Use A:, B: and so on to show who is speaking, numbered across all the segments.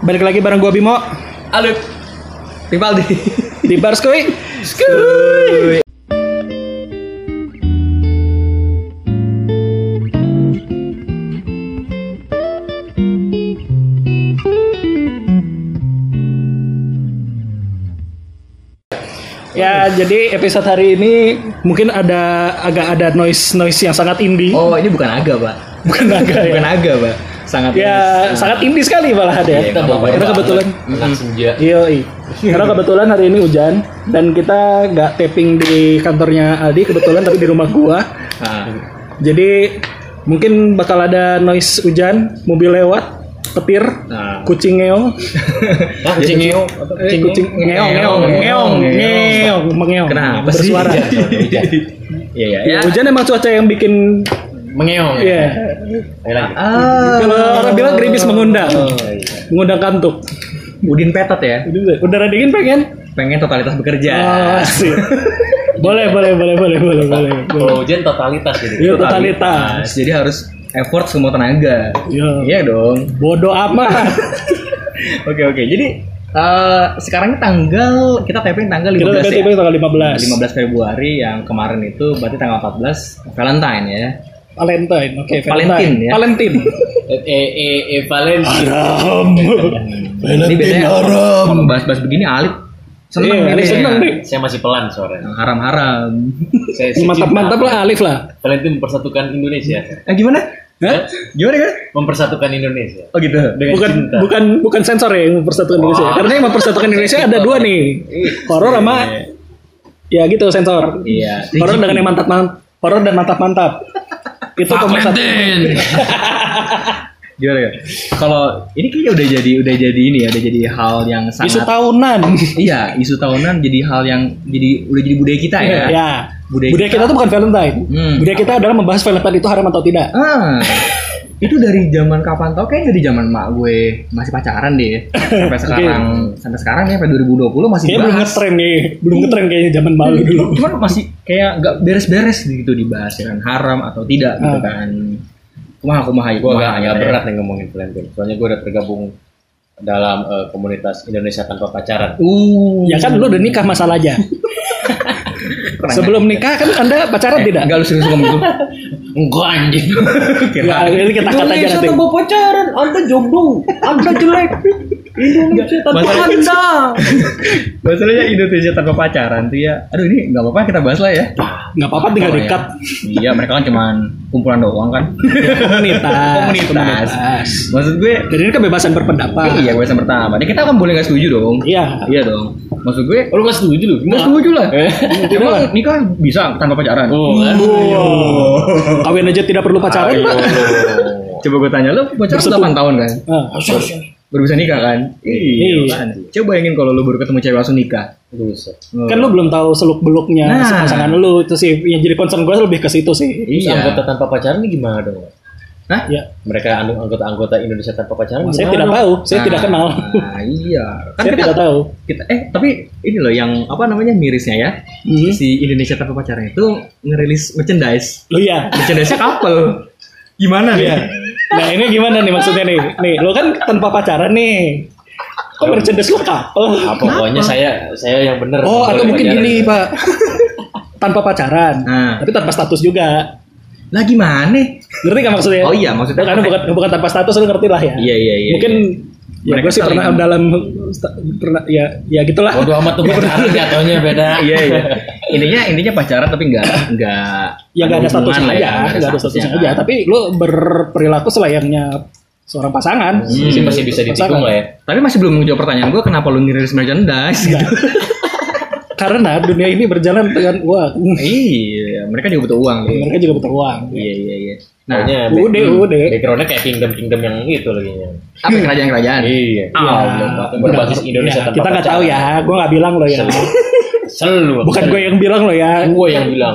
A: Balik lagi bareng gua Bimo
B: Alif Rivaldi
A: di Bars Kuy. Ya, jadi episode hari ini mungkin ada agak ada noise noise yang sangat indie.
B: Oh ini bukan aga pak
A: Bukan naga ya.
B: Bukan aga pak Sangat
A: Ya,
B: bagus.
A: sangat indie sekali malah ada ya.
B: Iya, nggak apa-apa.
A: Karena kebetulan
B: Makan senja
A: Yoi. Karena kebetulan hari ini hujan dan kita nggak taping di kantornya Aldi kebetulan tapi di rumah gua.
B: Ah.
A: Jadi mungkin bakal ada noise hujan, mobil lewat, petir,
B: Nah.
A: kucing ngeong,
B: Hah, kucing ngeong
A: Eh, kucing ngeong, ngeong, ngeong, ngeong, mengeong,
B: Kenapa sih?
A: bersuara.
B: Iya iya
A: Ya, Hujan emang cuaca yang bikin
B: Mengeong
A: ya. Kalau orang bilang gerimis mengundang, mengundang kantuk.
B: Udin petot ya
A: Udara dingin pengen?
B: Pengen totalitas bekerja
A: Oh, sih. boleh, boleh, boleh, boleh, boleh, boleh. boleh.
B: hujan totalitas jadi
A: Iya, totalitas.
B: Jadi harus effort semua tenaga
A: Yo.
B: Iya dong
A: Bodoh amat.
B: Oke oke, jadi eh, sekarang tanggal kita taping tanggal
A: Kita
B: 15
A: tiba-tiba
B: ya.
A: tanggal 15.
B: 15 Februari yang kemarin itu berarti tanggal 14 Valentine ya.
A: Valentine. Oke,
B: Valentin, ya.
A: Valentine.
B: Eh eh eh, Valentine.
A: Haram.
B: Ini biasanya kalau bahas-bahas begini Alif seneng
A: Iya,
B: gitu
A: Alif
B: ya.
A: seneng nih.
C: Saya masih pelan suaranya.
B: Yang Haram-haram.
C: Saya
A: Mantap-mantap lah Alif lah.
C: Valentine mempersatukan Indonesia.
B: Eh gimana?
A: Hah?
B: Gimana kan?
C: Mempersatukan Indonesia.
B: Oh gitu.
C: Dengan
A: Bukan
C: cinta.
A: bukan bukan sensor ya yang mempersatukan Indonesia. Karena yang mempersatukan Indonesia ada dua nih. Horor sama ya gitu sensor.
B: Iya.
A: Horor dengan yang mantap mantap. Horor dan mantap mantap. Itu pemersatu.
B: Gimana kan? Kalau ini kayaknya udah jadi udah jadi ini ya, udah jadi hal yang
A: Isu
B: sangat
A: tahunan.
B: Iya, isu tahunan jadi hal yang jadi udah jadi budaya kita ya.
A: ya.
B: Budaya
A: Budaya, kita, tuh bukan Valentine.
B: Hmm.
A: Budaya kita adalah membahas Valentine itu haram atau tidak.
B: Ah, itu dari zaman kapan tau? Kayaknya dari zaman mak gue masih pacaran deh. Sampai sekarang, sampai sekarang ya, sampai 2020 masih
A: Kayaknya belum
B: dibahas.
A: ngetren nih, belum ngetren kayaknya zaman malu dulu.
B: Cuman masih kayak nggak beres-beres gitu dibahas dengan haram atau tidak gitu
A: Ah.
B: kan. Kumaha kumaha
C: Gue agak,
B: kumaha,
C: agak
B: ya.
C: berat nih ngomongin Valentine. Soalnya gue udah tergabung dalam eh, komunitas Indonesia tanpa pacaran.
B: Uh,
A: Ya kan lu udah nikah masalahnya. Sebelum nikah kan Anda pacaran
B: Eh,
A: tidak?
B: Enggak lu serius ngomong gitu.
C: Enggak anjing.
A: Ya, ini kita cut aja nanti.
C: pacaran, Anda jomblo, Anda jelek. Indonesia
B: Masalah-
C: Anda.
B: Masalahnya Indonesia tanpa pacaran tuh ya. Aduh ini nggak apa-apa kita bahas lah ya.
A: Enggak apa-apa tinggal
B: Oh, ya.
A: dekat
B: Iya, mereka kan cuman kumpulan doang kan.
A: komunitas.
B: Komunitas. Maksud gue
A: Jadi ini kebebasan
C: Ah.
A: berpendapat.
B: Iya, gue yang pertama. Ini kita kan boleh nggak setuju dong.
A: Iya.
B: Iya dong. Maksud gue
C: Oh, lu gak setuju lu?
B: nggak setuju lah.
C: Eh,
B: Emang nikah bisa tanpa pacaran?
C: Oh, kan?
A: Wow. Kawin aja tidak perlu
C: Hmm.
A: pacaran, Pak.
B: Coba gue tanya lo, pacaran
A: Bersetuju.
B: 8 tahun kan?
A: Ah.
B: Baru bisa nikah kan?
A: Iya.
B: kan? Coba bayangin kalau lo baru ketemu cewek langsung nikah. Oh.
C: Aduh, bisa.
A: Kan lu belum tahu seluk-beluknya
B: Nah.
A: pasangan lu itu sih yang jadi concern gue lebih ke situ sih.
C: Terus
B: Iya.
C: anggota tanpa pacaran ini gimana dong?
B: Hah?
A: Ya,
C: Mereka anu- anggota-anggota Indonesia tanpa pacaran
A: saya
C: gimana
A: tidak
C: dong?
A: tahu, saya
B: Nah,
A: tidak kenal.
B: Nah, iya. Kan
A: saya
B: kita,
A: tidak tahu.
B: kita eh tapi ini loh yang apa namanya mirisnya ya.
A: Hmm.
B: Si Indonesia tanpa pacaran itu ngerilis merchandise.
A: Lu ya.
B: Merchandise-nya couple. Gimana ya?
A: Iya.
B: nih?
A: Nah ini gimana nih maksudnya nih? Nih lo kan tanpa pacaran nih.
B: Iya.
A: Kok merchandise lo couple?
C: Ah, pokoknya saya saya yang bener.
A: Oh atau
C: Boleh
A: mungkin
C: pacaran. gitu.
A: gini pak. tanpa pacaran.
B: Nah.
A: Tapi tanpa status juga.
B: Lah gimana?
A: Ngerti gak maksudnya?
B: Oh iya, maksudnya-
A: Karena bukan, bukan tanpa status lo ngerti lah ya.
B: Iya iya iya.
A: Mungkin ya
B: Mereka
A: gue sih
B: saling-
A: pernah dalam sta- pernah ya ya gitulah.
C: Bodoh amat tuh pacaran jatuhnya beda.
B: iya iya. Intinya intinya pacaran tapi enggak enggak
A: Ya gak ada status
B: hubungan lah ya,
A: aja, gak ada status
B: statusnya
A: aja.
B: kan.
A: Tapi lo berperilaku selayaknya seorang pasangan.
B: Hmm,
C: Sih masih bisa ditikung lah ya.
B: Eh, Tapi masih belum menjawab pertanyaan gue kenapa lu ngirilis merchandise gitu.
A: Karena dunia ini berjalan dengan uang.
B: iya, mereka juga butuh uang. Iya
A: Mereka juga butuh uang.
B: iya iya. iya. Nah,
C: Pokoknya back-
A: Udah, udah.
C: backgroundnya kayak kingdom-kingdom yang itu lagi. ya.
B: apa kerajaan-kerajaan?
C: Iya.
B: Ah,
C: Allah. Berbasis
A: Ya,
C: Indonesia tanpa
A: kita nggak tahu
C: pacaran.
A: ya, gue nggak bilang lo ya.
C: Selalu.
A: Bukan gue yang bilang lo ya.
C: Gue yang bilang.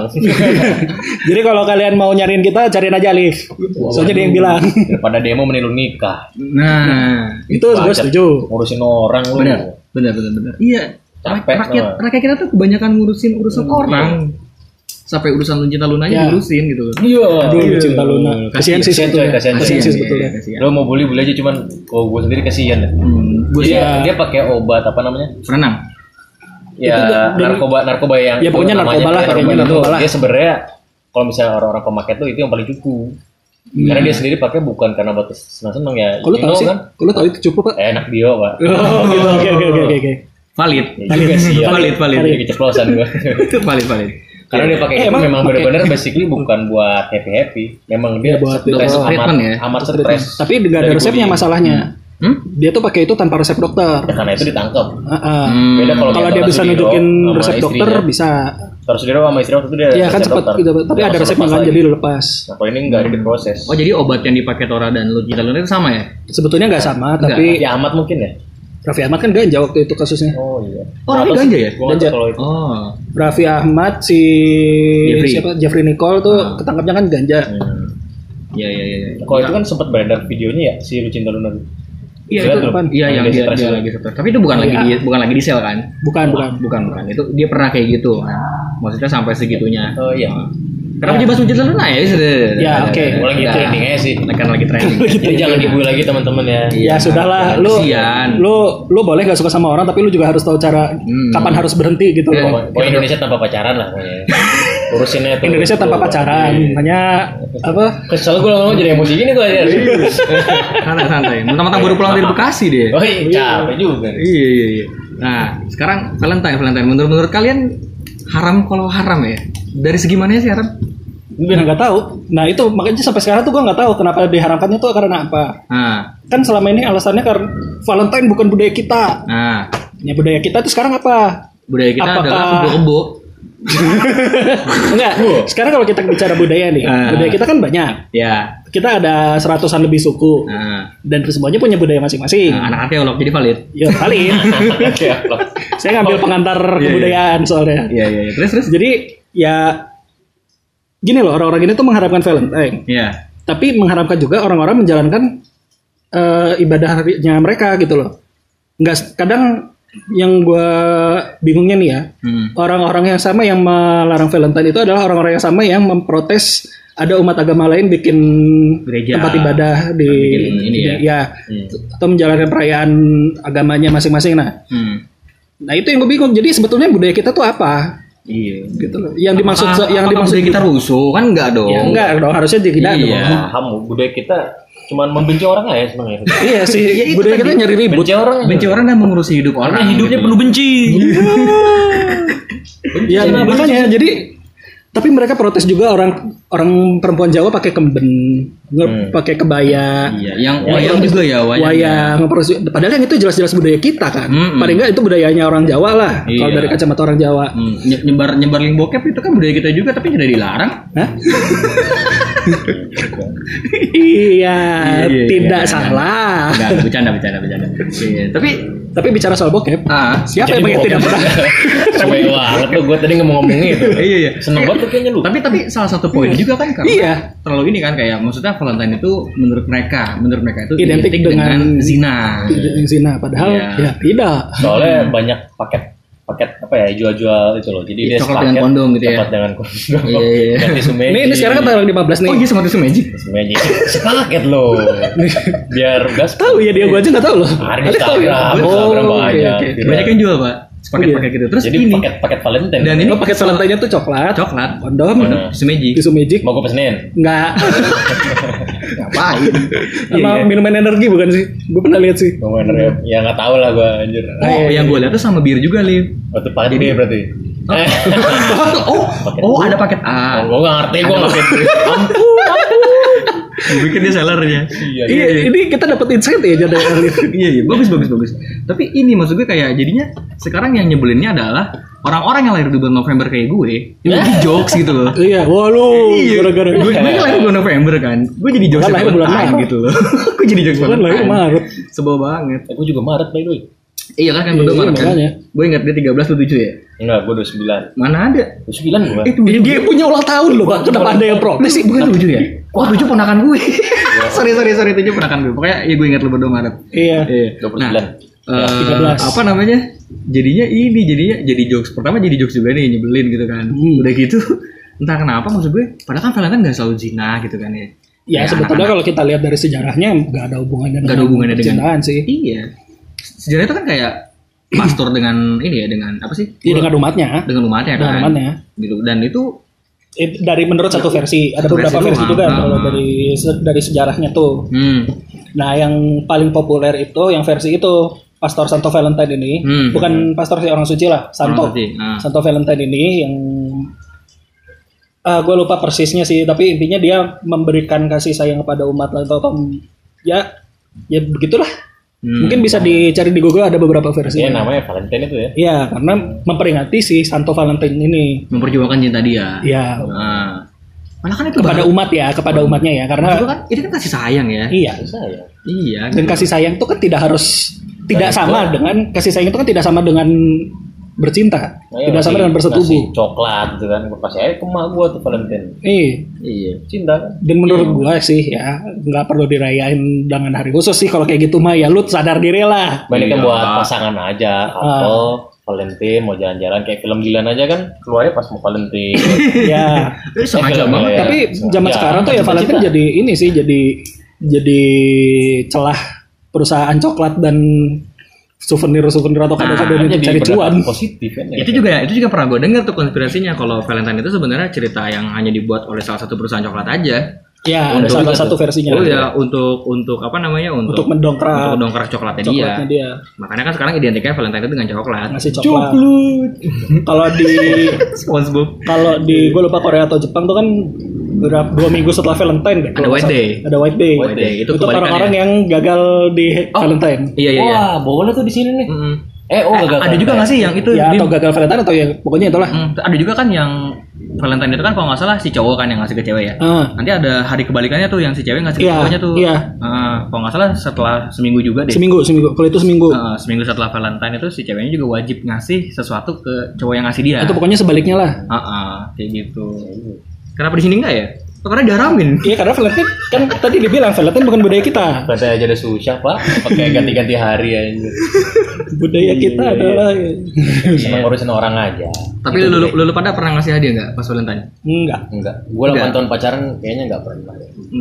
A: Jadi kalau kalian mau nyariin kita, cariin aja Alif. Soalnya dia yang bilang.
C: Daripada demo mending lu nikah.
B: Nah,
A: Itu gue
C: Bacot.
A: setuju.
C: Ngurusin orang lu.
B: benar, benar, benar, benar. Iya.
C: Capek,
B: rakyat
C: tau.
B: rakyat kita tuh kebanyakan ngurusin urusan orang. sampai urusan cinta Luna
A: Ya.
B: nya diurusin gitu loh.
A: Iya. Aduh,
B: Iya.
A: cinta Luna. Kasihan sih
C: Kasihan, coy,
A: sebetulnya.
C: kasihan,
A: Kasihan
C: Iya. coy.
A: sih sebetulnya.
B: Kasihan.
C: Lo mau bully bully aja cuman kalau gue sendiri kasihan ya.
B: Hmm, gue
C: Dia,
B: sih
C: dia pakai obat apa namanya?
B: renang.
C: Ya
A: Itu udah- udah-
C: narkoba narkoba yang
A: Ya, pokoknya
C: namanya
A: narkoba lah,
C: narkoba
A: pokoknya
C: itu,
A: narkoba lah.
C: Dia sebenarnya kalau misalnya orang-orang pemakai tuh itu yang paling cupu. Karena dia sendiri pakai bukan karena buat senang-senang ya.
A: Hmm. Kalau
C: You
A: tahu
C: know
A: sih,
C: kan?
A: kalau tahu itu cukup, Pak.
C: Eh, Enak dia, Pak.
A: Oh, gitu. Oke, oke, oke, oke, oke.
B: Valid.
C: Ya juga sih. ya.
B: Valid, valid.
C: Jadi keceplosan gua.
B: valid, valid.
C: Karena dia pakai
A: Eh,
C: itu
A: emang
C: memang
A: pakai-
C: benar-benar basically bukan buat happy happy, memang dia
A: Ya, buat
C: stres
A: buat
C: amat,
B: treatment ya.
C: amat stres.
A: Tapi nggak ada
C: Dari
A: resepnya
C: bullying.
A: masalahnya.
B: Hmm?
A: Dia tuh pakai itu tanpa resep dokter.
C: Ya, Karena itu ditangkap.
A: Ah, ah.
B: Hmm.
C: Beda kalau
A: Kalau
C: kayak
A: dia
C: Tora
A: bisa
C: Sudiro
A: nunjukin
C: sama
A: resep
C: istrinya.
A: dokter bisa.
C: Terus dia sama istri waktu itu dia
A: Iya kan
C: resep
A: cepat
C: dokter.
A: gitu, tapi
C: Dia
A: ada
C: langsung
A: resepnya
C: lepas
A: kan
C: lagi.
A: jadi iya. lepas.
C: Nah, kalau ini nggak diproses.
B: Oh jadi obat yang dipakai Tora dan Lu cinta Luna itu sama ya?
A: Sebetulnya nggak sama,
B: Nggak.
A: tapi
C: Ya amat mungkin ya.
A: Raffi Ahmad kan ganja waktu itu kasusnya.
C: Oh iya.
B: Oh, Raffi
C: Atau-
B: ganja ya?
C: Gua nggak tahu
A: Ganja.
C: kalau itu.
B: Oh.
A: Raffi Ahmad si
B: Jeffrey.
A: siapa Jeffrey Nicole tuh ketangkapnya kan ganja.
C: Hmm.
B: Iya iya iya. iya.
C: Kalau itu kan sempat beredar videonya ya si Lucinta Luna.
B: Iya
C: Lihat
B: itu
C: tuh.
A: depan.
B: Iya yang
C: Yang
B: dia,
C: stres
B: dia
C: itu.
B: lagi stres. Tapi itu bukan lagi
A: Iya.
B: di, bukan lagi di sel kan?
A: Bukan, bukan.
B: Bukan bukan. Itu dia pernah kayak gitu kan. Maksudnya sampai segitunya.
C: Oh iya.
B: Kenapa dia bahas Cinta Luna ya?
A: Ya, oke.
C: Gua lagi ya. trending aja sih.
B: Kan lagi trending.
C: Jadi jangan dibully lagi teman-teman ya.
B: Iya.
A: Ya sudahlah, lu
B: Kasihan.
A: lu lu boleh gak suka sama orang tapi lu juga harus tahu cara
B: Hmm.
A: kapan harus berhenti gitu
C: Pokoknya-
A: loh.
C: Pokoknya Indonesia tanpa pacaran lah pokoknya. Urusinnya tuh.
A: Indonesia tanpa pacaran,
C: Iya.
A: makanya apa?
C: Kesel gue lama-lama jadi emosi gini ya. gue.
B: santai santai. Mentang-mentang baru pulang dari Bekasi dia.
C: Oh iya, capek juga.
B: Iya iya iya. Nah, sekarang Valentine Valentine menurut menurut kalian haram kalau haram ya? Dari segi mana sih haram?
A: Nah, nggak tahu. Nah itu makanya sampai sekarang tuh gua nggak tahu kenapa diharamkannya tuh karena apa?
B: Nah,
A: Kan selama ini alasannya karena Valentine bukan budaya kita.
B: nah
A: Ya budaya kita tuh sekarang apa?
B: budaya kita
A: Apakah-
B: adalah kebo-kebo.
A: Enggak. Sekarang kalau kita bicara budaya nih,
B: Ah.
A: budaya kita kan banyak.
B: Ya.
A: Kita ada seratusan lebih suku
B: Nah,
A: dan semuanya punya budaya masing-masing.
B: nah, anak arkeolog jadi valid.
A: Ya paling.
C: Oke, upload.
A: Saya ngambil pengantar
B: ya. iya.
A: kebudayaan soalnya.
B: Iya iya iya. Terus terus.
A: Jadi ya gini loh orang-orang ini tuh mengharapkan Valentine,
B: Iya.
A: tapi mengharapkan juga orang-orang menjalankan eh, ibadah harinya mereka gitu loh. Enggak kadang yang gue bingungnya nih ya
B: Hmm.
A: orang-orang yang sama yang melarang Valentine itu adalah orang-orang yang sama yang memprotes ada umat agama lain bikin
B: Gereja.
A: tempat ibadah di,
B: Bikin ini
A: di-
B: ya.
C: Hmm.
A: atau menjalankan perayaan agamanya masing-masing nah
B: Hmm.
A: nah itu yang gue bingung jadi sebetulnya budaya kita tuh apa
B: Iya.
A: gitu loh yang dimaksud
B: Apakah-
A: yang
B: apakah
A: dimaksud gitu?
B: budaya kita rusuh kan enggak dong.
A: ya enggak dong harusnya jadi tidak
B: Iya.
A: dong
C: paham budaya kita cuman membenci orang lah ya sebenarnya
A: iya sih
B: Ya,
A: budaya kita nyari ribut
C: benci orang
B: Benci orang dan mengurusi hidup orang. gitu. Iya,
C: benci
A: ya makanya jadi tapi mereka protes juga orang orang perempuan Jawa pakai kemben nge- pakai kebaya
B: Iya, yang wayang juga ya Hmm. wayang.
A: wayang, ngeproduksi- padahal yang itu jelas-jelas budaya kita kan
B: Mm-mm.
A: paling nggak itu budayanya orang Jawa lah
B: Iya.
A: kalau dari kacamata orang Jawa
B: Hmm, nye- nyebar nyebar link bokep itu kan budaya kita juga tapi tidak dilarang.
A: Hah? iya,
B: iya,
A: tidak
B: iya.
A: salah
B: Enggak, enggak, bercanda, bercanda, bercanda. Iya, tapi
A: tapi bicara soal bokep
B: ah,
A: siapa yang pengen tidak pernah
C: cewek banget tuh gue tadi ngomong-ngomong itu
B: iya iya.
C: seneng banget tuh kayaknya lu
B: Tapi tapi salah satu poin juga kan karena
A: iya
B: terlalu ini kan kayak maksudnya Valentine itu menurut mereka, menurut mereka itu
A: Identik dengan
B: zina.
A: Tidak zina padahal
B: Iya.
A: ya tidak
C: soalnya banyak paket paket apa ya jual-jual itu loh jadi
B: Iya,
C: dia
B: coklat
C: sepaket,
B: dengan kondom gitu ya.
C: coklat dengan kondom
B: Iya, iya, iya.
C: ganti sumeji
A: ini, ini sekarang kan tanggal 15 nih
B: Oh iya sama itu magic.
C: sumeji sepaket loh biar gas
A: tahu ya dia gua aja nggak tahu loh
C: ada di
A: Ada tahu ya?
C: Instagram
A: oh
C: Instagram
A: oke
C: banyak
A: oke.
C: Viral.
B: Banyak yang jual, Pak. Sepaket-paket gitu. Terus
C: jadi
B: ini
C: paket paket Valentine
B: dan ini
A: lo pakai selantainya tuh coklat
B: coklat,
A: kondom
C: Kondom.
B: tisu magic.
A: tisu magic
C: mau gue pesenin
A: nggak
B: Ngapain?
A: sama
B: Iya.
A: minuman energi bukan sih gue pernah lihat sih
C: mau main rap ya nggak tahu lah gue anjir
B: Oh, yang gue lihat tuh sama bir juga, Liv.
C: Oh, itu paket B berarti. Eh,
B: oh, oh ada paket A.
C: gue gak ngerti, gue nggak ngerti.
B: Gue pikir dia sellernya.
C: Iya,
A: Iya, ini kita dapat insight ya jadi Arif.
B: iya iya bagus bagus bagus. Tapi ini maksud gue kayak jadinya sekarang yang nyebelinnya adalah orang-orang yang lahir di bulan November kayak gue, itu jadi jokes gitu loh.
A: Iya, wah lu gara-gara
B: Gue gue kan lahir bulan November kan, gue jadi jokes
A: Bukan lahir bulan
B: Valentine
A: Maret.
B: gitu loh. gue jadi jokes
A: kan lahir
B: Valentine.
A: Maret.
B: Sebel banget.
C: Aku juga Maret, by the way.
B: Iya kan kan gue
A: Iya,
B: Maret kan.
A: makanya.
B: Gue ingat dia 13 lu 7 ya.
C: Enggak, gue 29.
B: Mana ada?
C: 29 gue.
B: Eh tuh
A: Ini dia punya ulang tahun loh, Pak. Kenapa ada yang protes sih?
B: sih bukan 7 ya? Wah 7 ponakan gue. sorry sorry sorry 7 ponakan gue. Pokoknya iya gue ingat lu berdua Maret.
A: Iya.
B: Iya.
C: 29.
B: Nah,
A: Ya,
B: eh
A: 13.
B: apa namanya jadinya ini jadinya jadi jokes pertama jadi jokes juga nih nyebelin gitu kan
A: Hmm.
B: udah gitu entah kenapa maksud gue padahal kan Valentine gak selalu zina gitu kan ya
A: Ya, sebetulnya kalau kita lihat dari sejarahnya nggak ada hubungannya
B: Nggak ada hubungannya dengan-
A: percintaan sih.
B: iya sejarah itu kan kayak pastor dengan ini ya dengan apa sih
A: Iya dengan umatnya,
B: dengan umatnya kan
A: dengan umatnya.
B: gitu dan itu
A: Eh, dari menurut satu versi, ada
B: Satu
A: beberapa
B: versi
A: versi
B: doang.
A: juga
B: Ah.
A: kalau dari se- dari sejarahnya tuh.
B: hmm,
A: Nah, yang paling populer itu yang versi itu Pastor Santo Valentine ini,
B: Hmm.
A: bukan pastor sih orang suci lah, Santo.
B: orang putih. Ah.
A: Santo Valentine ini yang gue lupa persisnya sih, tapi intinya dia memberikan kasih sayang kepada umat atau kaum- ya ya begitulah.
B: Hmm.
A: Mungkin bisa dicari di Google ada beberapa versi.
C: Iya namanya Valentine itu ya.
A: Iya, karena memperingati si Santo Valentine ini.
B: memperjuangkan cinta dia
A: Ya,
B: nah, malah kan itu
A: kepada
B: bahaya.
A: umat ya, kepada umatnya ya,
B: Maksud gue
A: karena
B: kan ini kan kasih sayang ya
A: iya.
C: Bisa ya.
B: iya
A: Dan
B: gitu.
A: kasih sayang itu kan tidak harus tidak sama dengan kasih sayang itu kan tidak sama dengan bercinta,
C: Nah,
A: tidak
C: iya,
A: sama
C: ngasih-
A: dengan bersetubuh.
C: ngasih Coklat gitu kan. Gue kasih aja ke emak gue tuh Valentine.
A: Iya.
B: iya
C: Cinta kan.
A: Dan menurut gua sih ya nggak perlu dirayain dengan hari khusus sih kalau kayak gitu mah ya lu sadar diri lah.
C: Balikan
B: Iya.
C: buat pasangan aja. Atau Valentine mau jalan-jalan kayak film Dilan aja kan keluarnya pas mau Valentine.
A: Ya.
B: Eh, sengaja
C: Film
B: banget
C: ya.
A: Tapi zaman
C: Ya,
A: sekarang tuh ya
C: cita-cita.
A: Valentine jadi ini sih jadi jadi celah perusahaan coklat dan souvenir souvenir atau kado-kado
B: Nah,
A: ini
C: Jadi
A: untuk cari cuan.
C: berdampak positif kan.
A: Iya.
C: ya.
B: itu juga itu juga pernah gue dengar tuh konspirasinya kalau Valentine itu sebenarnya cerita yang hanya dibuat oleh salah satu perusahaan coklat aja.
A: Ya, ada
B: Untuk
A: salah
C: juga
A: satu
C: tuh.
A: versinya
B: Oh ya untuk untuk apa namanya
A: untuk
B: untuk untuk,
A: mendongkrak
B: dongkrak coklatnya,
A: coklatnya
B: dia.
A: dia.
B: Makanya kan sekarang identiknya Valentine itu dengan coklat.
A: Ngasih coklat. Kalau di
B: SpongeBob.
A: kalau di gue lupa Korea atau Jepang tuh kan berapa dua minggu setelah Valentine deh,
B: Ada
A: kalau
B: White
A: nggak
B: Day.
A: salah. Ada White Day.
B: White Day, itu
A: Untuk
B: kebalikannya.
A: orang-orang yang gagal di
B: Oh.
A: Valentine.
B: Iya iya. iya.
C: Wah boleh tuh di sini nih.
B: Mm-mm.
C: Eh oh
B: Eh,
C: gagal.
B: ada juga nggak sih yang itu?
A: Ya
B: Din?
A: atau gagal Valentine atau ya pokoknya itulah.
B: Mm, ada juga kan yang Valentine itu kan kalau nggak salah si cowok kan yang ngasih ke cewek ya.
A: Ah,
B: Nanti ada hari kebalikannya tuh yang si cewek ngasih ke
A: Iya,
B: cowoknya tuh.
A: iya.
B: Ah, kalau nggak salah setelah seminggu juga deh.
A: seminggu seminggu. Kalau itu seminggu.
B: Uh, seminggu setelah Valentine itu si ceweknya juga wajib ngasih sesuatu ke cowok yang ngasih dia.
A: Itu pokoknya sebaliknya lah.
B: Ah, ah, kayak gitu. Kenapa di sini enggak ya? Oh, Karena diharamin.
A: Iya karena Valentine kan tadi dibilang Valentine bukan budaya kita.
C: Berarti aja ada susah pak. Pakai ganti-ganti hari aja.
A: Budaya kita
B: Iya.
A: adalah
C: Senang ngurusin orang aja. Gitu
B: Tapi lu, lu, lu, lu pada pernah ngasih hadiah enggak pas Valentine?
A: enggak.
C: Enggak. Gue 8 tahun pacaran kayaknya enggak pernah.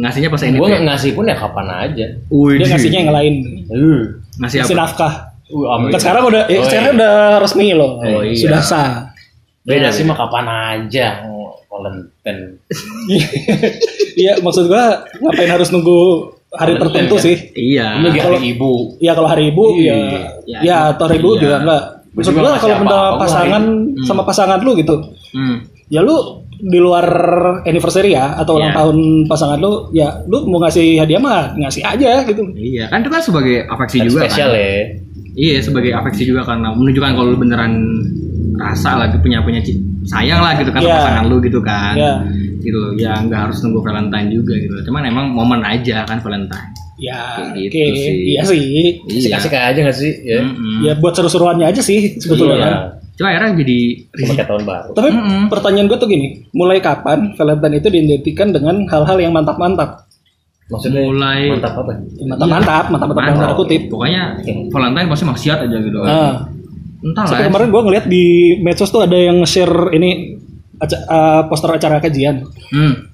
B: Ngasihnya pas ini.
C: Gue nggak ngasih pun ya kapan aja.
A: Dia
B: Iya.
A: ngasihnya yang lain.
C: Uh,
B: ngasih
A: Ngasih
B: apa?
A: nafkah.
C: uh
A: Kan
C: amit.
A: Hmm. sekarang udah, eh,
C: Oh,
A: sekarang udah Iya, resmi loh,
B: iya. Oh, iya.
A: sudah sah.
C: Dia ngasih mah kapan aja. Oh, Valentine.
A: Iya maksud gua ngapain harus nunggu hari
C: Valentine,
A: tertentu
C: ya?
A: sih?
B: Iya.
C: Lu lagi hari ibu.
A: Ya kalau hari ibu
C: Iya.
A: ya,
B: Iya.
A: ya, atau hari ibu
B: Iya.
A: juga enggak. Maksud
C: Juga
A: gua
C: nggak
A: kalau
C: siapa-apa
A: benda
C: hari.
A: pasangan sama pasangan lu gitu,
B: Hmm.
A: ya lu di luar anniversary ya atau ulang
B: Iya.
A: tahun pasangan lu, ya lu mau ngasih hadiah mah ngasih aja gitu.
B: Iya, kan itu kan sebagai afeksi
C: Hari
B: juga
C: spesial
B: kan.
C: ya.
B: Iya, sebagai afeksi juga karena menunjukkan kalau lu beneran rasa lagi punya punya ci- sayang lah gitu kan sama
A: Iya.
B: pasangan lu gitu kan.
A: Iya.
B: Gitu loh. Ya nggak harus nunggu Valentine juga gitu. Cuman emang momen aja kan Valentine.
A: Ya,
B: Kayak
A: oke,
B: gitu sih.
A: iya sih.
B: Iya.
C: Kasih kasih aja nggak sih? Ya.
B: Mm-mm.
A: Ya buat seru-seruannya aja sih
C: Iya.
A: sebetulnya.
B: Cuma akhirnya jadi
C: Cuma kayak tahun baru.
A: Tapi
B: Mm-mm.
A: pertanyaan gue tuh gini, mulai kapan Valentine itu diidentikan dengan hal-hal yang mantap-mantap?
C: Maksudnya
B: mulai
C: mantap apa?
A: Eh, Mantap-mantap, mantap-mantap dalam tanda kutip.
B: Pokoknya Valentine pasti maksiat aja gitu.
A: Nah,
B: Entahlah.
A: sampai
B: ya.
A: kemarin gue ngeliat di medsos tuh ada yang share ini aca- eh, poster acara kajian.
B: Hmm.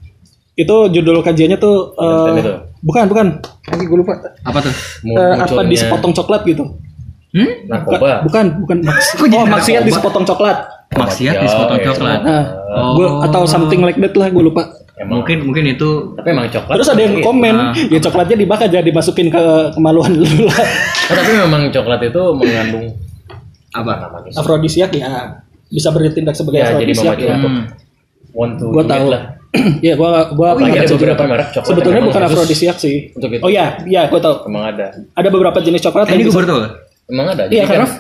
A: Itu judul kajiannya tuh eh,
C: Valentine itu?
A: bukan bukan, nanti gue lupa.
B: Apa tuh?
A: Eh, apa di sepotong coklat gitu?
B: Hmm?
C: narkoba?
A: Bukan bukan maks-
B: Kok jadi
A: oh maksiat
B: narkoba?
A: di sepotong coklat.
B: Maksiat di sepotong
C: Iya.
B: coklat.
A: Nah,
B: Oh.
A: gua- atau something like that lah gue lupa.
C: Emang.
B: Mungkin mungkin itu
C: Tapi emang coklat.
A: Terus ada yang
C: Iya.
A: komen,
B: Ah.
A: ya coklatnya dibakar jadi dimasukin ke kemaluan lu lah.
C: Oh, tapi memang coklat itu mengandung
B: apa?
C: namanya
A: Afrodisiak ya bisa bertindak sebagai
C: Ya, jadi
A: afrodisiak
C: memacu
A: ya.
C: untuk
B: Hmm.
C: want to
A: Gua
C: do it
A: tahu.
C: lah.
A: Iya, gua gua
C: Oh,
A: pernah
C: iya, ada
A: baca
C: beberapa
A: juga.
C: merek coklat
A: Sebetulnya
C: yang
A: bukan
C: khusus
A: afrodisiak sih.
C: untuk itu.
A: Oh iya, iya gua tahu.
C: Emang ada.
A: Ada beberapa jenis coklat
B: Eh, ini
A: yang
B: gue
A: bisa
B: baru kan tahu.
C: Emang ada. kan
A: Iya, karena
C: mau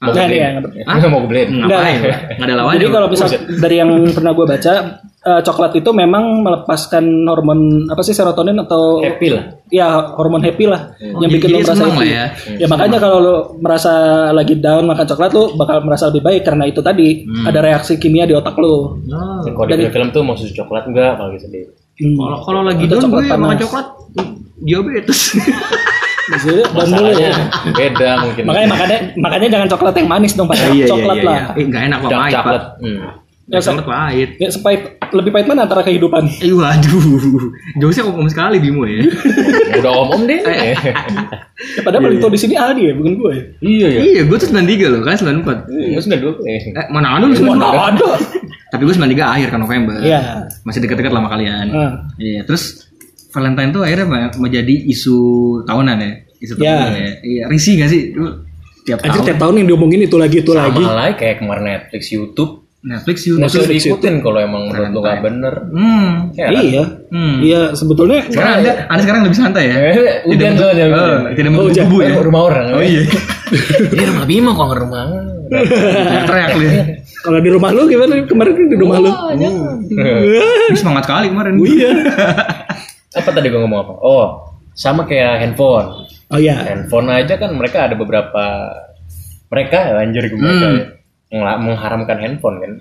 A: Nah,
C: gue
A: iya.
C: beliin. Nggak mau gue beliin.
B: Ngapain?
A: Enggak.
B: Enggak ada lawannya.
A: Jadi kalau misal dari yang pernah gua baca, eh, coklat itu memang melepaskan hormon apa sih serotonin atau
C: Happy lah.
A: ya hormon happy lah yang
B: Oh, Jadi-
A: bikin lo
B: jadi
A: merasa
B: senang
A: happy.
B: lah ya.
A: Ya, makanya kalau lo merasa lagi down makan coklat lo bakal merasa lebih baik karena itu tadi
B: Hmm.
A: ada reaksi kimia di otak lo. Hmm.
B: Oh.
C: Kalau di film tuh mau susu coklat enggak apalagi sedih.
B: Kalau kalau lagi
A: Atau
B: down gue
A: coklat
B: makan
A: panas.
B: Hmm. coklat hmm, diabetes.
A: Jadi down dulu
C: Masalahnya
A: ya.
C: beda mungkin.
A: Makanya makanya makanya jangan coklat yang manis dong, Pak.
B: Iya, iya,
A: coklat
B: iya,
A: lah.
B: iya. Eh, enggak enak Pak
C: dark
B: Mike, Pak.
C: coklat. Hmm.
B: Ya,
A: Ya, sa-
B: sangat pahit.
A: Ya, sepahit, lebih pahit mana antara kehidupan?
B: Eh, waduh. Jokesnya om-om sekali Bimo ya.
C: Udah om-om deh.
A: Ya, padahal paling tahu di sini Aldi ya, bukan gue.
C: iya ya.
B: iya, gue tuh 93 loh, kan 94.
C: Terus nggak dulu. eh.
B: Eh, mana ada lu
A: Mana
B: 94?
A: ada?
B: Tapi gue 93 akhir kan November.
A: Iya.
B: Masih dekat-dekat lama kalian.
A: Ah.
B: Iya, terus Valentine tuh akhirnya me- menjadi isu tahunan ya. Isu
A: Iya.
B: tahunan ya. Iya, risih gak sih? Lu tiap
A: Anjir
B: tahun
A: tiap tahun yang diomongin itu lagi itu lagi.
C: Sama lah kayak kemarin Netflix, YouTube.
B: Netflix YouTube.
C: Nggak usah diikutin kalau emang menurut lu nggak bener.
B: Hmm.
C: Ya, kan?
A: Iya.
B: Hmm.
A: Iya, sebetulnya
B: Sekarang ada, ada sekarang lebih santai ya.
A: Iya.
C: Eh, Udah
B: Tidak
C: soalnya.
B: menutup- eh, tidak menutup
A: hujan.
B: kubu ya.
C: Eh, Rumah orang.
B: Oh iya.
C: Ini rumah Bima kok nggak rumah.
B: Teriak lu. ya.
A: kalau di rumah lu gimana kemarin di rumah lu?
B: Ini semangat kali kemarin.
A: Oh iya.
C: Apa tadi gua ngomong apa? Oh, sama kayak handphone.
A: Oh iya.
C: handphone aja kan mereka ada beberapa mereka ya, anjir
B: Hmm.
C: gimana mengharamkan handphone kan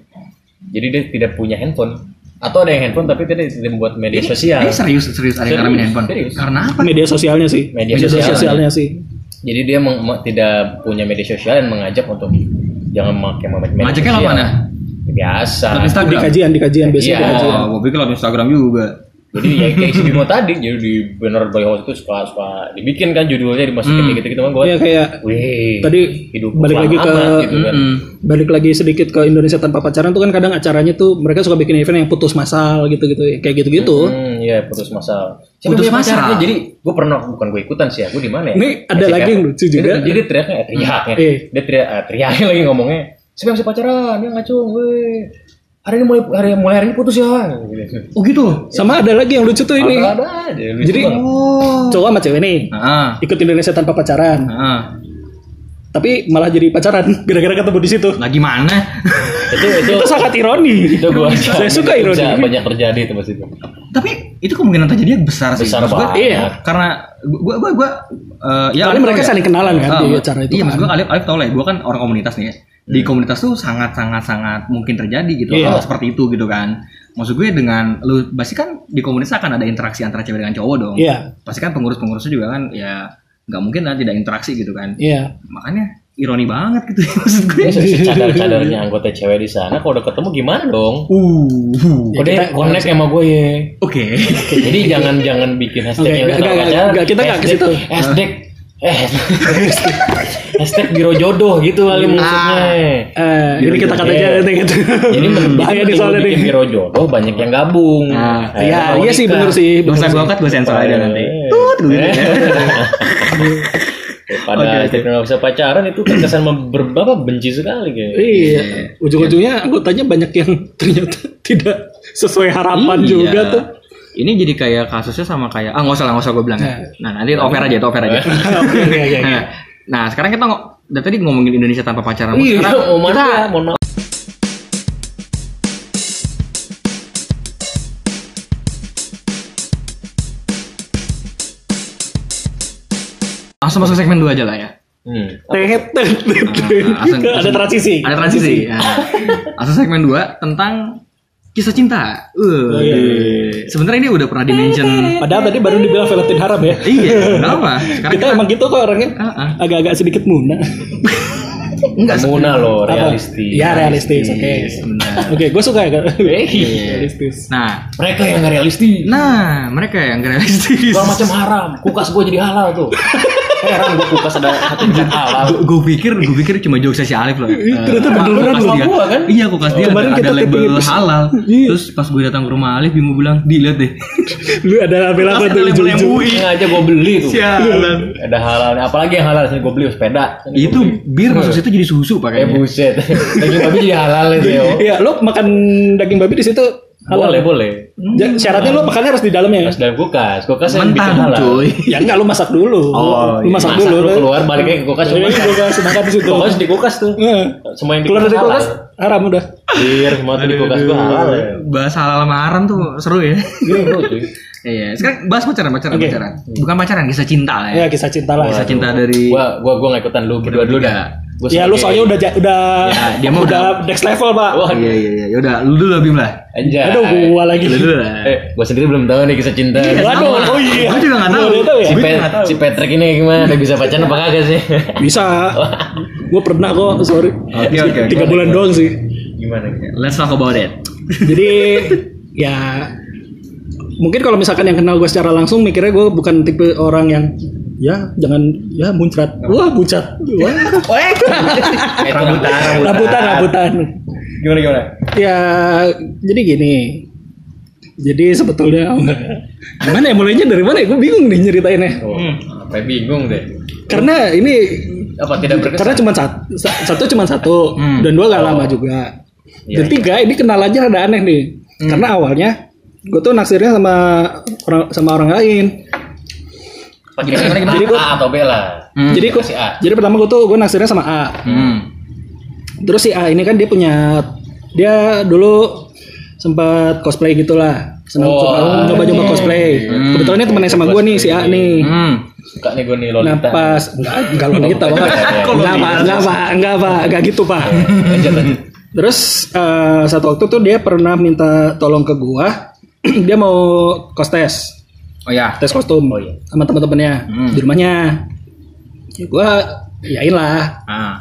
C: jadi dia tidak punya handphone atau ada yang handphone tapi tidak tidak membuat media sosial
A: eh,
B: Ini serius serius ada yang
C: Serius,
B: ngalamin handphone.
C: serius.
B: Karena apa?
A: Media sosialnya sih.
C: Media sosial.
A: sosialnya sih.
C: jadi dia meng- me- tidak punya media sosial dan mengajak untuk jangan memakai media sosial
B: Ngajaknya lama
A: ya?
B: nah.
C: biasa
B: Lewat
A: Di
B: Instagram.
A: kajian, di kajian biasanya
C: Iya.
A: di kajian.
B: Oh, gue pikir lewat Instagram juga.
C: jadi ya kayak si Bimo tadi jadi di banner by host itu suka suka dibikin kan judulnya dimasukin
B: Hmm.
C: kayak gitu gitu kan gue
A: Iya kayak
C: wih
A: Tadi
C: hidup
A: balik
C: kurang
A: lagi ke- Hmm.
C: amat," gitu kan.
B: Mm-mm.
A: balik lagi sedikit ke Indonesia tanpa pacaran tuh kan kadang acaranya tuh mereka suka bikin event yang putus masal gitu-gitu ya, kayak gitu-gitu.
C: Hmm, iya putus masal.
B: Putus
C: punya pacar?
B: masal?
C: Ya, Jadi gue pernah bukan gue ikutan sih ya, gue di mana ya?
A: Ini ada
C: SCK.
A: lagi yang lucu
C: Jadi-
A: juga.
C: Jadi, dia teriaknya, eh, teriaknya,
A: Eh.
C: dia teriak, eh, teriaknya lagi ngomongnya. Siapa yang masih pacaran? Dia ngacung, weh. Hari ini mulai hari mulai hari ini putus ya. Gitu.
B: Oh gitu.
A: Sama ada lagi yang lucu tuh ini.
C: Ada aja. lucu
A: Jadi-
C: banget.
A: Cowok sama cewek nih
B: Heeh.
A: ikut Indonesia tanpa pacaran,
B: Heeh.
A: tapi malah jadi pacaran gara-gara ketemu di situ.
B: Lagi mana?
C: itu itu
A: Itu sangat ironi.
C: itu gue
A: Saya suka ironi.
C: Banyak terjadi itu pasti itu.
B: Tapi itu kemungkinan terjadinya besar sih.
C: Besar
B: Maksud gua,
C: banget.
A: iya.
B: Karena gua gua gua eh, ya
A: Soalnya
B: Alif
A: mereka
B: tau ya.
A: saling kenalan kan di
B: Ah,
A: acara itu
B: Iya,
A: kan. Hmm.
B: maksud gua Alif Alif tau lah, ya, gua kan orang komunitas nih ya. Di komunitas tuh sangat sangat sangat mungkin terjadi gitu
A: Iya.
B: hal seperti itu gitu kan. Maksud gue dengan lu pasti kan di komunitas akan ada interaksi antara cewek dengan cowok dong.
A: Iya.
B: Pasti kan pengurus-pengurusnya juga kan ya nggak mungkin lah tidak interaksi gitu kan.
A: Iya.
B: Makanya ironi banget gitu ya, maksud gue.
C: Ini cadar-cadarnya anggota cewek di sana, kalau udah ketemu gimana dong?
B: Uh.
A: Ya,
C: Kode
A: kita-
C: connect sama gue ya.
B: Oke.
C: Jadi jangan jangan bikin hashtag
A: Oke,
C: yang
A: enggak, enggak,
C: pacaran.
A: enggak, kita enggak ke
C: Hashtag-
A: situ.
C: Hashtag eh, hashtag- hashtag biro jodoh gitu kali
A: Ah.
C: maksudnya.
A: Eh, ini kita kata aja nanti gitu.
C: Jadi mending
A: bahaya nih
C: mending
A: soalnya
C: bikin
A: nih.
C: biro jodoh banyak yang gabung.
B: Nah,
C: Eh,
A: Iya,
C: mau
A: iya sih
C: nikah.
A: bener sih.
B: Gak
A: bener
B: usah
A: sih.
B: gue cut, gue sensor aja nanti. Tut, gitu
C: Eh.
B: ya.
C: Daripada
B: Oke, oke.
C: hashtag nggak bisa pacaran itu terkesan berbapa benci sekali kayak.
A: Iya. Ujung-ujungnya anggotanya banyak yang ternyata tidak sesuai harapan
B: Iya.
A: juga tuh.
B: Ini jadi kayak kasusnya sama kayak ah nggak usah lah nggak usah gue bilang ya.
A: Iya.
B: Nah nanti over aja itu over aja.
A: Ah, Oke, oke, oke.
B: Nah, nah sekarang kita ngo- dari tadi ngomongin Indonesia tanpa pacaran.
C: Iya,
B: Sekarang
C: mau
B: kita
C: mana? Mohon maaf.
B: langsung masuk segmen dua aja lah ya.
C: Hmm.
A: Tet, tet, tet, tet.
B: Ah, langsung-
A: Iya. Ada transisi.
B: Ada transisi. Nah, langsung segmen dua tentang kisah cinta. Uh,
A: iya.
B: Sebenarnya ini udah pernah dimention.
A: Padahal tadi baru dibilang Valentine haram ya.
B: iya, kenapa? Sekarang
A: Kita emang gitu kok orangnya.
B: Ah, ah.
A: Agak-agak sedikit muna.
B: enggak
C: Muna loh,
A: Apa?
C: realistis.
A: Ya realistis, oke.
B: sebenarnya.
A: Oke, gue suka ya. Kak.
C: Eh,
A: Realistis.
B: Nah,
C: Mereka yang nggak realistis.
B: Nah, mereka yang gak realistis.
C: Segala macam haram. Kukas gue jadi halal tuh. Heran gue kukas ada satu jam halal.
B: Gue pikir, gue pikir cuma jokes si Alif loh. Eh,
A: ternyata
B: apa,
A: beneran
B: kukas
A: loh.
B: dia-
C: Gua kan?
B: Iya, kukas dia
A: Kemarin
B: ada, ada
A: kita
B: label
A: tipping.
B: halal.
A: Iya.
B: Terus pas gue datang ke rumah Alif, Bimo bilang, di lihat deh.
A: Lu ada apa
B: Kukas ada
A: tuh di
B: label yang
A: ujung-ujung?
B: UI.
C: Ini aja gue beli tuh.
B: Iya. Sialan.
C: Ada halal. Nah, Apalagi yang halal sini gue beli sepeda. Sini
B: Itu
C: gua
B: bir masuk situ jadi susu
C: beli. Eh
B: pakainya.
C: buset. Daging babi jadi halal itu yo.
A: Iya, lu makan daging babi di situ halal. ya,
C: Boleh boleh.
A: Ja- syaratnya lu makannya harus di dalamnya.
C: Kukas dalam kukas. Kukas yang bikin
B: Mentah,
C: halal.
B: cuy.
A: Ya enggak lu masak dulu.
B: Oh,
A: lu masak
C: Masak
A: dulu.
C: lu
A: lu.
C: keluar balik lagi ke kulkas
A: Jadi
C: cuma
A: lu gua kasih makan di situ.
C: kulkas di kulkas tuh.
A: Heeh.
C: Semua yang di
A: Keluar dari
C: halal.
A: kulkas haram udah.
C: Bir semua tuh di kulkas gue halal. ya.
B: Bahas halal sama haram tuh seru ya.
C: Seru, cuy.
B: Iya, sekarang bahas pacaran, pacaran,
A: Oke.
B: pacaran. Bukan pacaran, kisah cinta lah
C: Iya.
B: ya.
A: Ya kisah cinta lah.
B: Kisah cinta dari
C: Gua gua gua nggak ikutan lu berdua dulu dah. Gua
A: Ya lu
C: sebagai-
A: soalnya udah ja- udah
B: Ya, dia mah
A: udah next level, Pak.
C: Wah,
B: Iya, iya, iya. Yaudah, lu dulu lah Bim lah.
C: anjay.
A: Aduh, gua lagi.
B: Lu dulu lah.
C: Eh, gua sendiri belum tahu nih kisah cinta.
A: Waduh,
B: Sama.
A: oh iya.
B: Gua juga nggak tahu.
A: Lu udah tahu ya?
C: Si,
B: Gua
C: Pe-
B: juga nggak tahu.
C: si Patrick ini gimana? Udah bisa pacaran apa kagak sih?
A: Bisa. Gue pernah kok, sorry.
B: Oke, oke, oke. iya.
A: Tiga bulan doang sih.
C: gimana gitu
B: Let's talk about it.
A: Jadi ya mungkin kalau misalkan yang kenal gue secara langsung mikirnya gue bukan tipe orang yang ya jangan ya muncrat wah pucat wah
C: Eh, itu rambutan
A: rabutan rabutan
C: gimana gimana
A: ya jadi gini jadi sebetulnya gimana ya mulainya dari mana ya gue bingung nih nyeritainnya
C: oh, apa ya, bingung deh
A: karena ini
C: apa tidak berkesan
A: karena cuma sat- sa- satu cuma satu
B: Hmm.
A: dan dua gak lama juga
C: Iya, Hmm.
A: dan tiga ini kenal aja ada aneh nih karena awalnya gue tuh naksirnya sama orang sama orang lain
C: Apa jadi gimana gimana?
A: Jadi gua-
C: A atau B lah
B: Hmm.
A: jadi gue
C: si A.
A: jadi pertama gue tuh gue naksirnya sama A
B: Hmm.
A: terus si A ini kan dia punya dia dulu sempat cosplay gitulah senang
C: Oh,
A: suka nyoba-nyoba cosplay
B: Hmm.
A: kebetulan ini temennya sama gue nih si A nih
B: Hmm.
C: suka nih gue nih
A: Nah
C: Lolita
A: pas enggak enggak Lolita pak enggak pak enggak pak enggak pak enggak gitu pak
C: lanjut lanjut
A: terus eh, satu waktu tuh dia pernah minta tolong ke gua dia mau kos tes
B: Oh ya.
A: tes kostum
C: Oh, iya.
A: sama teman-temannya
B: Hmm.
A: di rumahnya ya, gua yain lah
B: Ah.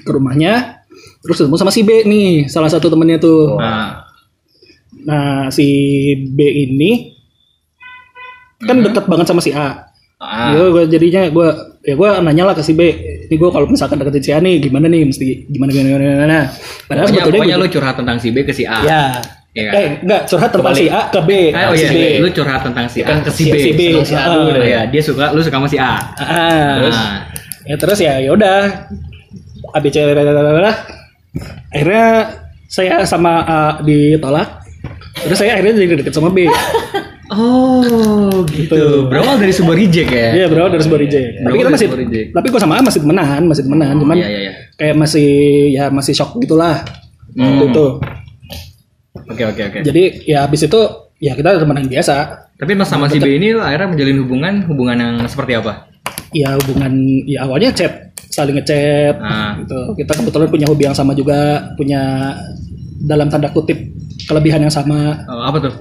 A: ke rumahnya terus ketemu sama si B nih salah satu temennya tuh
B: Ah.
A: nah si B ini kan deket banget sama si A
B: Ah.
A: Gue gue jadinya gue ya gue nanya lah ke si B. Ini gue kalau misalkan deketin si A nih gimana nih mesti gimana gimana gimana. gimana. Padahal
B: Pokoknya,
A: sebetulnya gitu.
B: pokoknya
A: gua-
B: lu curhat tentang si B ke si A.
A: ya.
B: Iya kan?
A: Eh enggak curhat tentang si A ke B.
B: Ah, oh
A: si
B: iya,
A: B.
B: lu curhat tentang si A ke si
A: Si-
B: B.
A: si B.
B: Senang si A dulu
A: Ah.
B: deh. Iya, dia suka lu suka sama si A.
A: Ah,
B: Terus
A: ya terus ya yaudah A B C blablabla. Akhirnya saya sama A ditolak. Terus saya akhirnya jadi deket sama B.
B: Oh, gitu. Berawal dari sebuah reject ya.
A: Iya bro, harus body reject. Tapi
B: Bro,
A: kita
B: harus
A: masih,
B: body reject.
A: tapi gue sama A masih temenan, masih temenan.
B: Oh,
A: Cuman
B: iya, iya, iya.
A: kayak masih ya masih shock gitulah
B: Hmm.
A: waktu itu.
B: Oke, oke, oke.
A: Jadi ya habis itu ya kita temenan biasa.
B: Tapi mas sama si B ini lu akhirnya menjalin hubungan hubungan yang seperti apa?
A: Ya hubungan ya awalnya chat, saling ngechat
B: Ah.
A: gitu. Kita kebetulan punya hobi yang sama juga, punya dalam tanda kutip kelebihan yang sama.
B: Oh, apa tuh?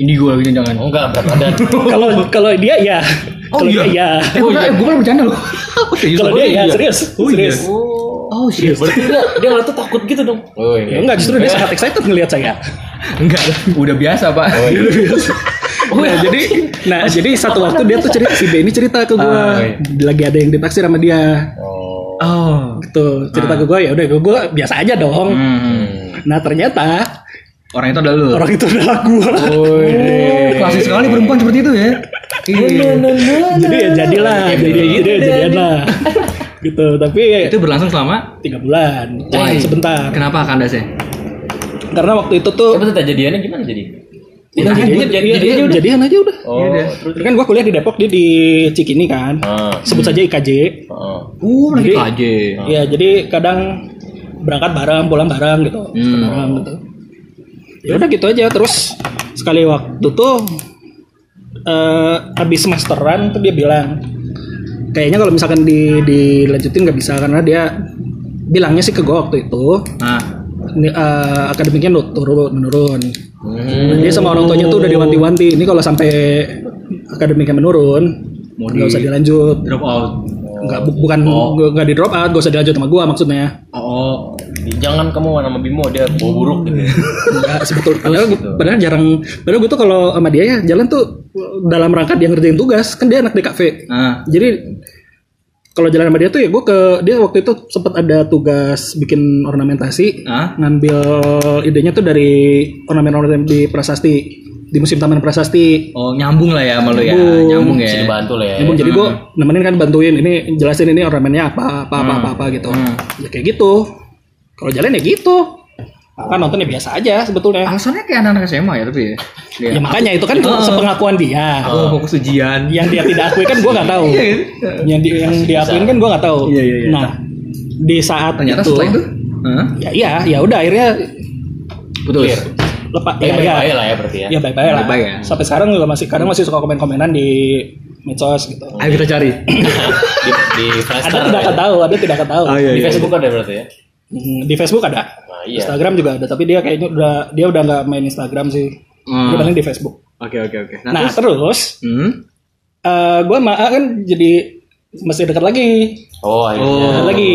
B: Indigo lagi jangan.
C: oh, enggak berat badan
A: Kalau kalau dia ya,
B: Oh,
A: kalau
B: iya?
A: dia ya.
B: Eh, bukan, eh, gue malah bercanda loh. Oh, serius?
A: Kalau
B: Oh,
A: dia
B: iya.
A: ya, serius,
B: Oh, iya.
A: serius.
B: Oh, serius.
C: berarti dia dia malah tuh takut gitu dong oh
A: Ya, enggak justru dia sangat excited ngelihat saya.
B: iya. Enggak, udah biasa, Pak.
A: Oh, iya.
B: Udah biasa.
A: Nah, jadi nah jadi satu waktu dia tuh cerita si B ini cerita ke gue
B: Ah,
C: iya.
A: lagi ada yang ditaksir sama dia
C: oh
B: Oh.
A: gitu cerita ke gue ya udah gue biasa aja dong
B: Hmm.
A: nah ternyata
B: Orang itu adalah lu.
A: orang itu adalah gue
B: Oh, klasik sekali perempuan seperti itu ya. Iya.
A: jadi ya jadilah jadi jadi jadian lah gitu tapi
B: Itu berlangsung selama
A: tiga bulan Cuma
B: Why?
A: sebentar
B: Kenapa ya? kandasnya?
A: karena waktu itu tuh
C: tapi tuh jadiannya gimana jadi
A: udah jadian
C: jadi-
A: iya,
C: jadi aja udah.
A: jadian aja udah
C: oh
B: Iya,
C: terus
A: kan gue kuliah di Depok dia di Cikini kan
C: ah
A: sebut saja IKJ
C: ah
B: Uh, lagi
A: Jadi-
B: aja.
A: Iya, jadi kadang berangkat bareng, pulang bareng gitu.
B: Hmm.
A: Bareng gitu. Ya udah gitu aja. Terus sekali waktu tuh eh habis semesteran tuh dia bilang kayaknya kalau misalkan di dilanjutin nggak bisa karena dia bilangnya sih ke gue waktu itu
B: Nah,
A: ini, eh, akademiknya nu- turun menurun.
C: Hmm.
A: Dia sama orang tuanya tuh udah diwanti-wanti. Ini kalau sampai akademiknya menurun,
B: Mau
A: nggak
B: di-
A: usah dilanjut.
B: drop out.
A: Nggak bu- bukan
B: Oh.
A: nggak di drop out, nggak usah dilanjut sama gue maksudnya.
B: Oh,
C: jangan kamu sama Bimo dia bau buruk gitu
A: Enggak sebetulnya padahal, gua- padahal jarang padahal gue tuh kalau sama dia ya jalan tuh dalam rangka dia ngerjain tugas kan dia anak DKV
B: nah,
A: jadi kalau jalan sama dia tuh ya gue ke dia waktu itu sempat ada tugas bikin ornamentasi
B: nah,
A: ngambil idenya tuh dari ornamen ornamen di Prasasti di musim Taman Prasasti
B: oh nyambung lah ya sama lu ya,
A: Nyambung.
B: nyambung
C: bisa
B: ya.
C: dibantu lah ya
A: Ya, Bung, jadi gue nemenin kan bantuin ini jelasin ini ornamennya apa apa apa apa, apa gitu
B: Hmm.
A: ya kayak gitu kalau jalan ya gitu kan nonton ya biasa aja sebetulnya
B: Alasannya kayak anak-anak SMA ya tapi ya. Ah. Dia,
A: Ya,
C: Iya.
A: makanya itu kan sepengakuan dia.
B: oh, fokus ujian.
A: Yang dia tidak akui kan gue nggak tahu.
B: Iya,
A: Yang di, yang diakuin kan gue nggak tahu.
B: Iya, iya, iya.
A: Nah di saat
B: Ternyata
C: Gitu.
A: itu,
B: setelah itu, Hah?
A: ya iya ya udah akhirnya
B: putus.
A: lepas
C: ya
A: ya ya
C: baik lah ya berarti ya
A: ya bye bye lah.
B: Bye-bye ya.
A: Sampai sekarang juga masih kadang masih suka komen komenan di medsos gitu.
B: Ayo kita cari.
C: di di
A: Ada
C: Friendster
A: tidak akan
C: ya.
A: tahu, ada tidak akan
B: Ah, iya,
A: tahu.
C: di Facebook ada berarti ya
A: Hmm, Di Facebook ada,
C: nah iya
A: Instagram juga ada, tapi dia kayaknya udah dia udah nggak main Instagram sih. Dia
B: Hmm.
A: paling di Facebook.
B: Oke, oke, oke. Nah,
A: Nah,
B: terus-
A: terus
B: Hmm?
A: eh gue sama A kan jadi masih dekat lagi
C: oh akhirnya
B: Oh.
A: Ada lagi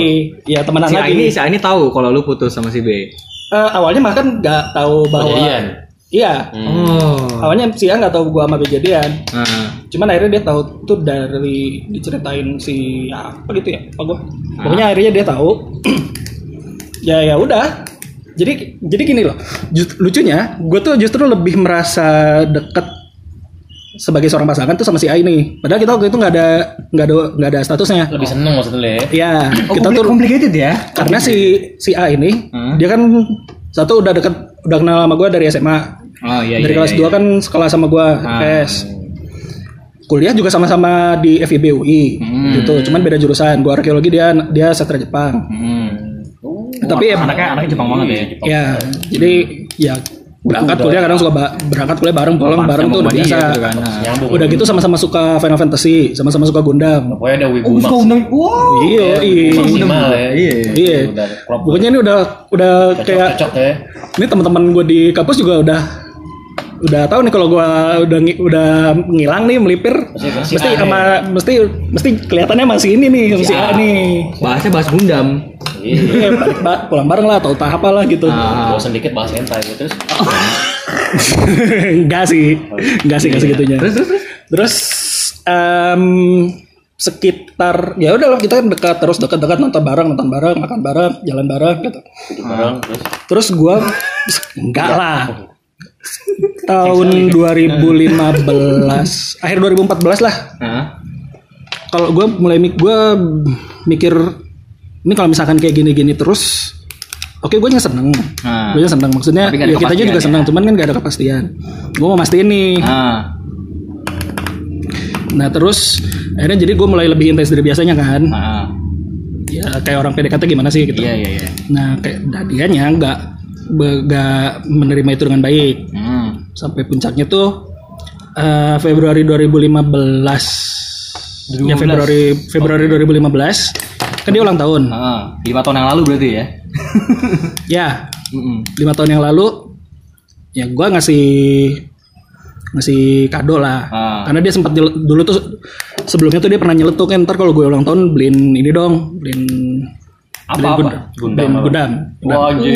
A: ya temenan
B: Si A
A: lagi
B: ini, si A ini tahu kalau lu putus sama si B.
A: eh, awalnya bahkan nggak tahu bahwa
C: Kejadian.
A: iya
C: Hmm.
B: Oh.
A: awalnya si A nggak tahu gua sama kejadian
B: Nah,
A: cuman akhirnya dia tahu tuh dari diceritain si apa gitu ya apa gua pokoknya akhirnya dia tahu ya ya udah jadi jadi gini loh Just- lucunya gue tuh justru lebih merasa deket sebagai seorang pasangan tuh sama si A ini padahal kita waktu itu nggak ada nggak ada nggak ada statusnya
C: Lebih seneng maksudnya lu ya.
A: ya
B: oh,
A: kita
B: compli-
A: tuh
B: complicated ya.
A: karena si si A ini
B: Hmm.
A: dia kan satu udah deket udah kenal sama gue dari SMA
B: Oh iya
A: dari kelas 2 kan sekolah sama gue
B: Ah.
A: PS kuliah juga sama-sama di FIB UI
B: Hmm.
A: gitu cuman beda jurusan gue arkeologi dia dia sastra Jepang
B: Hmm.
A: tapi ya,
B: anaknya anaknya Jepang Hmm. banget ya.
C: Jepang.
A: ya jadi ya berangkat kuliah kadang suka ba- berangkat kuliah bareng pulang bareng tuh udah biasa
B: Gitu kan. Nah.
C: Nyambung.
A: udah gitu sama-sama suka Final Fantasy sama-sama suka Gundam
C: Pokoknya ada
B: Oh,
C: Wibu Max.
B: suka undang. Wow.
A: iya iya
C: Maksimal ya.
B: Iya.
A: iya
C: Udah klop.
A: pokoknya ini udah udah kayak
C: Cocok-cocok ya.
A: ini teman-teman gue di kampus juga udah udah tahu nih kalau gue udah ngi- udah ngilang nih melipir
C: Pasti- pasti
A: mesti
C: aneh.
A: sama mesti mesti kelihatannya masih ini nih sama
B: Iya.
A: si A nih
B: Bahasnya bahas Gundam.
C: Iya.
A: Iya, balik ba- pulang bareng lah atau tahap lah gitu
B: Ah.
C: Bosan dikit bahas hentai gitu. Terus
A: enggak sih enggak sih enggak segitunya
B: Iya. Terus terus terus.
A: terus em, sekitar ya udah lah kita kan dekat terus dekat-dekat nonton bareng nonton bareng makan bareng jalan bareng gitu
C: duduk bareng terus
A: Terus gua enggak lah. Tahun 2015, akhir 2014 lah.
B: Nah.
A: Kalau gua mulai mik gua mikir ini kalau misalkan kayak gini-gini terus Oke, gue seneng.
B: Ah.
A: Gue seneng. Maksudnya
B: Tapi nggak ada
A: ya kita aja juga
B: kepastian
A: seneng. Cuman kan gak ada kepastian. Gue mau mastiin nih.
B: Ah.
A: Nah terus akhirnya jadi gue mulai lebih intens dari biasanya kan.
B: Ah.
A: Ya kayak orang PDKT gimana sih gitu.
B: Iya iya iya.
A: Nah kayak nah, dianya nggak be- nggak menerima itu dengan baik.
B: Hmm.
A: sampai puncaknya tuh eh, Februari 2015. Ya Februari Februari 2015 kan dia ulang tahun.
B: Ah, lima tahun yang lalu berarti ya? Hmm.
A: Ya,
B: Mm-mm.
A: lima tahun yang lalu ya gua ngasih ngasih kado lah.
B: Ah.
A: Karena dia sempat nyel- dulu tuh sebelumnya tuh dia pernah nyeletuk kan ntar kalau gue ulang tahun beliin ini dong, beliin
B: Apa
A: beliin
B: apa? Iya,
A: gud- beliin gudang.
C: Nah. wajib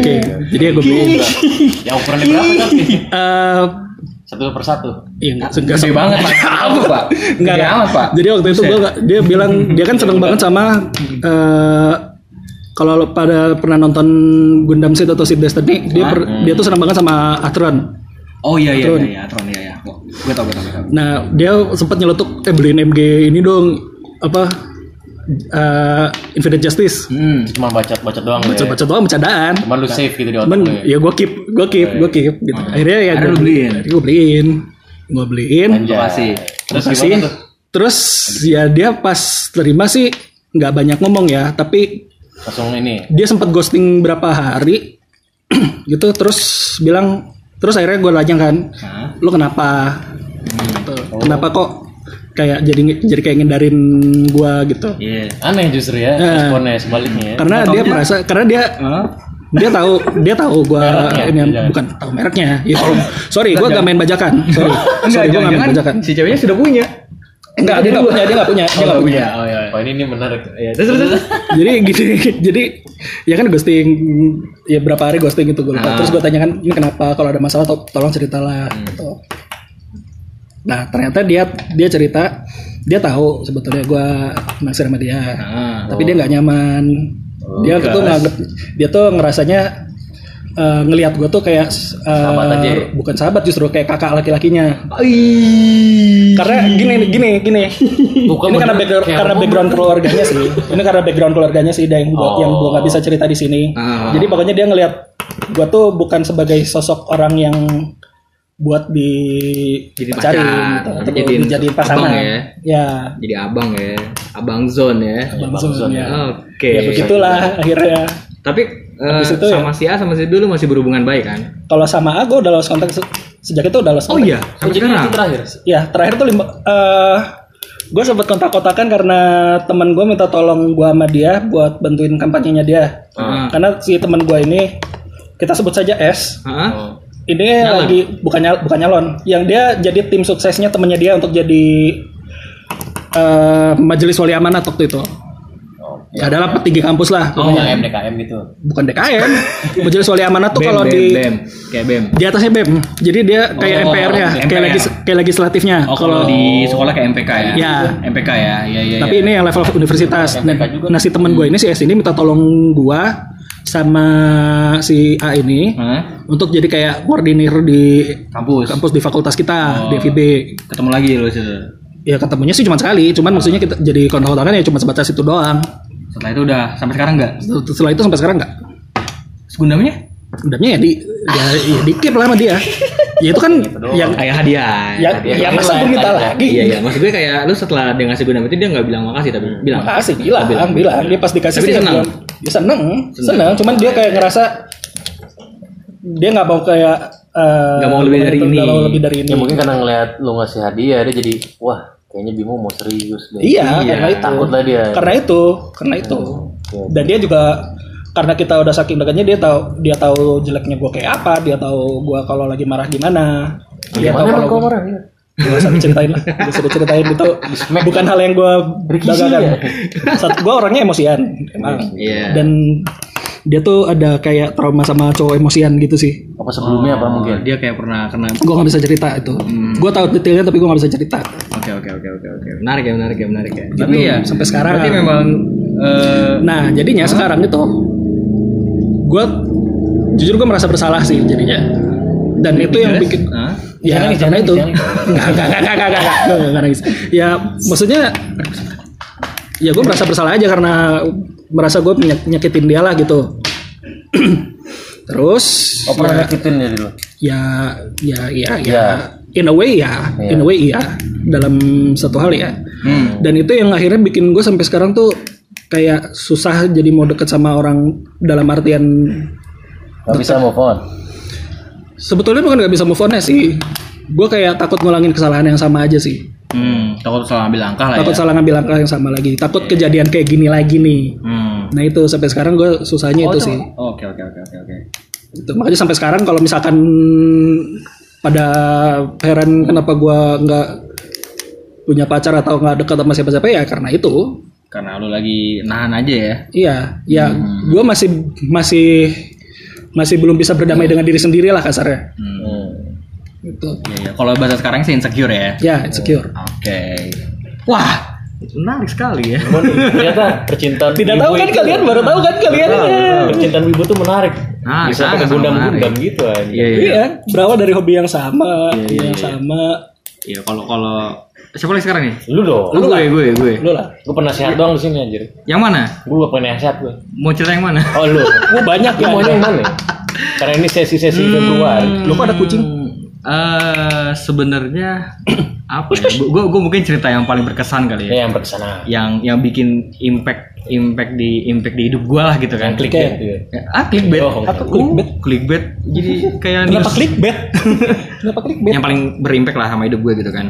A: Oke, jadi gue beliin.
B: Ya,
C: yang ukurannya berapa tapi
A: Eh,
C: satu persatu
A: ya nggak enggak
B: Gede banget pak. Apa pak?
A: Enggak,
B: Gede
A: enggak.
B: amat pak.
A: Jadi waktu itu gua nggak- dia bilang dia kan seneng banget sama eh, kalau lo pada pernah nonton Gundam Seed atau Seed Destiny, dia per- dia tuh seneng banget sama Atron.
B: Oh iya iya iya, iya Tron iya iya. Gue tau gue tau gue tau.
A: Nah, dia sempat nyeletuk eh beliin MG ini dong apa eh, Infinite
C: Iya.
A: Justice.
B: Hmm.
C: cuma bacot bacot doang ya
A: Baca-baca doang bercandaan.
C: cuman lu save gitu di otak
A: Cuman
C: lu ya
A: ya gue keep, gue keep, gue keep gitu. Akhirnya ya
B: Akhirnya
A: gue
B: lu beliin.
A: Gue beliin. Gue beliin.
C: Anjay.
B: Makasih.
C: terus
A: Makasih.
C: gimana tuh
A: Terus ya dia pas terima sih nggak banyak ngomong ya, tapi
C: langsung ini
A: dia sempat ghosting berapa hari gitu terus bilang terus akhirnya gue tanya kan
B: Hah?
A: lu kenapa Gitu. kenapa kok kayak jadi jadi kayak ngindarin gue gitu
B: Iya.
C: aneh justru ya responnya sebaliknya ya
A: karena dia merasa karena dia
B: Hah?
A: dia tahu dia tahu gue
C: Mereknya,
A: ini
C: iya.
A: bukan tahu mereknya gitu. sorry gue gak main bajakan sorry
B: Enggak,
A: sorry gue gak main
B: jangan
A: bajakan
B: jangan si ceweknya sudah punya.
A: kan? enggak dia gak punya dia gak punya dia nggak punya
B: Oh iya.
C: oh ini ini menarik
B: Iya, terus terus terus.
A: jadi gini jadi ya kan ghosting ya berapa hari ghosting itu gue lupa
B: Ah.
A: terus gue tanyakan ini kenapa kalau ada masalah to- tolong ceritalah
C: Hmm.
A: gitu nah ternyata dia dia cerita dia tahu sebetulnya gue naksir sama dia
B: Ah.
A: tapi dia nggak nyaman dia
C: Oh,
A: tuh nganggep dia tuh ngerasanya eh, ngelihat gue tuh kayak eh,
C: Sahabat aja ya?
A: bukan sahabat justru kayak kakak laki-lakinya
B: Ih.
A: karena gini gini gini
C: Bukan
A: ini karena
C: bener,
A: background
C: kayak
A: karena
C: apa?
A: background keluarganya sih ini karena background keluarganya sih yang gua
C: Oh.
A: yang gua nggak bisa cerita di sini
B: Ah.
A: jadi pokoknya dia ngelihat gua tuh bukan sebagai sosok orang yang buat di
B: Jadi
A: pacarin
B: pacar,
A: gitu, atau
B: dijadiin
A: jadi
B: abang
A: pasangan
B: ya.
A: ya
B: Jadi abang ya, abang zone ya.
A: langsung
C: Amazon
A: ya.
B: Oke.
A: ya begitulah akhirnya
B: Tapi eh,
A: Habis itu ya.
B: sama si A sama si B lu masih berhubungan baik kan?
A: kalau sama A gua udah lost kontak se- sejak itu udah lost
B: Oh
A: kontak
B: iya, sampai
C: jadi
B: sekarang.
C: itu terakhir
A: ya terakhir tuh lima gue sempet kontak-kontakan karena teman gue minta tolong gue sama dia buat bantuin kampanyenya dia
B: Ah.
A: karena si teman gue ini kita sebut saja S
B: Heeh.
C: Oh.
A: ini lagi bukan nyal- bukan nyalon yang dia jadi tim suksesnya temennya
B: Oh,
A: dia untuk jadi eh, majelis wali amanat waktu itu adalah
B: iya.
A: petinggi kampus lah
C: Oh, yang MDKM gitu.
A: bukan DKM majelis wali amanah tuh
B: BEM,
A: kalau
B: BEM,
A: di
B: BEM. kayak BEM.
A: di atasnya BEM jadi dia kayak
B: Oh,
A: MPR-nya kayak
B: MPR.
A: lagi kayak legislatifnya
B: Oh, kalau di sekolah kayak MPK ya.
A: Ya.
B: MPK ya. Iya, iya.
A: tapi ini yang level universitas
C: MPK juga.
A: nah si teman gue ini si S ini minta tolong gue sama si A ini
B: Hah?
A: untuk jadi kayak koordinir di
B: kampus.
A: kampus di fakultas kita di
B: Oh.
A: FIB
B: Ketemu lagi lo situ.
A: ya ketemunya sih cuma sekali cuman maksudnya kita jadi kontak-kontakan ya cuma sebatas itu doang
B: Setelah itu udah sampai sekarang enggak?
A: setelah itu sampai sekarang nggak
B: Segundamnya?
A: Udahnya ya di ya, ya di keep lah sama dia ya itu kan
B: Gitu
A: yang
B: Kayak hadiah.
A: ya,
B: Hadiah.
A: ya
C: tadi
A: masa
C: lah,
A: gue minta
C: tadi lah.
A: lagi
B: Iya, iya. Maksud gue kayak lu setelah dia ngasih gundam itu dia nggak bilang makasih tapi bilang.
A: Hmm. Makasih bilang, bilang, dia pas dikasih
B: Tapi
A: sih
B: dia senang.
A: bilang, Dia seneng, seneng, cuman dia kayak ngerasa dia nggak mau kayak eh,
B: Nggak mau lebih dari ini.
A: nggak mau lebih dari ini.
C: Ya mungkin karena ngelihat lu ngasih hadiah dia jadi wah kayaknya Bimo mau serius deh.
A: iya,
B: Iya.
A: karena itu,
C: Takut lah dia.
A: karena itu, karena itu,
C: Oke.
A: dan dia juga karena kita udah saking dekatnya dia tahu dia tahu jeleknya gue kayak apa, dia tahu gue kalau lagi marah gimana, dia tahu
C: Gimana emang
A: kalau
C: kau
A: gua-
C: marah? Iya.
A: Gak usah diceritain lah Gak usah diceritain itu Bukan hal yang gue
C: Berkisi
A: Dagakan
C: ya?
A: Saat gue orangnya emosian emang.
B: Iya.
A: Dan Dia tuh ada kayak trauma sama cowok emosian gitu sih
C: Apa sebelumnya apa mungkin?
B: Dia kayak pernah kena
A: Gue gak bisa cerita itu
B: Hmm.
A: Gue tahu detailnya tapi gue gak bisa cerita Gitu.
B: Oke oke oke oke oke. Menarik ya menarik ya menarik ya. Tapi ya
A: sampai sekarang.
B: Berarti memang eh,
A: Nah jadinya sekarang itu Gue Jujur gue merasa bersalah sih jadinya Dan itu yang
B: Yes?
A: bikin
B: Hah?
A: Ya,
C: Jangan
A: karena
C: nangis, jangan
A: itu.
C: nangis,
A: Enggak, enggak, enggak, enggak, enggak, enggak, enggak, enggak, enggak nangis. Ya, maksudnya ya gue merasa bersalah aja karena merasa gue menyak- nyakitin dia lah gitu. Terus
C: Oh pernah nyakitin ya dulu.
A: ya ya ya ya,
C: Ya.
A: in a way ya,
C: Ya.
A: in a way ya dalam satu hal ya.
B: Hmm.
A: Dan itu yang akhirnya bikin gue sampai sekarang tuh kayak susah jadi mau deket sama orang dalam artian
C: Gak bisa move on.
A: sebetulnya bukan nggak bisa move on sih. Gue kayak takut ngulangin kesalahan yang sama aja sih.
B: Hmm. Takut salah ambil langkah lah
A: takut
B: ya.
A: salah ngambil langkah yang sama lagi takut kejadian kayak gini lagi nih
B: Hmm.
A: nah itu sampai sekarang gue susahnya itu sih
B: Oke oke oke oke oke.
A: itu Gitu. makanya sampai sekarang kalau misalkan pada heran kenapa gue nggak punya pacar atau nggak dekat sama siapa-siapa ya karena itu
B: Karena lu lagi nahan aja ya.
A: iya ya gue masih masih masih belum bisa berdamai dengan diri sendiri lah kasarnya
B: Hmm.
C: Hmm.
A: itu
B: Iya iya. Kalau bahasa sekarang sih insecure ya.
A: ya insecure
B: Oke. Wah, menarik sekali ya.
C: Cuman ternyata percintaan
A: tidak
C: Bimo
A: tahu kan
C: itu-
A: kalian baru tahu kan kalian
C: Tahu, tahu. Percintaan Wibu tuh Ah, menarik.
B: Nah,
C: bisa
B: sangat,
C: pakai
B: sangat
C: gundam-gundam gitu aja.
B: Iya iya.
A: iya berawal dari hobi yang sama yang sama
B: Iya, kalau kalau siapa lagi sekarang nih?
C: Lu dong.
B: Lu gue, gue, gue.
A: lu lah
C: Gue penasehat doang di sini anjir.
B: Yang mana?
C: Gue gak penasehat gue.
B: Mau cerita yang mana?
C: Oh lu.
A: gue banyak
C: Lu
A: ya Hmm.
C: maunya yang mana? Karena ini sesi-sesi Februari.
A: Lu kok ada kucing?
B: Eh, sebenarnya apa ya? Gue gue mungkin cerita yang paling berkesan kali ya.
C: Ya yang bersana.
B: Yang yang bikin impact impact di impact di hidup gue lah gitu kan.
C: Klik
A: Oke.
C: ya. gitu ya.
B: Ya, Ah, clickbait.
C: Oh,
B: Aku
A: clickbait.
B: clickbait. Jadi kayak
A: Kenapa
B: news
A: clickbait? Kenapa clickbait?
B: yang paling berimpact lah sama hidup gue gitu kan.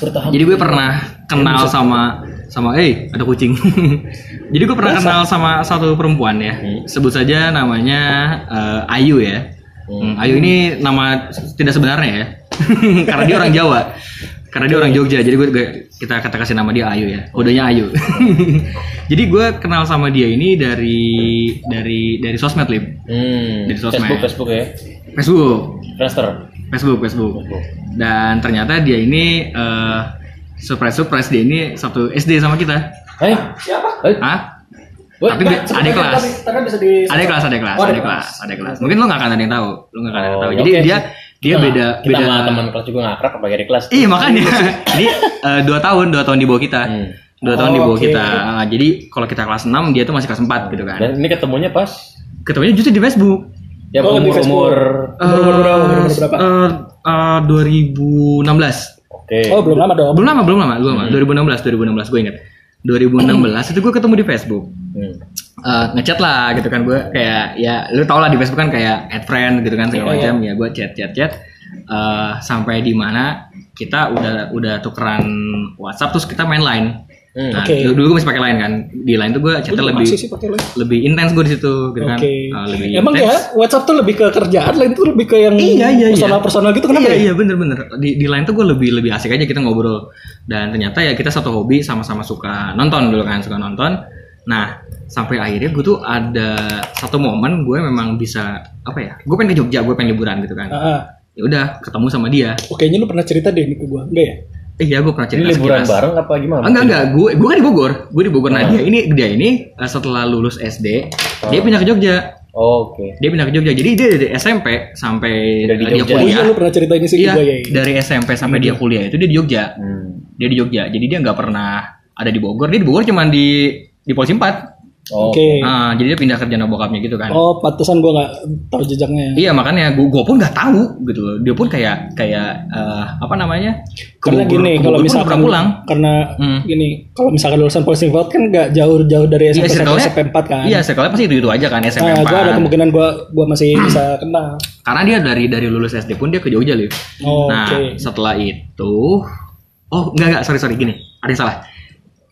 C: Bertahan.
B: Jadi gue pernah kenal sama sama eh ada kucing. Jadi gue pernah kenal sama satu perempuan ya. Sebut saja namanya eh, Ayu ya. Hmm, Ayu ini nama tidak sebenarnya ya. Karena dia orang Jawa. Karena dia orang Jogja. Jadi gue gue- kita kata kasih nama dia Ayu ya. Kodenya Ayu. Jadi gue kenal sama dia ini dari dari dari sosmed lib.
C: Hmm.
B: Di sosmed.
C: Facebook Facebook ya.
B: Facebook.
C: Friendster.
B: Facebook, Facebook. Dan ternyata dia ini eh surprise surprise dia ini satu SD sama kita.
C: Eh,
A: Siapa?
C: eh,
B: Hah?
C: Woi,
B: Tapi dia- ada kelas.
A: Karena bisa di
B: Ada kelas, ada kelas,
A: Oh, ada
B: ada kelas, ada kelas. Mungkin lu nggak akan ada yang tahu, lu nggak akan ada yang
C: Oh,
B: tahu.
C: ya
B: Jadi
C: oke
B: dia dia
C: Kita
B: beda
C: nggak-
B: beda
C: Nah, Kita sama teman kelas juga nggak akrab apalagi di kelas.
B: Iya makanya. Jadi eh, dua tahun, dua tahun di bawah kita.
C: Hmm.
B: Dua tahun
A: Oh,
B: di bawah
A: oke.
B: kita. Ah, Jadi kalau kita kelas 6 dia tuh masih kelas 4 gitu kan.
C: Dan ini ketemunya pas
B: Ketemunya justru di Facebook.
C: ya
A: Oh, di
C: umur umur.
A: Umur-umur berapa? Umur-umur
B: Eh,
A: berapa?
B: eh, eh, 2016.
C: Oke.
A: Oh, belum lama dong.
B: belum lama belum lama belum
A: Hmm.
B: lama 2016 2016 gue ingat 2016 itu gue ketemu di Facebook
C: Hmm.
B: Eh, ngechat lah gitu kan gue kayak ya lu tau lah di Facebook kan kayak add friend gitu kan segala
A: Iya, iya.
B: macam ya gue chat chat chat Eh, sampai di mana kita udah udah tukeran WhatsApp terus kita main line
C: Hmm.
B: nah
A: Oke.
B: dulu, dulu gue masih pakai line kan di line tuh gue chatnya lebih
A: Masih sih pakai lo.
B: lebih intens gue di situ gitu kan
A: Oke.
B: Eh, lebih
A: Emang ya
B: intens.
A: WhatsApp tuh lebih ke kerjaan, lain tuh lebih ke yang
B: Iya, iya, iya.
A: personal-personal gitu kenapa
B: iya,
A: ya?
B: iya bener-bener. Di, di lain tuh gue lebih lebih asik aja kita ngobrol. Dan ternyata ya kita satu hobi sama-sama suka nonton dulu kan, suka nonton. Nah, sampai akhirnya gue tuh ada satu momen gue memang bisa apa ya? Gue pengen ke Jogja, gue pengen liburan gitu kan.
A: Ah,
B: Ya udah, ketemu sama dia.
A: oke, Oh, kayaknya lu pernah cerita deh ini ke gua, enggak ya?
B: Eh, iya gue pernah
C: Ini
B: cerita
C: liburan
B: sekilas.
C: bareng apa gimana?
B: Ah, Enggak enggak, gue gue kan di Bogor. Gue di Bogor.
A: Ah.
B: Nah, dia ini dia ini eh, setelah lulus SD, dia pindah ke Jogja.
C: Oh, Oke.
B: Dia pindah ke Jogja. Jadi dia dari SMP sampai
C: Udah di
B: eh, dia
C: Jogja.
A: Oh iya,
B: kuliah.
A: lu pernah cerita ini sih ke
B: Iya,
A: gua ya. iya.
B: dari SMP sampai dia kuliah itu dia di Jogja.
C: Hmm.
B: Dia di Jogja. Jadi dia nggak pernah ada di Bogor. Dia di Bogor cuman di di Polisi 4.
C: Oh,
A: Oke.
B: Ah, jadi dia pindah kerja sama bokapnya gitu
A: Iya.
B: kan.
A: Oh, pantesan gua nggak tahu jejaknya.
B: Iya makanya gue pun nggak tahu gitu loh. Dia pun kayak kayak eh, apa namanya? Ke
A: karena
B: Bogor-
A: gini
B: ke
A: kalau
B: Bogor pun
A: misalkan
B: pernah pulang.
A: karena
B: Hmm.
A: gini kalau misalkan lulusan Polsing Vault kan nggak jauh-jauh dari SMP sampai
B: Iya, circle-nya-
A: SMP 4 kan
B: Iya, sekolah pasti itu itu aja kan SMP
A: nah, gua ada
B: 4.
A: kemungkinan gua gua masih
B: Hmm.
A: bisa kenal
B: Karena dia dari dari lulus SD pun dia ke Jogja, Liv.
A: oh,
B: nah,
A: oke
B: setelah itu oh, enggak enggak, sorry sorry gini. Ada yang salah.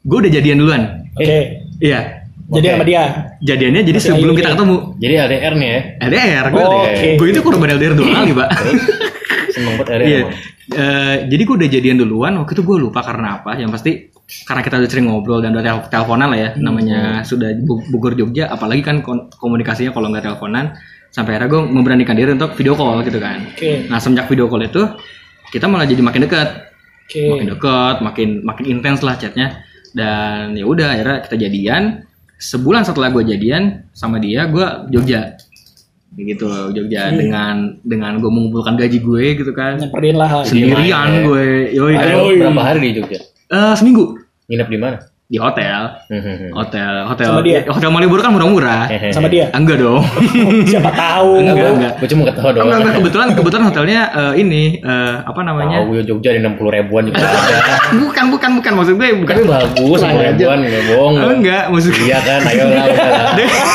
B: Gue udah jadian duluan.
A: oke
B: Iya.
A: jadi
C: Oke.
A: sama dia
B: Jadiannya jadi sebelum
A: ya?
B: kita ketemu.
C: Jadi LDR nih ya.
B: LDR, gue
A: Oh,
B: LDR.
A: oke.
B: Gue itu korban LDR dua kali, Pak.
C: Seneng banget LDR.
B: Iya.
C: emang.
B: Eh, jadi gue udah jadian duluan. Waktu itu gue lupa karena apa. Yang pasti karena kita udah sering ngobrol dan udah tel- teleponan lah
A: Hmm.
B: ya. Namanya sudah Bu- Bogor Jogja. Apalagi kan kon- komunikasinya kalau nggak teleponan. Sampai akhirnya gue memberanikan diri untuk video call gitu kan.
A: oke
B: Nah semenjak video call itu kita malah jadi makin dekat,
A: oke
B: makin dekat, makin makin intens lah chatnya. Dan ya udah akhirnya kita jadian. Sebulan setelah gue jadian sama dia, gue Jogja. Gitu Jogja dengan dengan gue mengumpulkan gaji gue gitu kan
A: nyamperin Iya, lah
B: sendirian
C: main, ya.
B: gue yoi
C: Ada
B: kan.
A: Yoi.
C: berapa hari di Jogja?
B: Eh, seminggu
C: Nginep di mana?
B: di hotel
C: Hmm.
B: hotel hotel
A: Sama dia?
B: hotel Malibu kan murah-murah
C: Hehehe.
A: sama dia
B: enggak dong
A: siapa tahu
B: enggak
A: Gua-
B: enggak
C: Gue cuma ketawa doang.
B: enggak enggak kebetulan kebetulan hotelnya eh, ini eh, apa namanya
C: Tahu ya Jogja ada 60 ribuan juga ada.
B: bukan bukan bukan maksud gue bukan
C: Tapi bagus 60 ribuan nggak bohong.
B: Ah, enggak maksud gue
C: Iya kan, ayo lah. udah lah.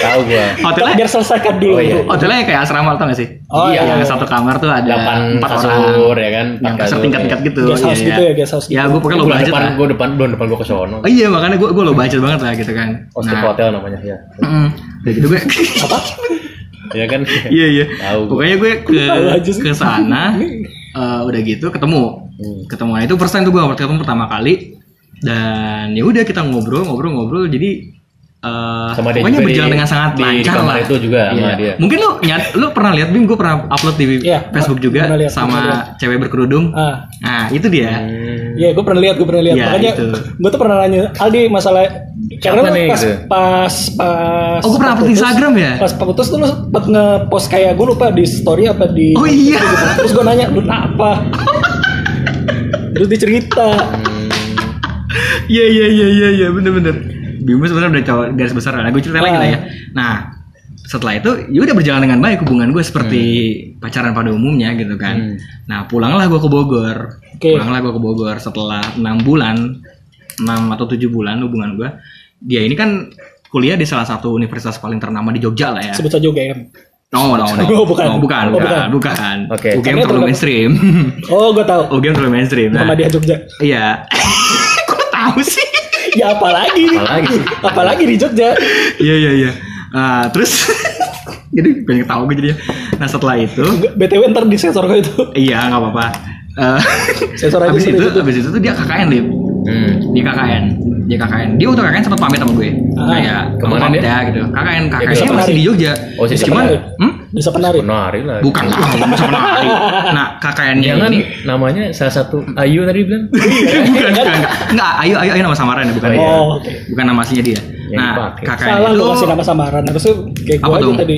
C: Tahu gua.
A: Kita
B: hotelnya
A: biar selesaikan dulu
C: Oh, iya.
B: hotelnya kayak asrama tau gak sih
A: Oh,
B: Iya,
A: iya.
B: yang satu kamar tuh ada
C: 8
B: Eh, empat
C: kasur
B: orang
C: ya kan,
B: yang kasur
C: 4 kasur.
B: tingkat-tingkat gitu
A: guest house
B: Iya,
A: gitu
B: iya.
A: ya guest house
B: ya gue pokoknya lo
C: Bulan
B: budget
C: depan
B: lah
C: gue depan bulan depan gue ke sono.
B: Oh, iya makanya gue gue lo budget banget lah gitu kan
C: Hostel hotel namanya ya.
B: Mm. Udah gitu gue
A: apa
C: Iya kan?
B: Iya iya.
C: Tahu gua.
B: Pokoknya gue ke
A: Tahu aja sih.
B: ke sana eh, udah gitu ketemu.
C: Hmm.
B: Ketemuan itu first time tuh gue waktu ketemu pertama kali dan ya udah kita ngobrol ngobrol ngobrol jadi eh,
C: Sama dia
B: pokoknya
C: juga
B: berjalan
C: di-
B: dengan sangat
C: di
B: lancar
C: kamar
B: lah.
C: itu juga sama
B: Iya.
C: dia.
B: Mungkin lu nyat, lu pernah lihat Bim gue pernah upload di
A: Iya,
B: Facebook juga
A: pernah lihat,
B: sama
A: pernah
B: cewek berkerudung.
A: ah
B: Nah, itu dia.
C: Hmm.
A: Iya, gue pernah lihat, gue pernah lihat.
B: Iya,
A: Makanya
B: itu.
A: gue tuh pernah nanya Aldi masalah karena
C: Siapa
A: lu
C: nih,
A: pas,
C: gitu?
A: pas pas
B: Oh, gue pernah upload di
A: putus-
B: Instagram ya?
A: Pas putus tuh lu sempet ngepost kayak gue lupa di story apa di
B: Oh iya.
A: gitu. Terus gue nanya, "Lu apa?" Terus dicerita.
B: Iya iya iya iya iya bener bener. Bimo sebenarnya udah cowok garis besar lah. Gue cerita lagi lah ya. Nah setelah itu ya udah berjalan dengan baik hubungan gue seperti pacaran pada umumnya gitu kan. Nah pulanglah gue ke Bogor.
A: Oke.
B: Pulanglah gue ke Bogor setelah enam bulan, enam atau tujuh bulan hubungan gue. Dia ini kan kuliah di salah satu universitas paling ternama di Jogja lah ya.
A: Sebut saja UGM.
B: No no no.
A: Oh, bukan.
B: No, bukan,
A: Oh,
B: bukan, bukan.
C: Oke.
B: UGM
A: Karena
B: terlalu
A: terlalu-
B: mainstream.
A: Oh, gue tahu.
B: UGM terlalu mainstream.
A: Sama
B: Nah,
A: dia Jogja.
B: iya. Kok tahu sih?
A: Ya apalagi
C: Apalagi sih.
A: apalagi di Jogja.
B: Iya iya iya. Ah, terus jadi banyak tahu gue jadinya. Nah setelah itu,
A: Nggak, BTW ntar di sensor gue itu.
B: iya nggak apa-apa. Eh,
A: Sensor aja
B: habis
A: sensor
B: itu,
A: aja.
B: habis itu tuh dia KKN lip.
C: Hmm.
B: Dia KKN, dia KKN. Dia waktu KKN sempat pamit sama gue.
A: Ah,
B: Kayak
C: kemana
B: pamit
C: dia?
B: ya gitu. KKN, KKN
C: bisa
B: nya masih
A: menarik.
B: di Jogja.
C: Oh, bisa
B: cuman,
A: menarik.
B: hmm?
A: Bisa penari.
C: Penari lah.
B: bukan lah, ngomong sama Nari. Nah KKN-nya
C: Jangan
B: ini
C: namanya salah satu Ayu tadi bilang.
B: bukan, bukan, enggak. Enggak, ayo, ayo, ayo nama samaran ya, bukan,
C: Oh, iya.
A: Oh, oke.
B: bukan nama aslinya dia.
C: Yang
B: Nah,
C: dipakai.
B: KKN
A: Salah
B: itu
A: gue kasih nama samaran. Harusnya kayak
B: Apa
A: gue aja
B: dong?
A: tadi.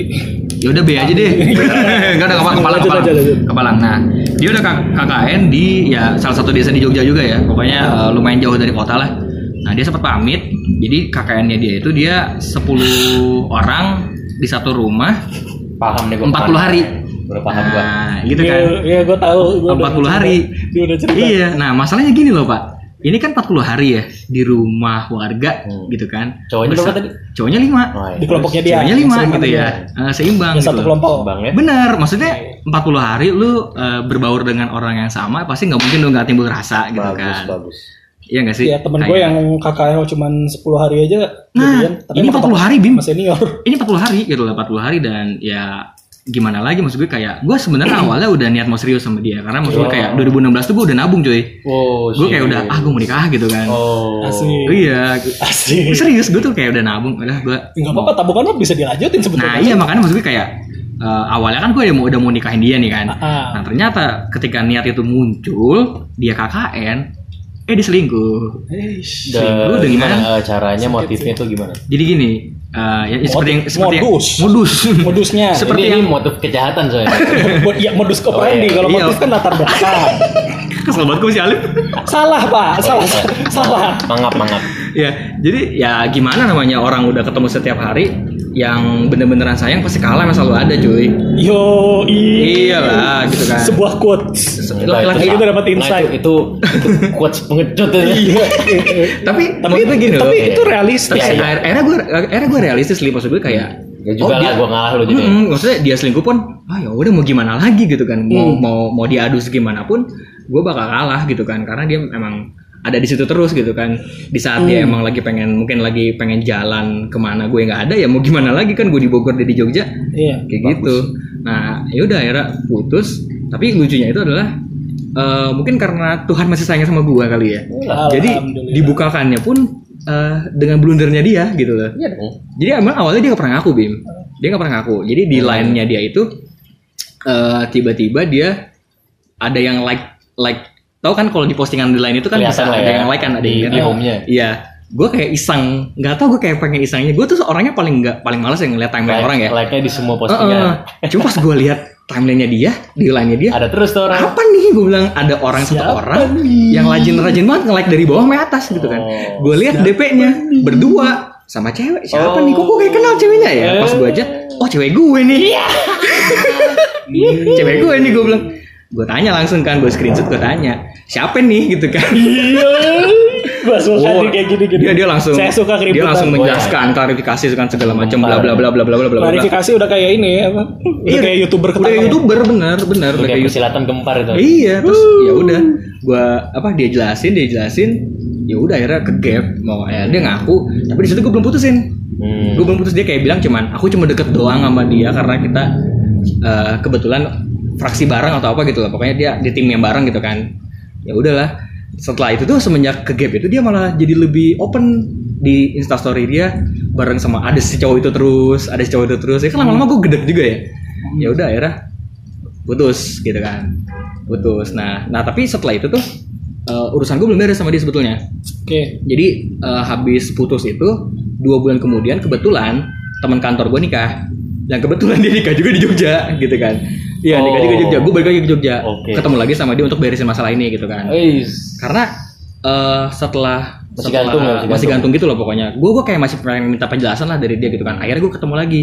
B: Ya udah B aja deh. Enggak ada kepala kepala
A: Lanjut,
B: kepala.
A: lanjut, lanjut.
B: Kepala. Nah, dia udah K- KKN di ya salah satu desa di Jogja juga ya. Pokoknya eh, lumayan jauh dari kota lah. Nah, dia sempat pamit. Jadi KKN-nya dia itu dia 10 orang di satu rumah
C: Paham nih gue.
B: 40 hari.
C: Udah paham gua.
B: Nah, gitu
A: Iya,
B: kan.
A: iya gue tahu. Gua udah
B: 40
A: cerita.
B: hari.
A: Dia udah cerita.
B: Iya. Nah, masalahnya gini loh, Pak. Ini kan 40 hari ya di rumah warga
C: Hmm.
B: gitu kan.
C: Cowoknya
B: Bersa-
C: berapa tadi?
B: Cowoknya 5.
C: Oh, iya.
A: Di kelompoknya dia.
B: Cowoknya 5
A: Seimbang
B: gitu
A: dia.
B: ya. Eh, seimbang
A: Yang
B: gitu
A: satu
B: loh.
A: kelompok.
C: Bang ya.
B: Benar, maksudnya 40 hari lu eh, berbaur dengan orang yang sama pasti nggak mungkin lu nggak timbul rasa gitu
C: Bagus
B: kan.
C: bagus.
B: Iya nggak sih?
A: Iya temen gue
B: Kayak-
A: yang kakaknya cuma 10 hari aja
B: Nah,
A: jadian, tapi
B: ini
A: emang
B: 40 hari, Bim.
A: sama senior.
B: Ini 40 hari gitu lah, 40 hari dan ya gimana lagi maksud gue kayak gue sebenarnya awalnya udah niat mau serius sama dia karena maksud gue
C: Iya.
B: kayak 2016 tuh gue udah nabung coy
C: Oh,
B: gue kayak udah ah gue mau nikah gitu kan
C: Oh.
A: Asik.
B: iya
A: Asik.
B: serius gue tuh kayak udah nabung udah gue
A: Enggak apa-apa, tabungan lo bisa dilanjutin
B: nah
A: sebetulnya.
B: iya makanya maksud gue kayak eh, awalnya kan gue udah mau udah mau nikahin dia nih kan
A: Ah.
B: nah ternyata ketika niat itu muncul dia KKN eh diselingkuh
A: Eish.
B: Selingkuh
C: Da,
B: dengan-
C: gimana eh, caranya
A: Sakit
C: motifnya tuh gimana?
B: Jadi gini, eh, ya, seperti yang seperti yang-
A: modus.
B: modus.
A: Modusnya.
B: Seperti
C: ini,
B: yang-
C: ini motif kejahatan soalnya.
A: Mod- ya modus operandi
C: Oh, iya.
A: kalau
B: Iya.
A: motif kan latar belakang.
B: Kesel banget gue si Alif.
A: salah, Pak. Salah. salah.
C: mangap mangap.
B: ya, jadi ya gimana namanya orang udah ketemu setiap hari yang bener-beneran sayang pasti kalah masa selalu ada cuy.
A: Yo,
B: Iyalah gitu kan.
A: Sebuah quotes.
B: Laki-laki
A: itu dapat insight. Iya.
C: Nah, itu, itu, itu quotes pengecut itu.
A: Tapi
B: tapi Iya. tapi itu gini loh.
A: tapi itu realistis.
B: Tapi akhir- akhirnya gue akhirnya gue realistis li maksud gue kayak
C: Ya juga
B: iya.
C: lah, gua ngalah lu gitu ya.
B: Mm-mm, maksudnya dia selingkuh pun ah ya udah mau gimana lagi gitu kan
C: Hmm.
B: mau mau mau diadu segimana pun gue bakal kalah gitu kan karena dia emang ada di situ terus gitu kan di saat
C: Hmm.
B: dia emang lagi pengen mungkin lagi pengen jalan kemana gue nggak ada ya mau gimana lagi kan gue di Bogor dia di Jogja
A: Iya.
B: kayak gitu nah ya udah akhirnya putus tapi lucunya itu adalah eh, mungkin karena Tuhan masih sayang sama gue kali ya jadi
A: Alhamdulillah.
B: dibukakannya pun eh, dengan blundernya dia gitu loh
C: Iya dong.
B: jadi emang awalnya dia nggak pernah ngaku Bim. Dia nggak pernah ngaku. Jadi
C: Hmm.
B: di line-nya dia itu eh, tiba-tiba dia ada yang like like tahu kan kalau di postingan di line itu kan bisa
C: Kelihatan lah
B: ada
C: ya.
B: yang like kan ada
C: Di-
B: yang
C: di home-nya.
B: Iya. Gue kayak iseng, nggak tau gue kayak pengen isengnya. Gue tuh orangnya paling nggak paling malas yang ngeliat timeline orang ya.
C: Like-nya di semua
B: Heeh.
C: postingan.
B: Cuma pas gue lihat timelinenya dia, di line-nya dia,
C: Ada terus tuh orang.
B: apa nih gue bilang ada orang satu
A: Siapa
B: orang
A: nih?
B: yang rajin-rajin banget nge-like dari bawah sampai atas gitu kan.
C: Oh,
B: gue lihat DP-nya berdua sama cewek. Siapa
C: Oh.
B: nih? Kok gue kayak kenal ceweknya ya?
A: Eh.
B: Pas gue aja, oh cewek gue nih.
A: Iya.
B: cewek gue nih gue bilang. Gue tanya langsung kan, gue screenshot gue tanya, siapa nih gitu kan?
A: Iya. Gua suka
B: Wow.
A: nih kayak gini-gini.
B: Dia dia langsung
A: Saya suka
B: dia
A: keributan. ya.
B: langsung menjelaskan klarifikasi kan segala macam bla bla bla bla bla bla bla.
A: Klarifikasi udah kayak ini ya, apa? Udah kayak YouTuber
B: Iya. udah kayak
A: ketangkep.
B: youtuber bener bener udah kayak gitu.
C: Kayak persilatan gempar itu.
B: Iya, terus ya udah gua apa dia jelasin, dia jelasin, ya udah akhirnya ke gap mau ya dia ngaku, tapi di situ gua belum putusin.
C: Hmm.
B: Gua belum putus dia kayak bilang cuman aku cuma deket doang sama dia karena kita eh, kebetulan fraksi bareng atau apa gitu lah. Pokoknya dia di tim yang bareng gitu kan. Ya udahlah. Setelah itu tuh semenjak ke gap itu dia malah jadi lebih open di instastory dia bareng sama ada si cowok itu terus, ada si cowok itu terus. Ya kan lama-lama gua gedek juga ya. Ya udah akhirnya putus gitu kan putus nah nah tapi setelah itu tuh eh, urusan gue belum beres sama dia sebetulnya
A: Oke.
B: jadi eh, habis putus itu dua bulan kemudian kebetulan teman kantor gue nikah dan kebetulan dia nikah juga di Jogja gitu kan iya nikah juga di Jogja gue balik lagi ke Jogja
C: Oke.
B: ketemu lagi sama dia untuk beresin masalah ini gitu kan
C: Wis.
B: karena eh, setelah
C: Masih
B: setelah-
C: gantung ya,
B: masih
C: masih
B: gantung. gitu loh pokoknya gue gue kayak masih pengen minta penjelasan lah dari dia gitu kan akhirnya gue ketemu lagi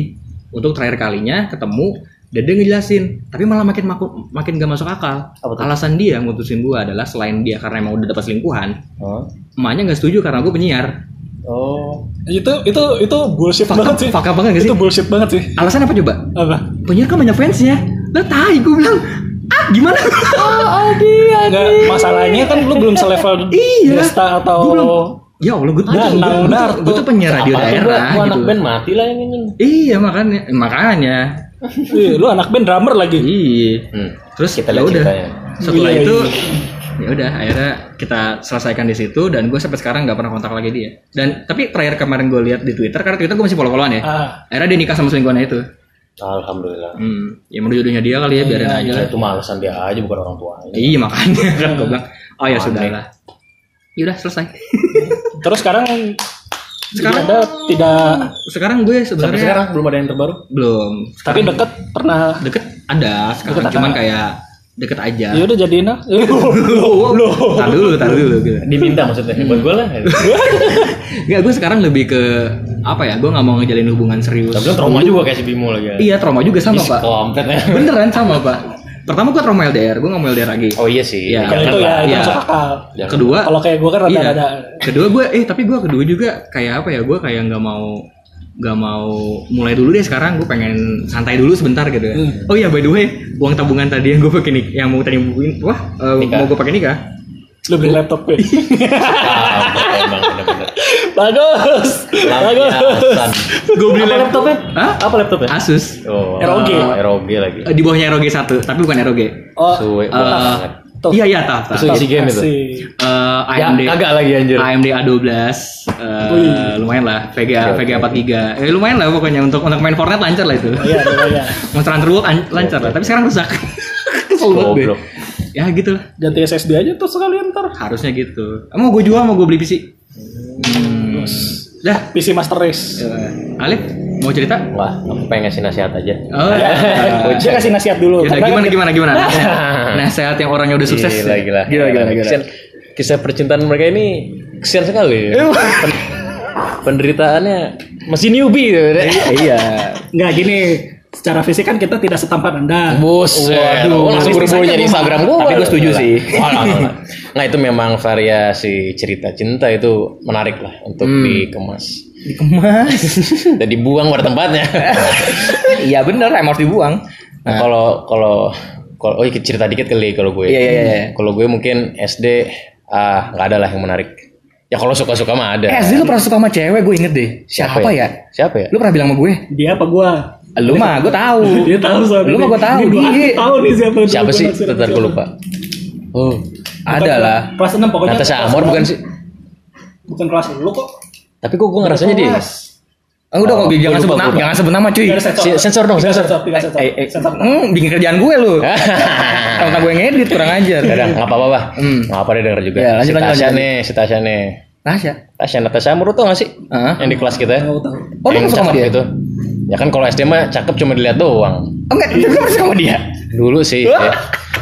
B: untuk terakhir kalinya ketemu dan dia ngejelasin tapi malah makin maku- makin gak masuk akal
C: Apa tuh?
B: alasan dia ngutusin gue adalah selain dia karena emang udah dapat selingkuhan
C: Oh.
B: emaknya nggak setuju karena gue penyiar
C: Oh.
A: Itu itu itu bullshit banget sih.
B: fakta banget gak sih
A: Itu bullshit banget sih.
B: alasan apa coba
A: Apa?
B: penyiar kan banyak fansnya lah tai gue bilang ah gimana
C: Oh,
A: Enggak, masalahnya kan lu belum selevel
B: Iya.
A: Desta atau
B: Gua belum- ya Allah gue tuh,
A: Danang
B: gua tuh- gua tuh,
A: Darto.
B: gua tuh penyiar radio
C: Apa tuh,
B: Nah, daerah
C: gua- gua anak
B: gitu
C: band mati lah yang ini.
B: iya makanya makanya
A: Ih, Iya, lu anak band drummer lagi.
B: iya
C: Hmm.
B: terus
C: Kita
B: kita
C: lihat
B: udah
C: ceritanya.
B: setelah
A: Iya,
B: itu ya udah akhirnya kita selesaikan di situ dan gue sampai sekarang nggak pernah kontak lagi dia dan tapi terakhir kemarin gue lihat di twitter karena twitter gue masih follow followan ya
A: Ah,
B: akhirnya dia nikah sama selingkuhannya itu
C: Alhamdulillah.
B: hmm, ya menurut jodohnya dia kali ya
A: Iya,
B: biarin aja
C: Ya,
B: lah
C: itu mah alasan dia aja bukan orang tuanya.
B: iya makanya kan gue bilang oh ya sudah lah ya udah selesai
A: terus sekarang
B: Sekarang-
A: ada tidak
B: sekarang gue
C: Sampai
B: sebenarnya
C: sekarang belum ada yang terbaru.
B: belum
A: tapi deket pernah
B: deket ada sekarang
A: Deket ada.
B: cuman kayak deket aja
A: ya udah jadiin lah.
B: tar dulu tar dulu gitu
C: Diminta maksudnya buat gue lah.
B: Gak, gue sekarang lebih ke apa ya? Gue nggak mau ngejalin hubungan serius.
C: Tapi trauma juga kayak si Bimo lagi. ya.
B: Iya, trauma juga sama
C: Ih,
B: pak.
C: Komplet ya.
B: Beneran sama pak. Pertama gue trauma LDR, gue nggak mau LDR lagi.
C: Oh iya sih.
A: Yang
B: Iya.
A: itu ya, itu
B: Iya.
A: masuk akal.
C: Jangan.
B: Kedua,
A: Kalau kayak gue kan
B: iya.
A: rada-rada
B: Kedua gue, eh tapi gue kedua juga kayak apa ya? Gue kayak nggak mau nggak mau mulai dulu deh sekarang gue pengen santai dulu sebentar gitu ya.
A: Hmm.
B: Oh iya by the way uang tabungan tadi yang gue pakai nik- yang mau tadi bukuin wah eh,
C: Nikah.
B: mau gue pakai nikah
A: ya? lu beli laptop gue.
C: Ah, Iya, emang bener-bener.
D: Bagus.
C: Lampiasan.
B: Gue beli
D: Apa
B: laptop.
D: laptopnya?
B: Hah?
D: Apa laptopnya?
B: Asus.
C: Oh,
A: ROG.
C: ah, ROG lagi.
B: Eh, Di bawahnya ROG 1, tapi bukan ROG.
A: Oh,
B: Eh,
C: Suwe banget.
A: Tough.
B: Iya iya taf taf.
C: Itu isi game itu.
A: asik.
B: Eh,
C: Ya,
B: AMD
C: kagak lagi anjir.
B: AMD A12 eh, lumayan lah VGA
C: Oke,
B: VGA
C: oke.
B: 43 eh lumayan lah pokoknya untuk untuk main Fortnite lancar lah itu
A: Iya, iya, iya.
B: Monster Hunter World an- lancar lah tapi sekarang rusak kesel banget gue.
C: Goblok.
B: ya gitu lah
A: Ganti SSD aja tuh sekalian ntar.
B: harusnya gitu Eh, mau gue jual mau gue beli PC hmm. dah
A: PC Master Race.
B: Eh, Alif mau cerita
C: Wah, aku pengen ngasih nasihat aja.
B: oh, ya.
A: Saya kasih nasihat dulu.
B: Yaudah,
C: Ya,
A: Karena
B: gimana gimana gimana nah sehat yang orangnya udah sukses
C: Gila, gila.
B: gila gila, gila.
C: Kesian- kisah percintaan mereka ini kesian sekali. Pen- penderitaannya masih newbie gitu. Dek.
B: iya
A: Nggak gini, secara fisik kan kita tidak setampan Anda.
C: Buset.
B: Waduh.
C: Oh, langsung buru-buru
A: Bisnisnya
C: nyari
A: gua
C: Instagram gua.
B: Tapi gua setuju
C: Lah.
B: sih.
C: Wah, lah, lah, lah. Nah, itu memang variasi cerita cinta itu menarik lah untuk
B: Hmm.
C: dikemas.
B: dikemas
C: Dan dibuang pada tempatnya.
B: iya bener emang harus dibuang
C: Nah, kalau kalau kalau oh, ikut cerita dikit kali kalau gue.
B: iya iya iya
C: Kalau gue mungkin SD ah nggak ada lah yang menarik. Ya kalau suka-suka mah ada.
B: Eh, Azri lu pernah suka sama cewek, gue inget deh. Siapa, ya?
C: Siapa ya?
B: Lu pernah bilang sama gue?
A: Dia apa gua?
B: Lu mah, Iya. gue tahu.
A: Dia tahu soalnya.
B: Lu mah gua tahu,
A: Dia gua
B: Gi.
A: tahu nih siapa. dulu
C: Iya. Siapa
A: gua
C: sih?
A: naksir sama
C: Bentar gue
A: siapa.
C: lupa. Oh,
B: Ada lah.
A: Kelas 6 pokoknya.
C: Natasha
A: kelas
C: Amor
A: enam.
C: bukan sih?
A: Bukan kelas lu kok.
C: Tapi kok gue ngerasanya dia.
A: Kelas.
B: Ah, udah kok,
C: Oh,
B: jangan
C: gua
B: sebut
C: lupa,
B: nama,
C: gua lupa.
B: jangan sebut nama cuy. Eh,
A: Nggak ada sensor.
C: Si- sensor dong,
A: Nggak ada
C: sensor.
A: sensor, tidak sensor.
C: Eh, eh,
A: Sensor.
B: Hmm, bikin kerjaan gue lu. Kalau gue ngedit kurang ajar.
C: Ah. Kadang nggak apa-apa, bah.
B: Hmm.
C: Nggak apa dia denger juga.
B: Ya, lanjut,
C: si
B: lanjut,
C: Tasya
B: lanjut.
C: nih, si Tasya nih.
B: Tasya.
C: Tasya Natasha Amor tuh nggak sih?
B: Heeh.
C: Yang di kelas kita. ya.
A: Tahu tahu.
B: Oh, lu
C: Yang
B: nggak suka sama
C: cakep
B: dia?
C: Itu. Ya kan kalau SD mah cakep cuma dilihat doang.
B: Oh, enggak, lu pernah suka sama dia?
C: Dulu sih. ya.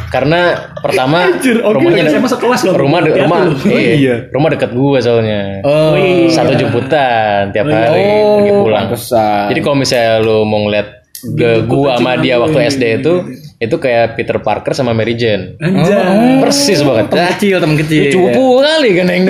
C: Karena pertama rumahnya
A: Saya masuk kelas loh. Oh,
C: rumah de-
A: Hati-hati
C: rumah
A: lu.
C: iya,
B: iya.
C: rumah dekat gua soalnya
B: Oh,
C: satu jemputan tiap hari pergi pulang
B: pantesan. Gitu,
C: jadi kalau misalnya lu mau ngeliat ke gua sama
B: kan?
C: dia waktu SD
B: Iya,
C: itu itu kayak Peter Parker sama Mary Jane
A: Anjay.
C: persis banget
B: Oh. Temen kecil, temen kecil.
C: cupu kali kan yang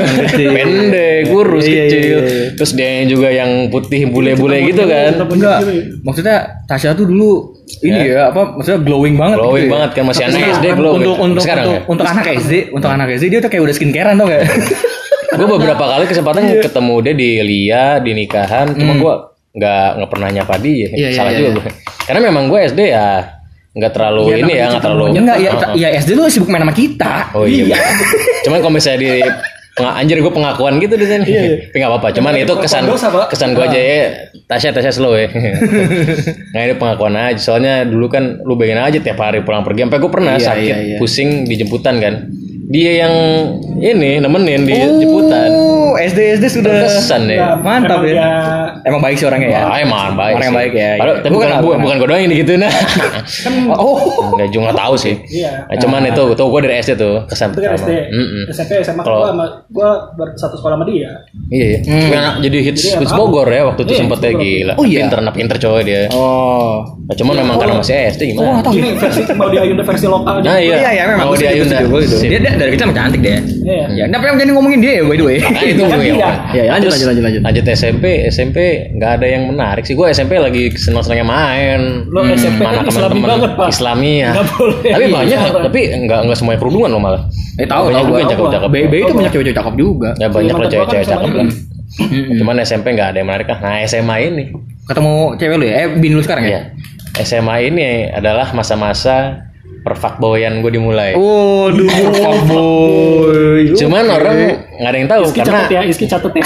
C: pendek kurus
B: Iya, iya,
C: kecil
B: iya, iya.
C: terus dia yang juga yang putih bule-bule gitu kan
B: Enggak, maksudnya Tasya tuh dulu ini ya, apa maksudnya glowing banget
C: Iya. glowing
B: gitu ya.
C: banget kan masih anak
B: Nah,
C: SD
B: kan
C: belum
B: untuk untuk
C: sekarang
B: untuk,
C: ya
B: untuk anak SD untuk anak SD dia tuh kayak udah skincarean tau gak
C: Oh, gue beberapa kali kesempatan
B: Iya.
C: ketemu dia di Lia di nikahan cuma gue nggak nggak pernah nyapa dia
B: Hmm. Iya, iya,
C: salah
B: iya,
C: juga
B: iya.
C: gue karena memang gue SD ya nggak terlalu ini ya nggak terlalu
B: ya enggak ya,
C: Oh, oh.
B: ya SD lu sibuk main sama kita
C: oh iya cuman kalau misalnya di penga- anjir gue pengakuan gitu di sini
B: Iya,
C: tapi nggak apa-apa cuman itu kesan
A: dosa, Pak.
B: Ah.
C: kesan gue aja ya Tasya Tasya slow ya nah ini pengakuan aja soalnya dulu kan lu bayangin aja tiap hari pulang pergi sampai gue pernah
B: Iya,
C: sakit
B: iya, iya.
C: pusing di jemputan kan dia yang ini nemenin di Iya, jemputan
B: oh SD SD sudah
C: Kesan
A: Nah,
C: ya.
B: mantap ya emang baik sih orangnya ya
C: Baik, man, baik.
B: Orang yang
C: sih.
B: baik ya,
C: Padahal,
B: iya. Bukan
C: tapi bukan,
B: lah,
C: bukan,
B: bukan.
C: bukan gue doang yang gitu nah.
B: oh
C: Enggak juga nggak tahu sih.
A: Iya.
C: Nah, cuman itu tuh gue dari SD tuh kesan
A: Itu kan
C: pertama.
A: SD.
C: Mm-mm.
A: SMP SMA
C: Kalau-
A: gua sama gua ber- satu sekolah sama dia.
C: Iya. iya.
B: Hmm.
C: Nah, jadi hits
A: Jadi
C: hits
A: apa?
C: Bogor ya waktu itu
A: Iya,
C: sempet ya
A: Bogor.
C: gila.
B: Oh, iya.
C: Pinter anak pinter cowok dia.
B: oh
C: Nah, cuman memang karena masih SD gimana?
A: Ini versi mau di Ayunda versi lokal
C: Nah, iya.
B: iya iya memang
C: Mau
B: Gua
C: dia
B: setuju,
C: Ayunda.
B: setuju, gua setuju.
C: Sip.
B: dia dia dari kecil emang cantik deh
A: Iya.
B: ya kenapa yang jadi ngomongin dia ya, by the way
C: Nah, itu
A: Kan
C: gue yang
A: iya.
B: Iya, iya, lanjut,
C: Terus,
B: lanjut, lanjut,
C: Lanjut SMP, SMP nggak ada yang menarik sih. Gue SMP lagi senang-senangnya main.
A: Lo SMP kan
C: mana
A: islami
C: teman-teman
A: banget, Pak.
C: Islami ya.
A: Nggak boleh.
C: Tapi banyak,
A: Iya, Pak.
C: tapi nggak nggak semuanya kerudungan lo malah.
B: eh tahu
C: banyak
B: tahu
C: juga
B: gue
C: yang cakep-cakep.
B: BB itu banyak cewek-cewek cakep juga
C: Ya banyak
A: Mantan
C: lah
A: gua
C: cewek-cewek
A: kan sama
C: cakep
A: ini.
C: lah. Cuman SMP nggak ada yang menarik lah. Nah SMA ini,
B: ketemu cewek lu ya eh bin lu sekarang ya
C: ya SMA ini adalah masa-masa perfakboyan gue dimulai.
B: Oh, Waduh, fuckboy.
C: Cuman orang nggak ada yang tahu
A: Iski
C: karena
A: catet ya, Iski catet ya.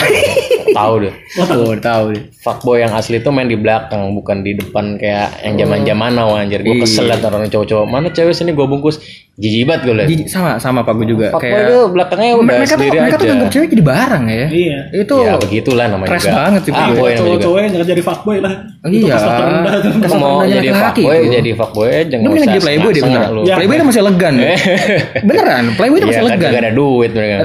C: tahu deh.
B: Oh, tahu deh.
C: Fuckboy yang asli itu main di belakang, bukan di depan kayak yang zaman zaman now anjir. Gue kesel liat orang cowok-cowok. Mana cewek sini gue bungkus, jijik banget gue liat.
B: Jadi sama sama Pak gue juga
C: Fuckboy
B: kayak
C: itu belakangnya udah
B: mereka tuh
C: sendiri
B: mereka tuh
C: aja.
B: nganggap cewek jadi barang ya.
A: Iya.
B: Itu
C: Ya begitulah namanya
B: Keras
C: juga.
B: banget sih,
C: Ah,
B: Fuckboy.
C: boy namanya juga.
A: Cowok-cowok yang nggak jadi fuckboy lah. Itu
B: Iya.
A: kelas terendah tuh.
B: Kelas
C: Mau
B: rendahnya
C: jadi
B: laki-laki
C: fuckboy,
B: itu.
C: jadi fuckboy aja.
B: Dia
C: nggak
B: mending
C: usah
B: jadi playboy deh beneran.
C: senang-senang lu.
A: Ya.
B: Playboy itu masih elegan. ya. beneran, playboy itu
C: Iya
B: masih
C: kan
B: elegan.
C: gak ada duit mereka.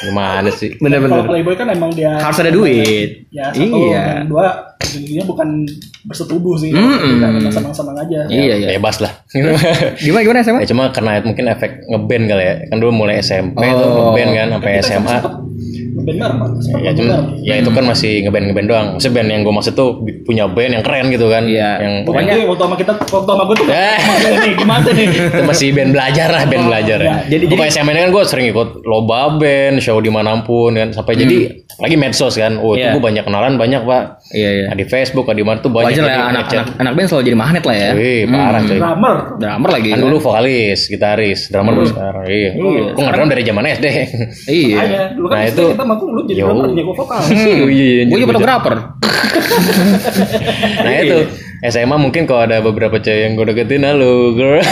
C: Gimana sih?
B: Bener bener.
A: Kalau playboy kan emang dia
B: Harus ada duit.
A: Ya, satu,
B: Iya.
A: dua, ujung-ujungnya bukan bersetubuh sih.
B: Mm-mm.
A: Bukan emang senang-senang aja.
B: Iya.
C: Ya, Bebas lah.
B: Gimana gimana Iya, SMA?
C: ya cuma karena mungkin efek ngeband kali ya. Kan dulu mulai SMP tuh
B: Oh.
C: ngeband kan sampai SMA.
A: band bareng
C: ya cuman ya itu kan masih ngeband ngeband doang maksudnya band yang gue maksud tuh bi- punya band yang keren gitu kan
B: Iya.
C: yang
A: bukan gue waktu sama kita waktu sama gue tuh
C: Eh.
A: nih gimana nih
C: itu masih band belajar lah band belajar
B: Oh,
C: ya.
B: iya. Jadi-
C: Jadi gue SMA ini kan gue sering ikut lomba band, show dimanapun kan sampai jadi lagi medsos kan. Oh
B: Hmm. Iya.
C: itu gue banyak kenalan banyak pak.
B: Iya iya.
C: Nah, di Facebook, di mana tuh banyak.
B: Wajar lah ya,
C: yang
B: anak-anak
C: ngechat.
B: anak band selalu jadi magnet lah ya.
C: Wih parah coy.
A: drummer
B: Drummer lagi.
C: Kan
B: kan? Hmm.
C: dulu vokalis, gitaris, drummer baru sekarang. Iya. Gue ngedrum dari zaman SD.
B: Iya.
A: aja dulu kan
C: Nah,
A: itu
C: itu-
A: kita manggung lu jadi
C: Yo.
A: drummer jago vokal
C: Oh, iya, iya,
B: Gue
C: jadi
B: Hmm. juga
C: gua-
B: fotografer.
C: Nah itu SMA mungkin kalau ada beberapa cewek yang gue deketin halo girl.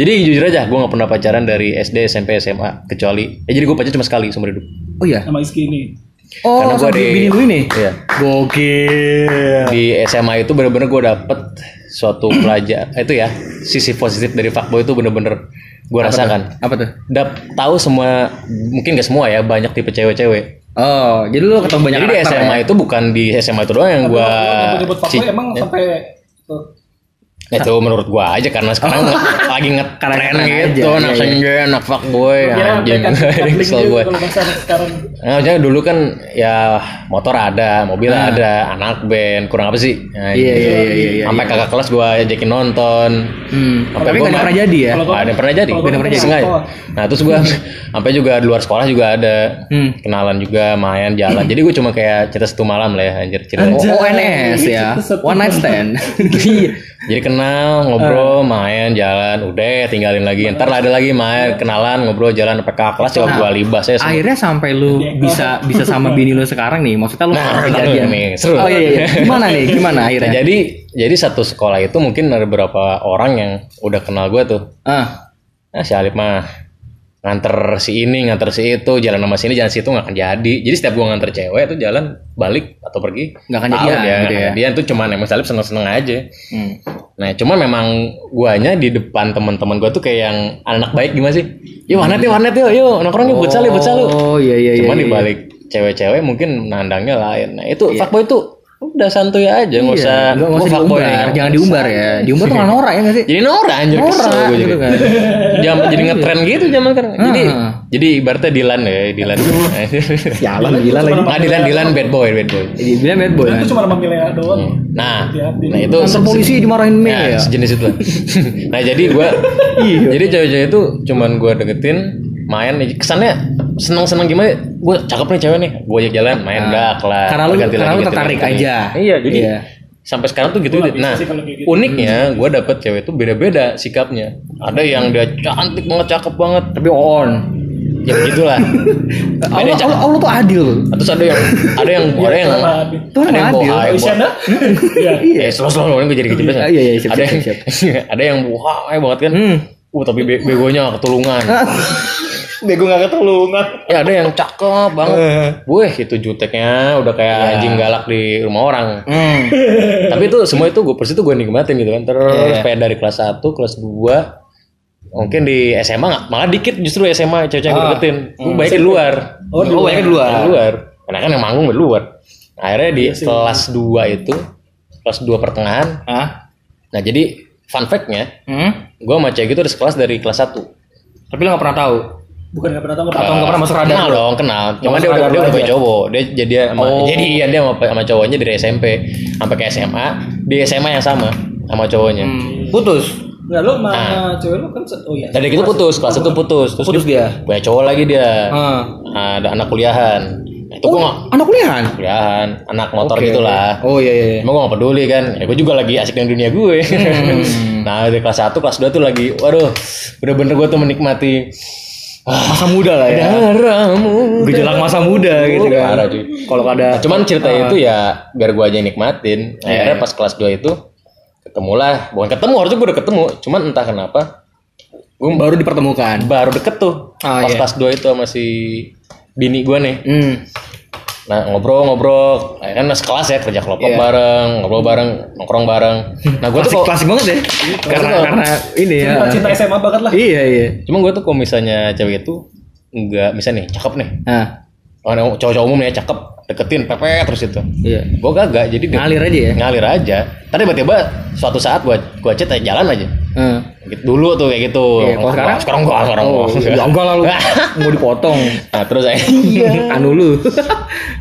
C: jadi jujur aja gue nggak pernah pacaran dari SD SMP SMA kecuali eh jadi gue pacaran cuma sekali seumur hidup.
B: Oh iya.
A: sama Iski ini
B: Oh,
C: Karena gua
B: sama
C: di-
B: bini lu ini.
C: Iya.
B: Gokil.
C: di SMA itu bener-bener gue dapet suatu pelajar itu ya sisi positif dari fuckboy itu bener-bener gue rasakan
B: Apa tuh?
C: dap tahu semua mungkin gak semua ya banyak tipe cewek-cewek
B: Oh, jadi lu ketemu banyak
C: jadi di
B: karakter
C: SMA
B: ya?
C: itu bukan di SMA itu doang yang
A: Tapi
C: gue
A: waktu lu nyebut-nyebut vokal emang sampai tuh.
C: itu menurut gue aja karena sekarang lagi ngetren
B: Karena-karena
C: gitu
B: aja, iya,
C: anak
B: iya.
C: senja anak fuckboy
A: Kira
C: Eh, anjing
A: ya, mereka coupling
C: kesel
B: gitu
A: dia
C: gue
A: kalau bahasa anak sekarang
C: Nah, maksudnya dulu kan ya motor ada, mobil ada, anak band, kurang apa sih? Nah,
B: Iya, iya, iya, iya, iya.
C: Sampai kakak kelas gua ajakin nonton.
B: Hmm.
C: Sampai
B: Tapi
C: gua
B: nggak ada
C: ma-
B: pernah jadi ya.
A: Kalau gua-
C: Nggak ada yang pernah jadi,
A: kalau
C: nggak ada
A: gua
C: pernah jadi
A: pernah
C: sengaja.
A: sekolah.
C: Nah, terus gua sampai juga di luar sekolah juga ada.
B: Hmm.
C: Kenalan juga, main jalan. Jadi gua cuma kayak cerita satu malam lah ya, anjir cerita.
B: Oh, ONS ya.
A: Itu satu-
B: One night stand. Iya.
C: Jadi kenal, ngobrol, main, jalan, udah tinggalin lagi. Ntar ada lagi main, kenalan, ngobrol, jalan sampai kakak kelas juga gua libas ya. semua.
B: Akhirnya sampai lu bisa bisa sama bini lu sekarang nih. Maksudnya lu
C: Nah, ntar
B: kejadian.
C: dulu nih, seru.
B: Oh iya, iya. Gimana nih? Gimana
C: Nah,
B: akhirnya?
C: jadi jadi satu sekolah itu mungkin ada beberapa orang yang udah kenal gue tuh.
B: Ah.
C: Nah, si Alif mah nganter si ini, nganter si itu, jalan sama sini, jalan situ nggak akan jadi. Jadi setiap gua nganter cewek itu jalan balik atau pergi
B: Nggak akan
C: tahu
B: jadian
C: dia,
B: gitu
C: gitu
B: ya.
C: Dia tuh cuman emang Salib seneng-seneng aja.
B: Hmm.
C: Nah, cuman memang guanya di depan teman-teman gua tuh kayak yang anak baik gimana sih? Yuk warnet yuk, warnet yuk, yuk nongkrong yuk, buat lu, buat lu.
B: Oh iya iya iya.
C: Cuman
B: iya.
C: dibalik cewek-cewek mungkin nandangnya lain. Nah, itu fuckboy itu udah santuy aja,
B: Iya,
C: nggak usah
B: nggak nggak
C: gua
B: usah
C: fuckboy
B: diumbar,
C: nih, nggak
B: jangan
C: usah. Iya,
B: diumbar ya. Diumbar malah norak ya nggak sih?
C: Jadi Nora anjir kesel
B: Norak
C: gue
B: gitu
C: jadi.
B: kan.
C: Zaman jadi ngetren gitu zaman kan. Jadi
B: Iya. Ah.
C: jadi ibaratnya Dilan ya, Dilan.
B: Sialan gila lagi.
C: nah, Dilan Dilan bad boy, bad boy.
B: Jadi bilang Iya, bad boy. kan.
A: itu cuma sama Milea doang
C: Nah,
A: Hati-hati.
C: nah itu
B: Kantor polisi dimarahin Mei
C: Nah,
B: ya. Iya.
C: sejenis itu lah. nah, jadi gua jadi cewek-cewek itu cuman gua deketin main kesannya seneng-seneng gimana gue cakep nih cewek nih gue ajak jalan main dak
B: Ah.
C: lah
B: Karena lu-
C: Ganti
B: karena
C: lagi,
B: lu
C: ganti
B: tertarik
C: lagi.
B: aja.
C: iya jadi
B: Iya.
C: sampai sekarang tuh gitu
A: Gua nggak bisa
C: nah
A: sih kalau kayak gitu.
C: uniknya gua dapet cewek itu beda-beda sikapnya ada yang dia cantik banget cakep banget
B: Tapi on.
C: ya begitulah ada
B: Allah,
C: yang cakep
B: Allah, Allah tuh adil.
C: Nah, terus ada yang ada yang ada yang
B: Tuh
C: ada yang
B: adil.
C: bawa air bawa-
A: Isyana Oh, ya
C: Iya, slow slow gue jadi
B: Iya,
C: kecepatan.
B: iya, iya, siap,
C: ada
B: siap,
C: yang ada yang wah, banget kan.
B: Hmm.
C: Uh, tapi be- begonya ketulungan.
A: bego gak ketulungan
C: ya ada yang cakep banget. Wih, itu juteknya udah kayak
B: Iya.
C: anjing galak di rumah orang.
B: Hmm.
C: tapi itu semua itu gue persis itu gue nikmatin gitu kan.
B: Iya.
C: Terus kayak dari kelas 1, kelas 2 mungkin di SMA nggak malah dikit justru SMA cewek-cewek yang gue
B: Ah.
C: deketin.
B: Hmm.
C: Gue banyak di luar.
B: Oh, oh
A: ya.
B: banyak dua.
C: Di luar. Karena kan yang manggung di luar. Akhirnya
B: Iya
C: di kelas 2 itu kelas 2 pertengahan.
B: Hah?
C: Nah, jadi fun fact-nya
B: Hmm?
C: gue sama cewek itu ada sekelas dari kelas 1
B: Tapi lo gak pernah tahu.
A: bukan gak pernah tahu nggak
B: Atau
A: pernah
B: nggak pernah masuk radar?
C: kenal dong kenal cuma dia udah,
B: radar
C: dia udah
B: aja.
C: punya cowok dia jadi sama
B: Oh.
C: jadi iya, dia sama, sama cowoknya dari SMP sampai ke SMA di SMA yang sama sama cowoknya
B: Hmm. Putus.
A: nggak lu sama cewek lu kan se- oh iya
C: Ah. dari itu putus kelas itu putus terus
B: Putus dia.
C: punya cowok lagi dia
B: Ah.
C: ada anak kuliahan
B: Oh,
C: Nah, itu gue nggak
B: Anak kuliahan.
C: kuliahan anak motor
B: Oke.
C: gitulah
B: Oh iya iya. iya.
C: Emang gue gak peduli kan ya, Gue juga lagi asik dengan dunia gue
B: Hmm.
C: Nah dari kelas 1 kelas 2 tuh lagi Waduh Bener-bener gue tuh menikmati
B: Masa muda lah ya.
C: Daramu
B: Gejolak masa muda gitu
C: Parah,
B: kan. Ah.
C: cuy.
B: Kalau
C: Nah,
B: ada
C: cuman cerita itu ya biar gua aja yang nikmatin.
B: Iya.
C: Akhirnya pas kelas 2 itu ketemulah, bukan ketemu harusnya gua udah ketemu, cuman entah kenapa gua
B: baru dipertemukan.
C: baru deket tuh.
B: Ah,
C: pas
B: iya.
C: kelas 2 itu sama si bini gua nih.
B: Hmm.
C: Nah, ngobrol-ngobrol, eh, kan sekelas ya, kerja kelompok
B: Iya.
C: bareng, ngobrol bareng, nongkrong bareng. Nah, gua
B: Klasik,
C: tuh kok
B: klasik banget ya. Karena
C: Klasik.
B: karena ini ya.
A: cinta, cinta SMA banget lah
B: Iya iya.
C: cuman gua tuh kalau misalnya cewek itu enggak misalnya nih, cakep nih.
B: Ah.
C: Oh, nah, cowok-cowok umum ya cakep, deketin, pepe terus itu.
B: Iya.
C: Gua kagak, jadi
B: Ngalir aja ya.
C: ngalir aja. Tadi tiba-tiba suatu saat gua gua chat jalan aja.
B: Eh.
C: Gitu. Dulu tuh kayak gitu.
B: Iya, kalau sekarang?
C: sekarang enggak, sekarang
B: Oh,
C: enggak.
B: ya enggak lah lu mau dipotong.
C: Nah, terus saya
B: Anu lu.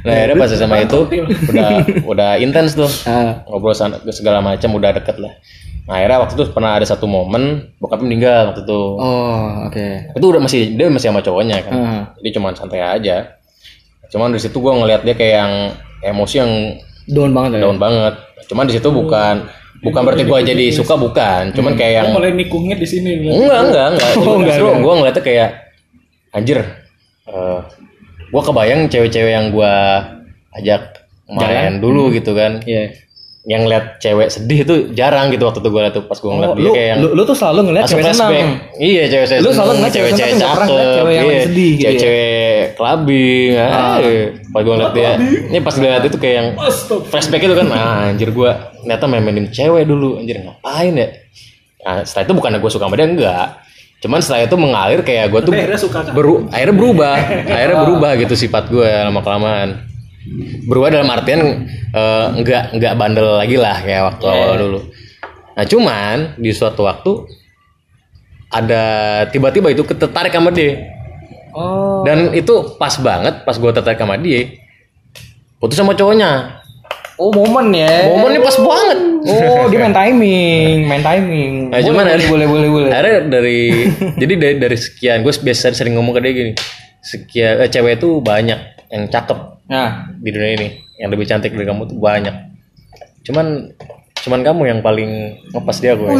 C: Nah, akhirnya pas sama itu udah udah intens tuh.
B: Ah,
C: Ngobrol san- segala macam udah deket lah. Nah, akhirnya waktu itu pernah ada satu momen bokapnya meninggal waktu itu.
B: oh, oke.
C: Itu udah masih dia masih sama cowoknya kan.
B: Ah,
C: Jadi cuman santai aja. Cuman di situ gua ngeliat dia kayak yang emosi yang
B: down banget ya.
C: down banget. Cuman di situ bukan bukan berarti gua jadi suka bukan. Cuman kayak yang
A: Mulai nikungnya di sini. nih.
C: enggak enggak enggak. Justru gua ngeliatnya kayak anjir. eh, gua kebayang cewek-cewek yang gua ajak main dulu gitu kan.
B: Iya.
C: Yang ngeliat cewek sedih itu jarang gitu waktu itu gua liat tuh pas gua ngeliat dia
B: Oh, Lu,
C: kayak yang
B: lu, lu tuh selalu ngeliat
C: langsung
B: cewek
C: flashback.
B: senang.
C: Iya, cewek cewek.
B: Lu selalu ngeliat cewek
C: cewek
B: senang, tapi nggak pernah ngeliat cewek yang
C: iya.
B: sedih gitu ya.
C: Cewek-cewek kelabing. ah, iya. Pas gue ngeliat dia, ini pas gue liat itu kayak yang flashback itu kan, ah, anjir gue ternyata main-mainin cewek dulu, anjir ngapain ya? Nah, setelah itu bukan gue suka sama dia enggak. Cuman setelah itu mengalir kayak gue tuh
A: Akhirnya suka kan.
C: beru akhirnya berubah akhirnya berubah gitu sifat gue lama kelamaan berubah dalam artian eh, nggak nggak bandel lagi lah kayak waktu awal dulu nah cuman di suatu waktu ada tiba-tiba itu ketertarik sama dia
B: Oh.
C: dan itu pas banget pas gue tertarik sama dia putus sama cowoknya
B: Oh, momen ya.
C: momennya pas banget
B: Oh, dia main timing, main timing.
C: Nah,
B: Boleh,
C: cuman
B: boleh,
C: ada-
B: boleh, boleh, boleh.
C: akhirnya dari jadi dari dari sekian gue biasa sering ngomong ke dia gini sekian eh, cewek itu banyak yang cakep
B: Nah,
C: di dunia ini yang lebih cantik dari kamu tuh banyak cuman cuman kamu yang paling ngepas dia gue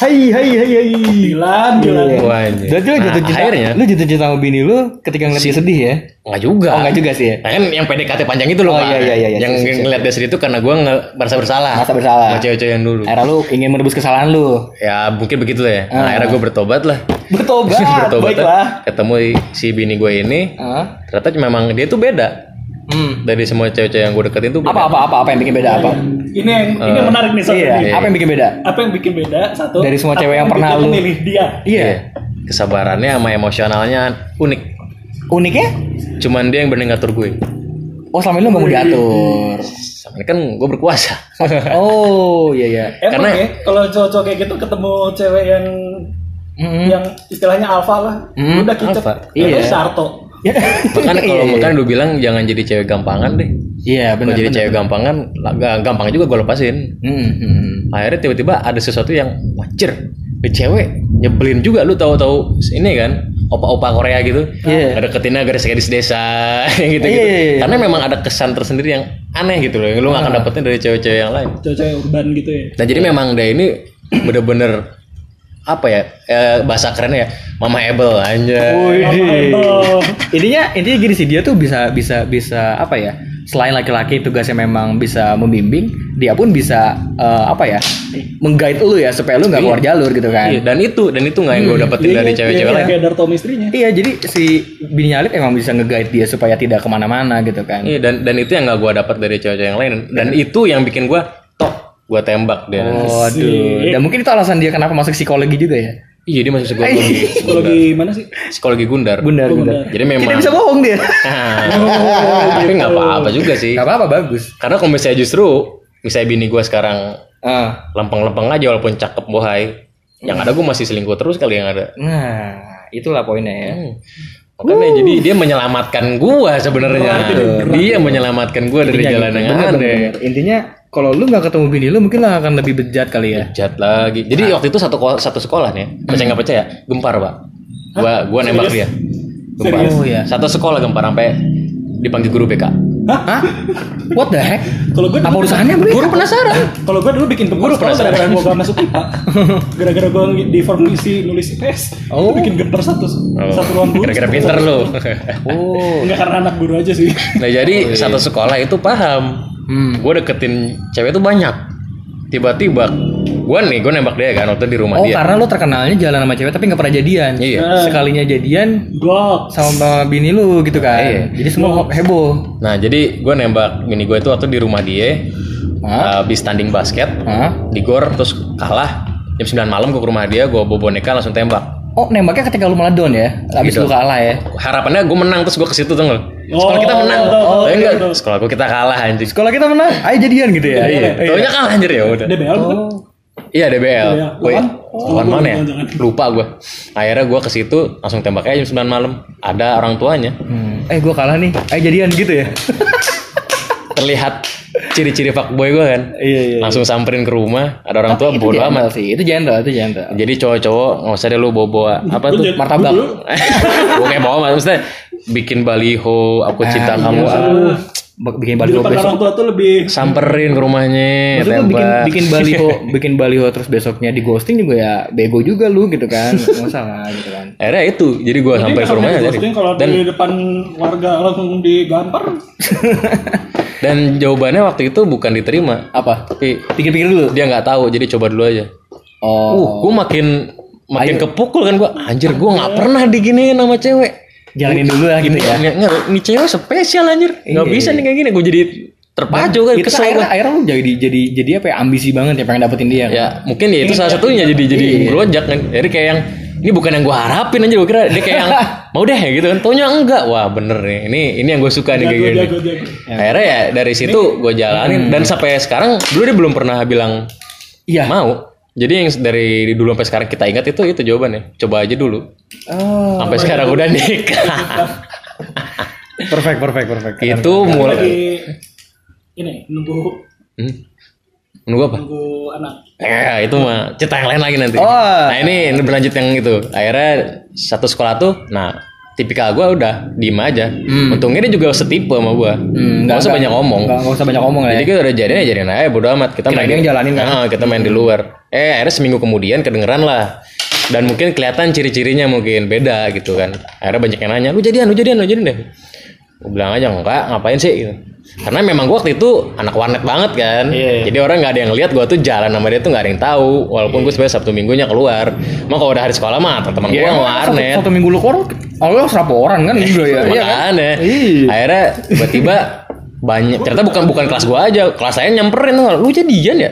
B: hai hai hai hai.
A: Dilan, Dilan.
C: Gue anjir.
B: Jadi lu
C: Nah,
B: jatuh cinta,
C: akhirnya
B: lu jatuh cinta sama bini lu ketika ngeliat dia sedih ya?
C: nggak juga
B: Oh, enggak juga sih ya.
C: Nah, kan yang PDKT panjang itu loh
B: Oh,
C: Pak.
B: iya, iya, iya, iya.
C: yang
B: Siap, siap, siap.
C: ngeliat dia sedih itu karena gue nge- merasa bersalah
B: Merasa bersalah.
C: sama cewek-cewek yang dulu
B: Era lu ingin menebus kesalahan lu.
C: ya mungkin begitu lah ya nah,
B: Ah.
C: akhirnya gue bertobat lah
B: Bertobat, eh.
C: bertobat
B: baiklah.
C: ketemu si bini gue ini
B: Hah?
C: ternyata memang dia tuh beda
B: Hmm.
C: dari semua cewek-cewek yang gue deketin tuh
B: Apa apa apa apa yang bikin beda apa?
A: Ini yang ini yang menarik nih soalnya.
B: Iya,
A: nih.
B: apa yang bikin beda?
A: Apa yang bikin beda satu
B: Dari semua
A: apa
B: cewek yang pernah
A: bikin
B: lu-
A: milih dia.
B: Iya.
C: kesabarannya sama emosionalnya unik Iya.
B: Uniknya?
C: cuman dia yang benar ngatur gue
B: Oh, selama ini lu nggak mau diatur.
C: sama ini kan gue berkuasa
B: Oh, iya iya.
A: Emang
C: Karena-
A: ya, kalau cowok-cowok kayak gitu ketemu cewek yang
B: Mm-mm.
A: yang istilahnya alfa lah,
B: Hmm,
A: udah kicep.
C: alpha.
A: Iya.
B: Iya.
A: Sarto.
B: Ya.
C: makanya kalau
B: Iya, iya.
C: makanya lu bilang jangan jadi cewek gampangan deh
B: Iya,
C: kalau
B: benar.
C: jadi
B: benar.
C: cewek gampangan lah, ga- gampang juga gue lepasin
B: Hmm, hmm, hmm.
C: akhirnya tiba-tiba ada sesuatu yang wajar ini cewek nyebelin juga lu tahu-tahu ini kan opa-opa Korea gitu
B: Iya.
C: ada ketina gadis-gadis desa gitu gitu
B: Iya, iya, Ah. iya.
C: karena memang ada kesan tersendiri yang aneh gitu loh yang lu gak akan dapetin dari cewek-cewek yang lain
A: Cewek-cewek urban gitu ya.
C: Nah
B: Iya.
C: jadi memang dia ini bener-bener apa ya eh, bahasa kerennya ya mama able aja.
A: Oh,
B: intinya intinya gini sih dia tuh bisa bisa bisa apa ya selain laki-laki tugasnya memang bisa membimbing dia pun bisa eh, apa ya menggait lu ya supaya lu nggak keluar jalur gitu kan Hmm.
C: Iya,
B: iya,
C: dan itu dan itu nggak yang gue dapetin
A: Dia
C: dari
A: ingat-
C: cewek-cewek
A: dia
C: lain.
A: Kayak Darto istrinya.
B: Iya, jadi si bini nyalip emang bisa ngeguide dia supaya tidak kemana-mana gitu kan
C: Iya dan dan itu yang nggak gue dapat dari cewek-cewek yang lain dan
B: Iya.
C: itu yang bikin gue tok gue tembak dia.
B: Oh. waduh dan mungkin itu alasan dia kenapa masuk psikologi juga ya
C: Iya dia masih psikologi
A: Psikologi mana sih?
C: psikologi Gundar.
B: bundar bundar
C: Jadi memang.
B: kita bisa Gitu. bohong dia
C: Nah, tapi nggak apa-apa juga sih.
B: nggak apa-apa bagus
C: Karena kalau misalnya justru misalnya bini gue sekarang
B: Ah,
C: lempeng-lempeng aja walaupun cakep bohai. Yang ada gue masih selingkuh terus kali yang ada.
B: nah itulah poinnya ya
C: Hmm, Makanya jadi dia menyelamatkan gua sebenarnya. Dia menyelamatkan gua dari
B: Intinya
C: jalan
B: gitu.
C: yang
B: Bener,
C: aneh.
B: bener, bener. intinya kalau lu nggak ketemu bini lu mungkin lah akan lebih bejat kali ya
C: Jat lagi. Jadi
A: Nah.
C: waktu itu satu ko- satu sekolah nih, ya. percaya nggak percaya? Gempar pak. Gua gua nembak dia. Gempar.
B: Serius? Oh, iya.
C: Satu sekolah gempar sampai dipanggil guru BK.
B: Hah? What the heck?
A: Kalau gue
B: Apa urusannya beli?
C: Guru penasaran.
A: kalau gue dulu bikin pengguru
C: Guru
A: sekolah
C: penasaran.
A: gara-gara gue gak masuk IPA. Gara-gara gue di formasi nulis IPS.
B: Oh.
A: Gue bikin gentar satu satu ruang guru.
C: Oh. Kira-kira pinter lu.
B: Oh.
A: Enggak karena anak guru aja sih.
C: nah
A: Oh, iya.
C: jadi satu sekolah itu paham.
B: Hmm.
C: Gua deketin cewek itu banyak. Tiba-tiba gua nih gua nembak dia kan waktu di
B: Oh,
C: rumah dia.
B: karena lu terkenalnya jalan sama cewek tapi nggak pernah jadian.
C: Iya.
B: Sekalinya jadian
A: Gok.
B: sama bini lu gitu kan.
C: Iya.
B: Jadi semua heboh.
C: Nah jadi gue nembak mini gue itu waktu di rumah dia
B: Hah?
C: Habis tanding basket
B: Hah?
C: Di gor terus kalah Jam 9 malam gue ke rumah dia Gue bawa boneka langsung tembak
B: Oh, nembaknya ketika lu malah down ya. Habis
C: Gitu.
B: lu kalah ya.
C: Harapannya gue menang terus gue ke situ tuh nggak? Sekolah
A: Oh,
C: kita menang
A: tahu, tahu,
C: Tapi
A: tahu,
C: enggak,
A: tahu.
B: Oh,
C: Sekolah gue kita kalah anjing
B: Sekolah kita menang, ayo jadian gitu ya.
A: Oh. kan?
C: Iya, Taunya kalah anjir ya udah
A: DBL bukan?
C: Iya DBL.
A: Iya,
C: Woi,
A: lawan?
C: lawan
A: Oh,
C: mana ya?
A: jangan-jangan.
C: Lupa gue. Akhirnya gue ke situ langsung tembak aja jam 9 malam. Ada orang tuanya.
B: Eh gue kalah nih. Eh jadian gitu ya.
C: Terlihat ciri-ciri fuckboy gue kan.
B: Iya iya.
C: Langsung samperin ke rumah, ada orang tua
B: Itu
C: bodo
B: jendel
C: amat.
B: sih. Itu jendel, itu jendel.
C: Jadi cowok-cowok nggak usah deh lu bawa-bawa apa
A: Gua
C: tuh
A: jadi-
B: martabak.
A: gua dulu
C: Gue kayak bawa mas, maksudnya bikin baliho, aku
B: Ah,
C: cinta
B: Iya.
C: kamu, aduh,
A: Di
B: Bikin baliho
A: depan
B: besok. Iya,
A: orang tua tuh lebih
C: samperin ke rumahnya,
B: Maksudnya bikin
C: tembak.
B: bikin baliho, bikin baliho terus besoknya di ghosting juga ya bego juga lu gitu kan. Nggak salah gitu kan.
C: Akhirnya itu, jadi gue sampai ke rumahnya jadi.
A: Ghosting kalau
C: Dan
A: di depan warga langsung digampar
C: dan jawabannya waktu itu bukan diterima,
B: Apa?
C: tapi
B: Pikir-pikir dulu.
C: dia nggak tahu, jadi coba dulu aja. Uh,
B: Oh.
C: gue makin makin kepukul kan gue, anjir gue nggak pernah diginiin sama cewek.
B: Jalanin dulu lah gitu ya.
C: Nggak, nggak, ini cewek spesial anjir, nggak
B: Iya,
C: bisa nih kayak gini, gue jadi terpacu kan,
B: Itu kan
C: kesel
B: akhirnya,
C: gue.
B: akhirnya lu jadi jadi jadi apa ya ambisi banget ya pengen dapetin dia. kan?
C: ya mungkin ya itu salah satunya jadi jadi
B: Iya.
C: ngelonjak kan jadi kayak yang ini bukan yang gue harapin aja gue kira dia kayak yang mau deh gitu kan taunya enggak wah bener nih ini ini yang gue suka nih kayak gini
A: jago jago
C: akhirnya ya dari situ gue jalanin
B: Hmm.
C: dan sampai sekarang dulu dia belum pernah bilang
B: Iya.
C: mau jadi yang dari dulu sampai sekarang kita ingat itu itu jawabannya coba aja dulu
B: Oh,
C: sampai sekarang udah nikah
B: perfect, perfect, perfect.
C: itu mulai
A: lagi ini nunggu
C: hmm? menunggu apa
A: nunggu anak
C: Eh, itu mah cerita yang lain lagi nanti.
B: Oh.
C: Nah, ini ini berlanjut yang itu. Akhirnya satu sekolah tuh, nah tipikal gua udah diem aja. Untungnya dia juga setipe sama gua
B: Hmm,
C: nggak usah banyak ngomong.
B: Nggak nggak usah banyak ngomong lah ya.
C: Jadi kita udah jadian aja jadian aja bodo amat. Kita
B: Kirain
C: main
B: yang jalanin kan?
C: Ah, kita main di luar. Eh, akhirnya seminggu kemudian kedengeran lah. Dan mungkin kelihatan ciri-cirinya mungkin beda gitu kan. Akhirnya banyak yang nanya, "Lu jadian, lu jadian, lu jadian deh." Gue bilang aja enggak, ngapain sih gitu. Karena memang gua waktu itu anak warnet banget kan.
B: Iya, iya.
C: Jadi orang nggak ada yang lihat gua tuh jalan sama dia tuh nggak ada yang tahu. Walaupun
B: Iya.
C: gua sebenarnya Sabtu Minggunya keluar. Emang kalau udah hari sekolah mah teman-teman gua
B: emang
C: warnet.
B: Satu, satu minggu lu keluar, awalnya serapu orang kan gitu ya. Iya kan?
C: Makanya.
B: Iya.
C: Akhirnya tiba-tiba banyak ternyata bukan bukan kelas gua aja kelas saya nyamperin tuh lu jadian ya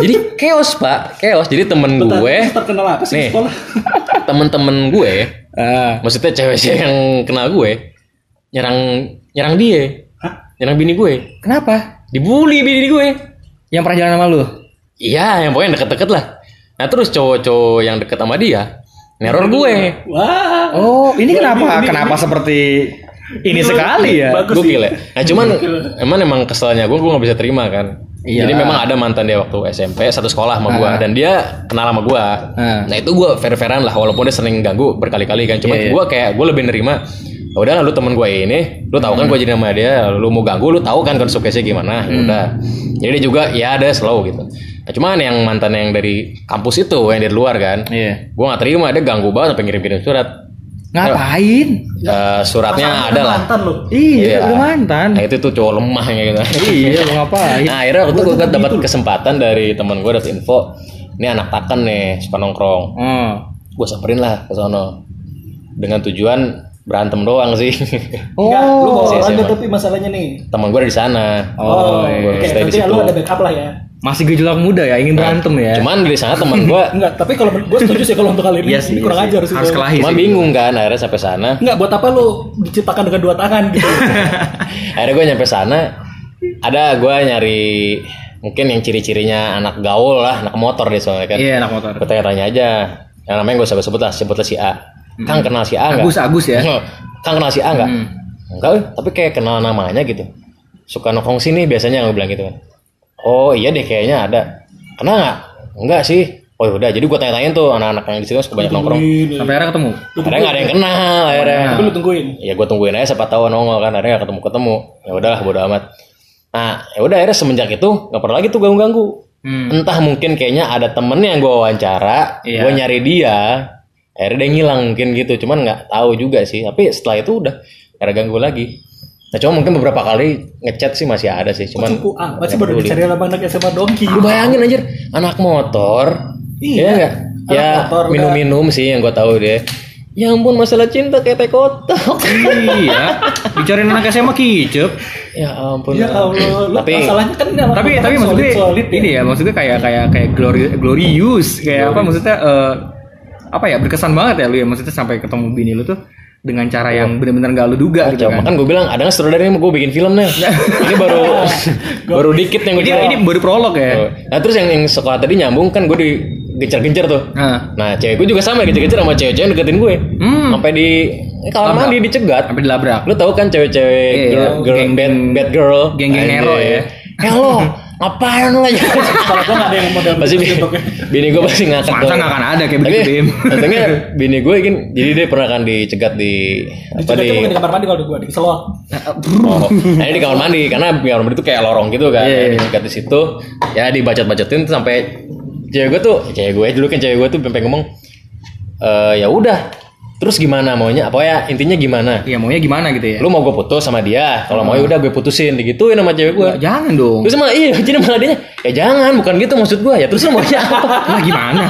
C: jadi chaos pak chaos jadi temen gue
A: Terus terkenal apa sih di
C: nih
A: sekolah
C: temen-temen gue
B: Ah.
C: maksudnya cewek-cewek yang kenal gue nyerang nyerang dia
A: Hah?
C: nyerang bini gue
B: Kenapa?
C: dibully bini gue
B: Yang pernah jalan sama lu?
C: iya yang pokoknya deket-deket lah nah terus cowok-cowok yang deket sama dia
B: Iya.
C: neror gue
A: wah
B: Oh, ini kenapa?
A: ini-
B: kenapa seperti ini
A: Ini-
B: sekali ya?
A: Bagus
C: gue
A: sih.
C: gile. Nah cuman
A: Gokil.
C: emang emang keselnya gue gue nggak bisa terima kan.
B: Iya.
C: Jadi memang ada mantan dia waktu SMP satu sekolah sama gue
B: Ah.
C: dan dia kenal sama gue.
B: Ah.
C: Nah itu gue fair-fairan lah walaupun dia sering ganggu berkali-kali kan. Cuman
B: Iya, iya.
C: gue kayak gue lebih nerima. "Ya Udahlah lu temen gue ini, lu
B: Hmm.
C: tahu kan gue jadi sama dia, lu mau ganggu lu tahu kan konsekuensinya gimana. Ya Udah. Jadi dia juga ya ada slow gitu. Nah, cuman yang mantan yang dari kampus itu yang dari luar kan.
B: Iya.
C: Gue gak terima dia ganggu banget sampai ngirim-ngirim surat.
B: Ngapain?
C: Eh, suratnya ada lah.
A: mantan lo
B: Iya,
C: Iya.
B: udah mantan.
C: Nah itu tuh cowok lemah kayak gitu.
B: Iya, lu ngapain?
C: Nah akhirnya waktu itu gue dapat kesempatan dari teman gue dapat info, ini anak taken nih suka nongkrong.
B: Hmm.
C: Gue samperin lah ke sono dengan tujuan berantem doang sih.
B: Oh,
A: Enggak, lu bawa
C: Iya,
A: orang
C: iya,
A: tapi masalahnya nih
C: teman gue ada di sana.
B: Oh,
C: iya.
A: oke.
C: Stay di
A: Nanti
C: situ.
A: lu ada backup lah ya.
B: masih gejolak muda ya, ingin berantem ya.
C: Cuman dari sana teman gue,
B: Iya
A: Enggak, tapi kalau gue setuju sih kalau untuk kali ini,
E: Iya sih,
A: ini kurang
E: iya sih.
A: ajar sih.
E: Harus
A: kalau-
E: kelahi
C: cuma
E: sih.
C: bingung kan akhirnya sampai sana.
A: Enggak, buat apa lu diciptakan dengan dua tangan gitu.
C: Akhirnya gue nyampe sana, ada gue nyari mungkin yang ciri-cirinya anak gaul lah, anak motor deh soalnya kan.
B: Iya, anak motor.
C: Gue tanya-tanya aja. Yang namanya gue sebut sebut lah, sebutlah si A. Kang kenal si A
B: Hmm.
C: nggak?
B: Agus, Agus ya.
C: Kang kenal si A nggak?
B: Hmm.
C: Enggak, eh, tapi kayak kenal namanya gitu. Suka nongkrong sini biasanya gue bilang gitu kan. Oh iya deh kayaknya ada. Kenal nggak? Enggak sih. Oh udah, jadi gue tanya-tanya tuh anak-anak yang di situ suka banyak nongkrong.
A: Ini.
B: Sampai akhirnya ketemu.
C: Akhirnya nggak ada yang kenal akhirnya.
A: Tapi lu tungguin.
C: Ya gue tungguin aja siapa tahu nongol kan. Akhirnya nggak ketemu-ketemu. Ya udahlah bodo amat. Nah, ya udah akhirnya semenjak itu nggak pernah lagi tuh ganggu-ganggu
B: Hmm.
C: entah mungkin kayaknya ada temennya yang gue wawancara
B: Iya.
C: gue nyari dia akhirnya dia ngilang mungkin gitu cuman nggak tahu juga sih tapi setelah itu udah nggak ada ganggu lagi nah cuma mungkin beberapa kali ngechat sih masih ada sih
A: Cuman,
C: cuman Iya.
A: Cukup ah, masih baru dicari sama anak SMA dongki.
C: lu bayangin anjir anak motor
A: Iya.
C: ya nggak
A: Anak
C: ya
A: motor, nggak.
C: minum-minum sih yang gue tahu deh ya ampun masalah cinta kayak teh kotak
B: iya, bicarain anak SMA kicep.
C: ya ampun
A: Ya Allah, lu
C: tapi
A: masalahnya kan nggak
B: tapi
A: masalah,
B: tapi maksud gue
A: solid-solid
B: ini ya maksud gue kayak kayak kayak glori- glorious kayak apa maksudnya eh, apa ya berkesan banget ya lu ya maksudnya sampai ketemu bini lu tuh dengan cara yang benar-benar nggak lu duga gitu
C: Coba
B: kan.
C: kan gue bilang ada nggak sutradara ini gue bikin film nih. ini baru baru dikit yang gue
B: Ini
C: cari.
B: ini baru prolog ya.
C: Nah terus yang, yang sekolah tadi nyambung kan gue digencer-gencer tuh.
B: Nah,
C: Nah cewek gue juga sama digencer-gencer sama cewek-cewek yang deketin gue.
B: Hmm.
C: Sampai di eh, kamar mandi dicegat.
B: sampai dilabrak.
C: Lu tahu kan cewek-cewek
B: Iya,
C: girl,
B: iya.
C: girl,
B: Geng-
C: bad, bad girl.
B: geng-geng
C: Anjay.
B: Nero ya.
C: Eh lo ngapain lo ya?
A: Kalau gue nggak ada yang model gitu
C: pasti bini, bini gue pasti ngakak.
B: Iya, Masa nggak akan ada kayak begitu, Bim?
C: Untungnya bini gue kan jadi dia pernah kan dicegat di apa
A: Coba
C: di
A: mungkin di kamar mandi kalau di gua di selok.
C: Oh, nah ini di kamar mandi karena di kamar mandi itu kayak lorong gitu kan.
B: Iya, iya.
C: Yeah, Dekat di situ ya dibacot-bacotin sampai cewek gue tuh cewek gue dulu kan cewek gue tuh sampai ngomong eh ya udah terus gimana maunya apa ya intinya gimana
B: Iya, maunya gimana gitu ya?
C: lu mau gue putus sama dia kalau mau ya udah gue putusin digituin sama cewek gue
B: Nggak, Hmm. Ya, jangan dong.
C: terus malah iya jadi malah dia ya jangan bukan gitu maksud gue ya terus lu maunya apa
B: Lah gimana?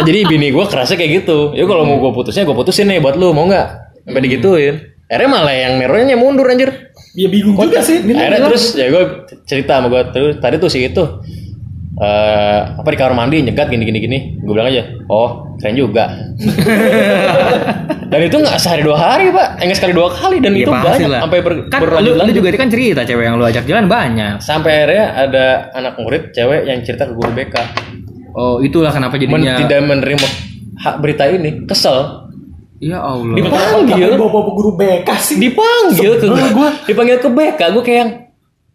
C: Nah, jadi bini gue kerasa kayak gitu ya kalau mau gue putusnya gue putusin nih buat lu mau nggak sampai
B: Hmm.
C: digituin akhirnya malah yang neronya mundur anjir
A: Ya bingung juga sih.
C: akhirnya terus ya gue cerita sama gue terus tadi tuh si itu eh apa di kamar mandi nyegat gini gini gini gue bilang aja oh keren juga dan itu nggak sehari dua hari pak enggak sekali dua kali dan
B: Iya
C: itu
B: pasti
C: banyak
B: lah.
C: sampai ber,
B: kan lu,
C: berlanjut
B: lu juga tadi kan cerita cewek yang lu ajak jalan banyak.
C: sampai akhirnya ada anak murid cewek yang cerita ke guru BK
B: Oh, itulah kenapa
C: Men-
B: jadinya
C: tidak menerima hak berita ini kesel
B: Ya Allah.
C: dipanggil
A: bawa bawa kan guru BK sih.
C: dipanggil ke gue dipanggil ke BK gue kayak yang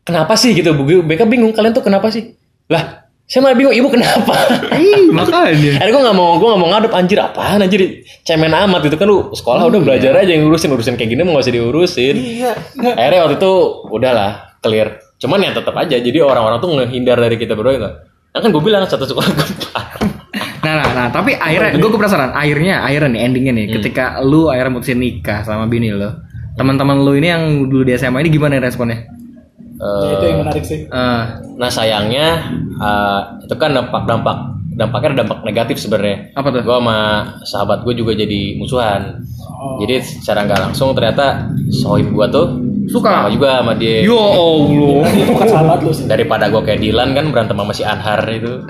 C: kenapa sih gitu Bu- BK bingung kalian tuh kenapa sih lah saya malah bingung ibu kenapa
B: Ih, makanya.
C: akhirnya gue gak mau gue gak mau ngadep anjir apaan anjir cemen amat gitu kan lu sekolah udah belajar aja yang ngurusin urusan kayak gini mau gak usah diurusin
A: Iya.
C: akhirnya waktu itu udahlah clear cuman ya tetap aja jadi orang-orang tuh ngehindar dari kita berdua gitu Nah, kan gue bilang satu sekolah gempa
B: Nah, nah, nah, tapi akhirnya gue penasaran. Akhirnya, akhirnya nih endingnya
C: Hmm.
B: nih. Ketika lu akhirnya mutusin nikah sama bini lo, teman-teman lu ini yang dulu di SMA ini gimana responnya?
A: Ya, itu yang menarik sih.
B: Eh,
C: Eh, nah sayangnya eh, itu kan dampak dampak dampaknya ada dampak negatif sebenarnya
B: apa tuh?
C: gue sama sahabat gue juga jadi musuhan
A: Oh.
C: jadi secara nggak langsung ternyata sohib gue tuh
B: Suka.
C: sama juga sama dia
B: Yo Ya Allah.
A: Berarti itu bukan sahabat lu sih.
C: daripada gue kayak Dilan kan berantem sama si Anhar itu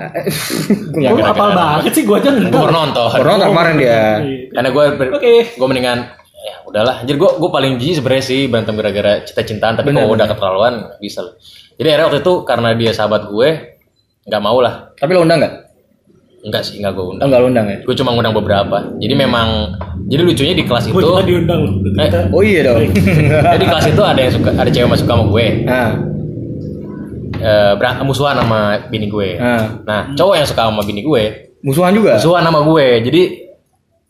C: Ya, kan,
A: Lu apal banget sih gua aja enggak. Iya.
C: gue nonton
B: Corona kemarin dia.
C: karena gue
A: Oke.
C: gue mendingan ya udahlah anjir gue gue paling jijik sebenarnya sih berantem gara-gara cinta-cintaan tapi kalau udah keterlaluan nggak bisa loh jadi akhirnya waktu itu karena dia sahabat gue nggak mau lah
B: Tapi lo undang nggak?
C: enggak sih nggak gue
B: Oh,
C: undang
B: nggak lo undang ya?
C: gue cuma ngundang beberapa jadi memang jadi lucunya di kelas
A: Gua
C: itu eh,
A: kita diundang lu. Kita
B: Oh iya dong.
C: jadi di kelas itu ada yang suka ada cewek yang suka sama gue
B: nah,
C: eh berang- musuhan sama bini gue
B: Ah.
C: nah cowok yang suka sama bini gue
B: musuhan juga.
C: musuhan sama gue jadi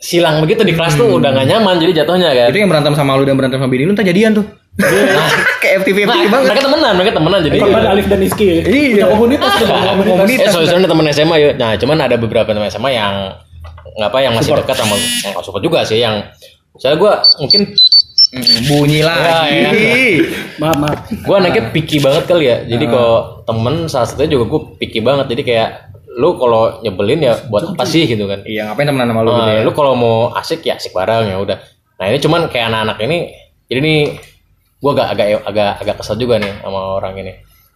C: silang begitu di kelas tuh udah gak nyaman jadi jatuhnya kan
B: Itu yang berantem sama lu dan berantem sama bini lu ntar jadian tuh. Kayak FTV FTV
C: Iya. Nah,
B: banget.
C: mereka temenan mereka temenan jadi
A: korban Alif dan Rizky. ya.
B: Iya.
A: Punya komunitas tuh, punya komunitas.
C: eh soalnya teman SMA ya nah cuman ada beberapa teman SMA yang ngapa yang masih dekat sama yang nggak support juga sih yang saya gue mungkin
B: Mm, Bunyi
C: Ya,
B: lagi.
A: Maaf, maaf.
C: gue anaknya picky banget kali ya jadi kalau temen salah satunya juga gue picky banget jadi kayak lu kalau nyebelin ya buat apa sih gitu kan
B: Iya ngapain temenan sama lu
C: Nah,
B: gitu ya?
C: lu kalau mau asik ya asik bareng ya udah. Nah ini cuman kayak anak-anak ini, jadi ini gue agak agak agak agak kesel juga nih sama orang ini.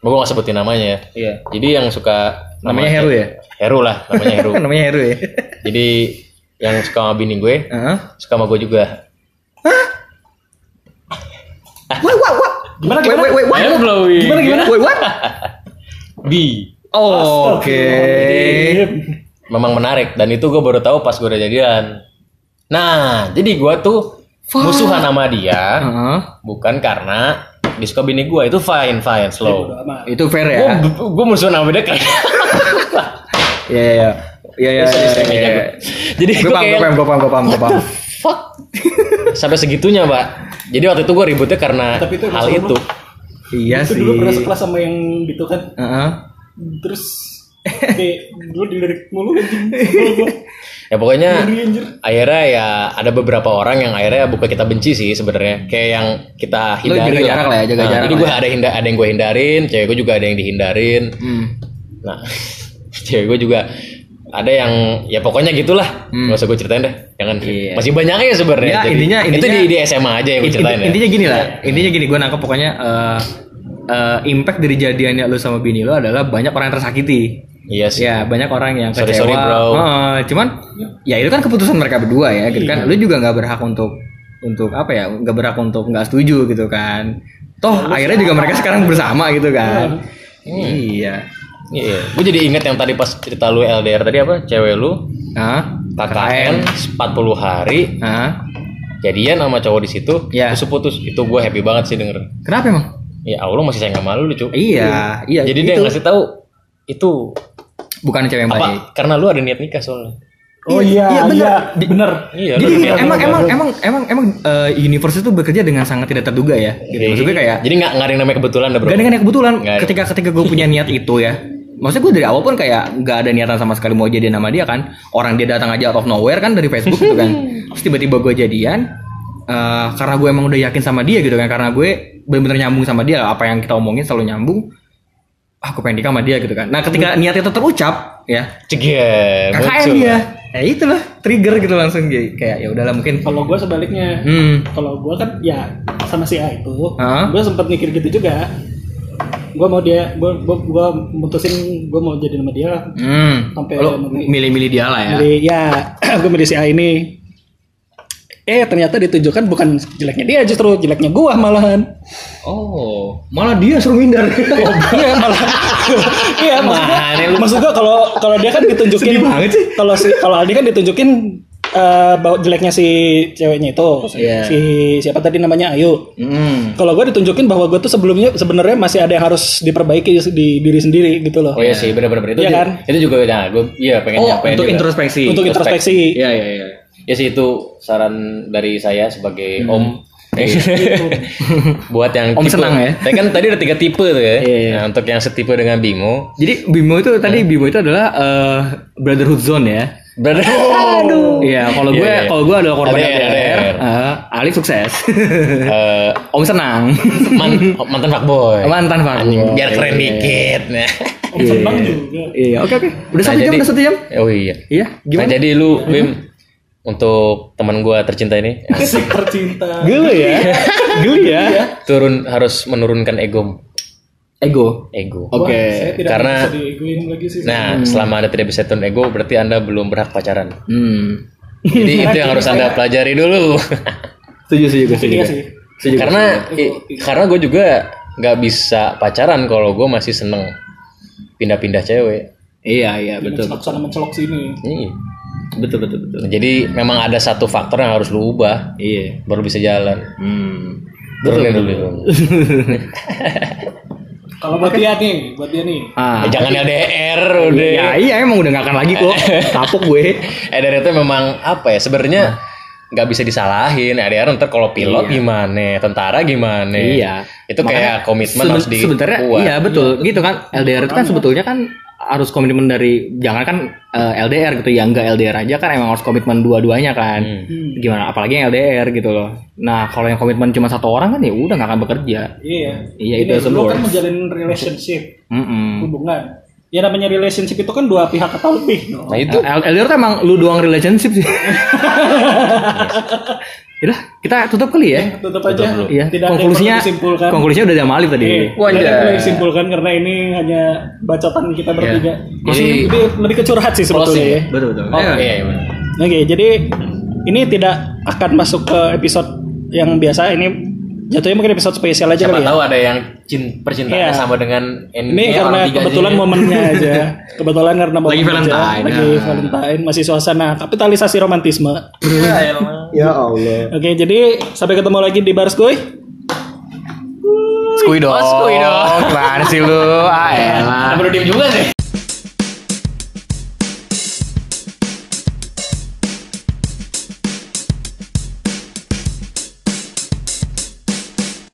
C: Gue gak sebutin namanya. ya.
B: Iya.
C: Jadi yang suka
B: Namanya Heru ya?
C: Heru lah namanya Heru.
B: Namanya Heru ya.
C: jadi yang suka sama bini gue,
B: Heeh.
C: suka sama gue juga. Eh.
B: Wah wah wah.
A: Gimana,
B: Wait,
A: gimana?
B: wait, wait, what?
C: Ayo, Blowi.
A: Gimana, gimana?
B: Wait, what?
C: Bi.
B: Oh, Oke.
A: Astagfirullahaladzim.
C: Memang menarik dan itu gue baru tahu pas gue udah jadian. Nah jadi gue tuh musuhan sama dia
B: Heeh.
C: bukan karena dia suka bini gue itu fine fine slow.
A: Bodo amat.
B: Itu fair ya.
C: gue gue musuhan sama dia kayak
B: Iya iya. Iya iya. iya,
C: Istri
B: iya,
C: meja
B: iya.
C: gua. jadi
B: Gue
C: gue
B: paham, gue
C: kayak
B: paham, gue paham, gue paham, gue paham.
C: fuck sampai segitunya pak jadi waktu itu gue ributnya karena
A: Tapi itu
C: hal
A: masalah
C: itu
B: Iya
A: Itu
B: sih.
A: dulu pernah sekelas sama yang gitu kan.
B: Heeh.
A: Terus kayak dulu dilirik mulu anjing. Sebel gua.
C: ya pokoknya
B: Nah.
A: Ngeri, anjir.
C: akhirnya ya ada beberapa orang yang akhirnya bukan kita benci sih sebenarnya kayak yang kita
B: Lu
C: hindari
B: jaga jarak lah ya, jaga
C: Nah,
B: jarak
C: jadi
B: lah
C: gue ada hinda ada yang gue hindarin cewek gue juga ada yang dihindarin
B: Hmm.
C: nah cewek gue juga ada yang ya pokoknya gitulah nggak usah gue ceritain deh jangan
B: Hmm. Iya.
C: masih banyak ya sebenarnya
B: Ya,
C: Jadi,
B: intinya-
C: itu di,
B: intinya-
C: di SMA aja yang gue
B: Inti-
C: ceritain ya.
B: intinya gini lah intinya gini gue nangkep pokoknya eh, eh, impact dari jadiannya lo sama bini lo adalah banyak orang yang tersakiti
C: iya sih
B: ya banyak orang yang
C: Sorry,
B: kecewa
C: sorry, bro. Iya.
B: Heeh, cuman ya itu kan keputusan mereka berdua ya gitu kan lo juga nggak berhak untuk untuk apa ya nggak berhak untuk nggak setuju gitu kan toh
C: Iya,
B: akhirnya juga mereka sekarang bersama gitu kan iya
C: Iya, gue jadi inget yang tadi pas cerita lu LDR tadi apa? Cewek lu
B: ah
C: KKN 40 hari
B: ah
C: jadian sama cowok di situ,
B: Iya.
C: terus putus. Itu gue happy banget sih denger.
B: kenapa emang
C: Ya Allah masih sayang sama lu, lucu.
B: iya iya
C: jadi dia
B: itu.
C: ngasih tahu itu
B: bukan cewek yang
C: apa?
B: baik
C: Karena lu ada niat nikah soalnya.
A: Oh iya,
B: Iya,
A: iya,
B: bener.
A: Di- bener.
C: Iya, lu
B: jadi
C: ada
B: gini,
C: niat.
B: emang emang emang emang emang eh, universe itu bekerja dengan sangat tidak terduga ya gitu. maksud gue kayak
C: Jadi nggak nggak ada yang namanya kebetulan dah Iya. bro.
B: Gak dengan yang kebetulan
C: Nggak ada.
B: ketika ketika gue punya niat itu ya. Maksudnya gue dari awal pun kayak nggak ada niatan sama sekali mau jadian sama dia kan. Orang dia datang aja out of nowhere kan dari Facebook gitu kan. Terus tiba-tiba gue jadian. eh, karena gue emang udah yakin sama dia gitu kan. Karena gue bener-bener nyambung sama dia. Apa yang kita omongin selalu nyambung. Ah, Aku pengen nikah sama dia gitu kan. Nah ketika niat itu terucap ya.
C: Ceger,
B: KKN
C: muncul.
B: dia. Ya itulah trigger gitu langsung kayak kayak ya udahlah mungkin.
A: Kalau gue sebaliknya,
B: Hmm.
A: kalau gue kan ya sama si A itu,
B: Hah?
A: gue sempet mikir gitu juga. Gue mau dia, gue gue gue mutusin gue mau jadi sama dia.
B: Hmm.
A: Sampai
B: Lo milih-milih dia lah ya.
A: Jadi ya, gue milih si A ini. Eh ternyata ditujukan bukan jeleknya dia justru jeleknya gue malahan.
B: Oh, malah dia suruh ngindar.
A: Iya malah. Iya maksud gua-
C: Mana lu?
A: maksud gua kalau kalau dia kan ditunjukin
B: Sedih banget sih.
A: Kalau si kalau Aldi kan ditunjukin eh bau jeleknya si ceweknya itu.
B: Iya.
A: Si siapa tadi namanya Ayu.
B: Hmm.
A: Kalau gue ditunjukin bahwa gue tuh sebelumnya sebenarnya masih ada yang harus diperbaiki di diri sendiri gitu loh.
C: Oh iya sih, benar-benar itu.
A: Iya
C: ju-
A: kan?
C: Itu juga nah, gue iya pengen
B: Oh,
C: nyampein
B: untuk
C: juga.
B: introspeksi.
A: Untuk introspeksi.
B: Iya, iya, iya.
C: Ya sih itu saran dari saya sebagai om. Buat yang
B: Hmm. gitu. Om
C: tipe-
B: senang ya?
C: Tapi kan tadi ada tiga tipe tuh ya.
B: Iya, iya.
C: Nah, untuk yang setipe dengan Bimo,
B: Jadi Bimo itu tadi Bimo itu adalah eh, brotherhood zone ya.
C: brother.
B: Iya, kalau
C: Iya,
B: gue
C: iya.
B: kalau gue adalah korban
C: LDR.
B: LDR, eh, Ali sukses.
C: Eh,
B: Om senang.
C: man- mantan fuckboy.
B: Mantan Pak.
C: Anjing, biar keren dikit. Nah.
A: Senang juga.
B: Iya, oke oke. Udah
C: Nah,
B: satu jam,
C: jadi-
B: udah satu jam.
C: Oh iya.
B: Iya,
C: Nah,
B: gimana?
C: jadi lu Bim untuk teman gua tercinta ini
A: Asik tercinta.
B: Geli ya. Geli ya.
C: turun harus menurunkan ego
B: Ego.
C: ego.
B: Oke.
A: Saya tidak
C: Karena-
A: bisa diegoin lagi sih.
C: Nah, selama Anda tidak bisa turun ego berarti Anda belum berhak pacaran.
B: Hmm.
C: Jadi itu yang harus Anda pelajari dulu.
B: Setuju, setuju, gue, setuju.
A: Iya
B: gue.
A: sih.
B: Setuju. gue.
C: karena
B: iya.
C: i- karena gue juga nggak bisa pacaran kalau gue masih seneng pindah-pindah cewek.
B: Iya, iya, betul.
A: Mencelok sana mencelok sini.
C: Iya.
B: Betul, betul, betul.
C: Jadi memang ada satu faktor yang harus lu ubah
B: Iya.
C: baru bisa jalan.
B: Hmm.
C: Turunin dulu.
A: Kalau buat dia nih, buat dia nih.
B: Ah.
C: Eh, jangan LDR udah.
B: Ya, iya emang udah gak akan lagi kok. Tapok gue.
C: LDR
B: Iya.
C: itu memang apa ya sebenarnya nggak bisa disalahin LDR ntar kalau pilot
B: Nah. Iya.
C: gimana tentara gimana
B: Iya.
C: itu
B: Makanya
C: kayak komitmen
B: seben-
C: harus dibuat
B: Sebenarnya iya betul gitu kan LDR itu kan sebetulnya kan harus komitmen dari jangan kan eh, LDR gitu ya enggak LDR aja kan emang harus komitmen dua-duanya kan.
C: Hmm.
B: Gimana apalagi yang LDR gitu loh. Nah, kalau yang komitmen cuma satu orang kan ya udah nggak akan bekerja.
A: Iya.
B: Iya, it
A: Ini
B: doesn't
A: lu
B: work.
A: kan menjalin relationship.
B: Mm-mm.
A: hubungan. Ya namanya relationship itu kan dua pihak atau lebih. dong.
C: nah itu
B: L- LDR tuh emang lu doang relationship sih. Yaudah, kita tutup kali ya.
A: Tetap aja.
C: dulu.
B: Iya,
A: Tidak ada yang perlu
B: konklusinya
A: disimpulkan.
B: konklusinya udah sama Alif tadi.
A: Iya, tidak ada yang perlu disimpulkan karena ini hanya bacotan kita bertiga. Jadi
C: Iya. Jadi-
A: lebih, lebih kecurhat sih sebetulnya. ya.
B: Betul betul.
C: oh, iya, iya.
A: Oke, jadi ini tidak akan masuk ke episode yang biasa. Ini jatuhnya mungkin episode spesial aja
B: Iya.
C: siapa
A: kali ya.
C: tahu ada yang cin- percintaannya
A: Iya.
C: sama dengan
A: Ini
C: endingnya
A: karena
C: orang tiga
A: kebetulan
C: aja.
A: momennya aja. Kebetulan karena momennya aja.
F: Valentine,
A: Lagi
F: ya.
A: Valentine, masih suasana kapitalisasi romantisme.
B: Ya Allah.
A: Oke, jadi sampai ketemu lagi di Bars Goy.
B: Oh, Skui dong. Gimana sih lu? Ah, elah.
C: Nah, perlu diem juga sih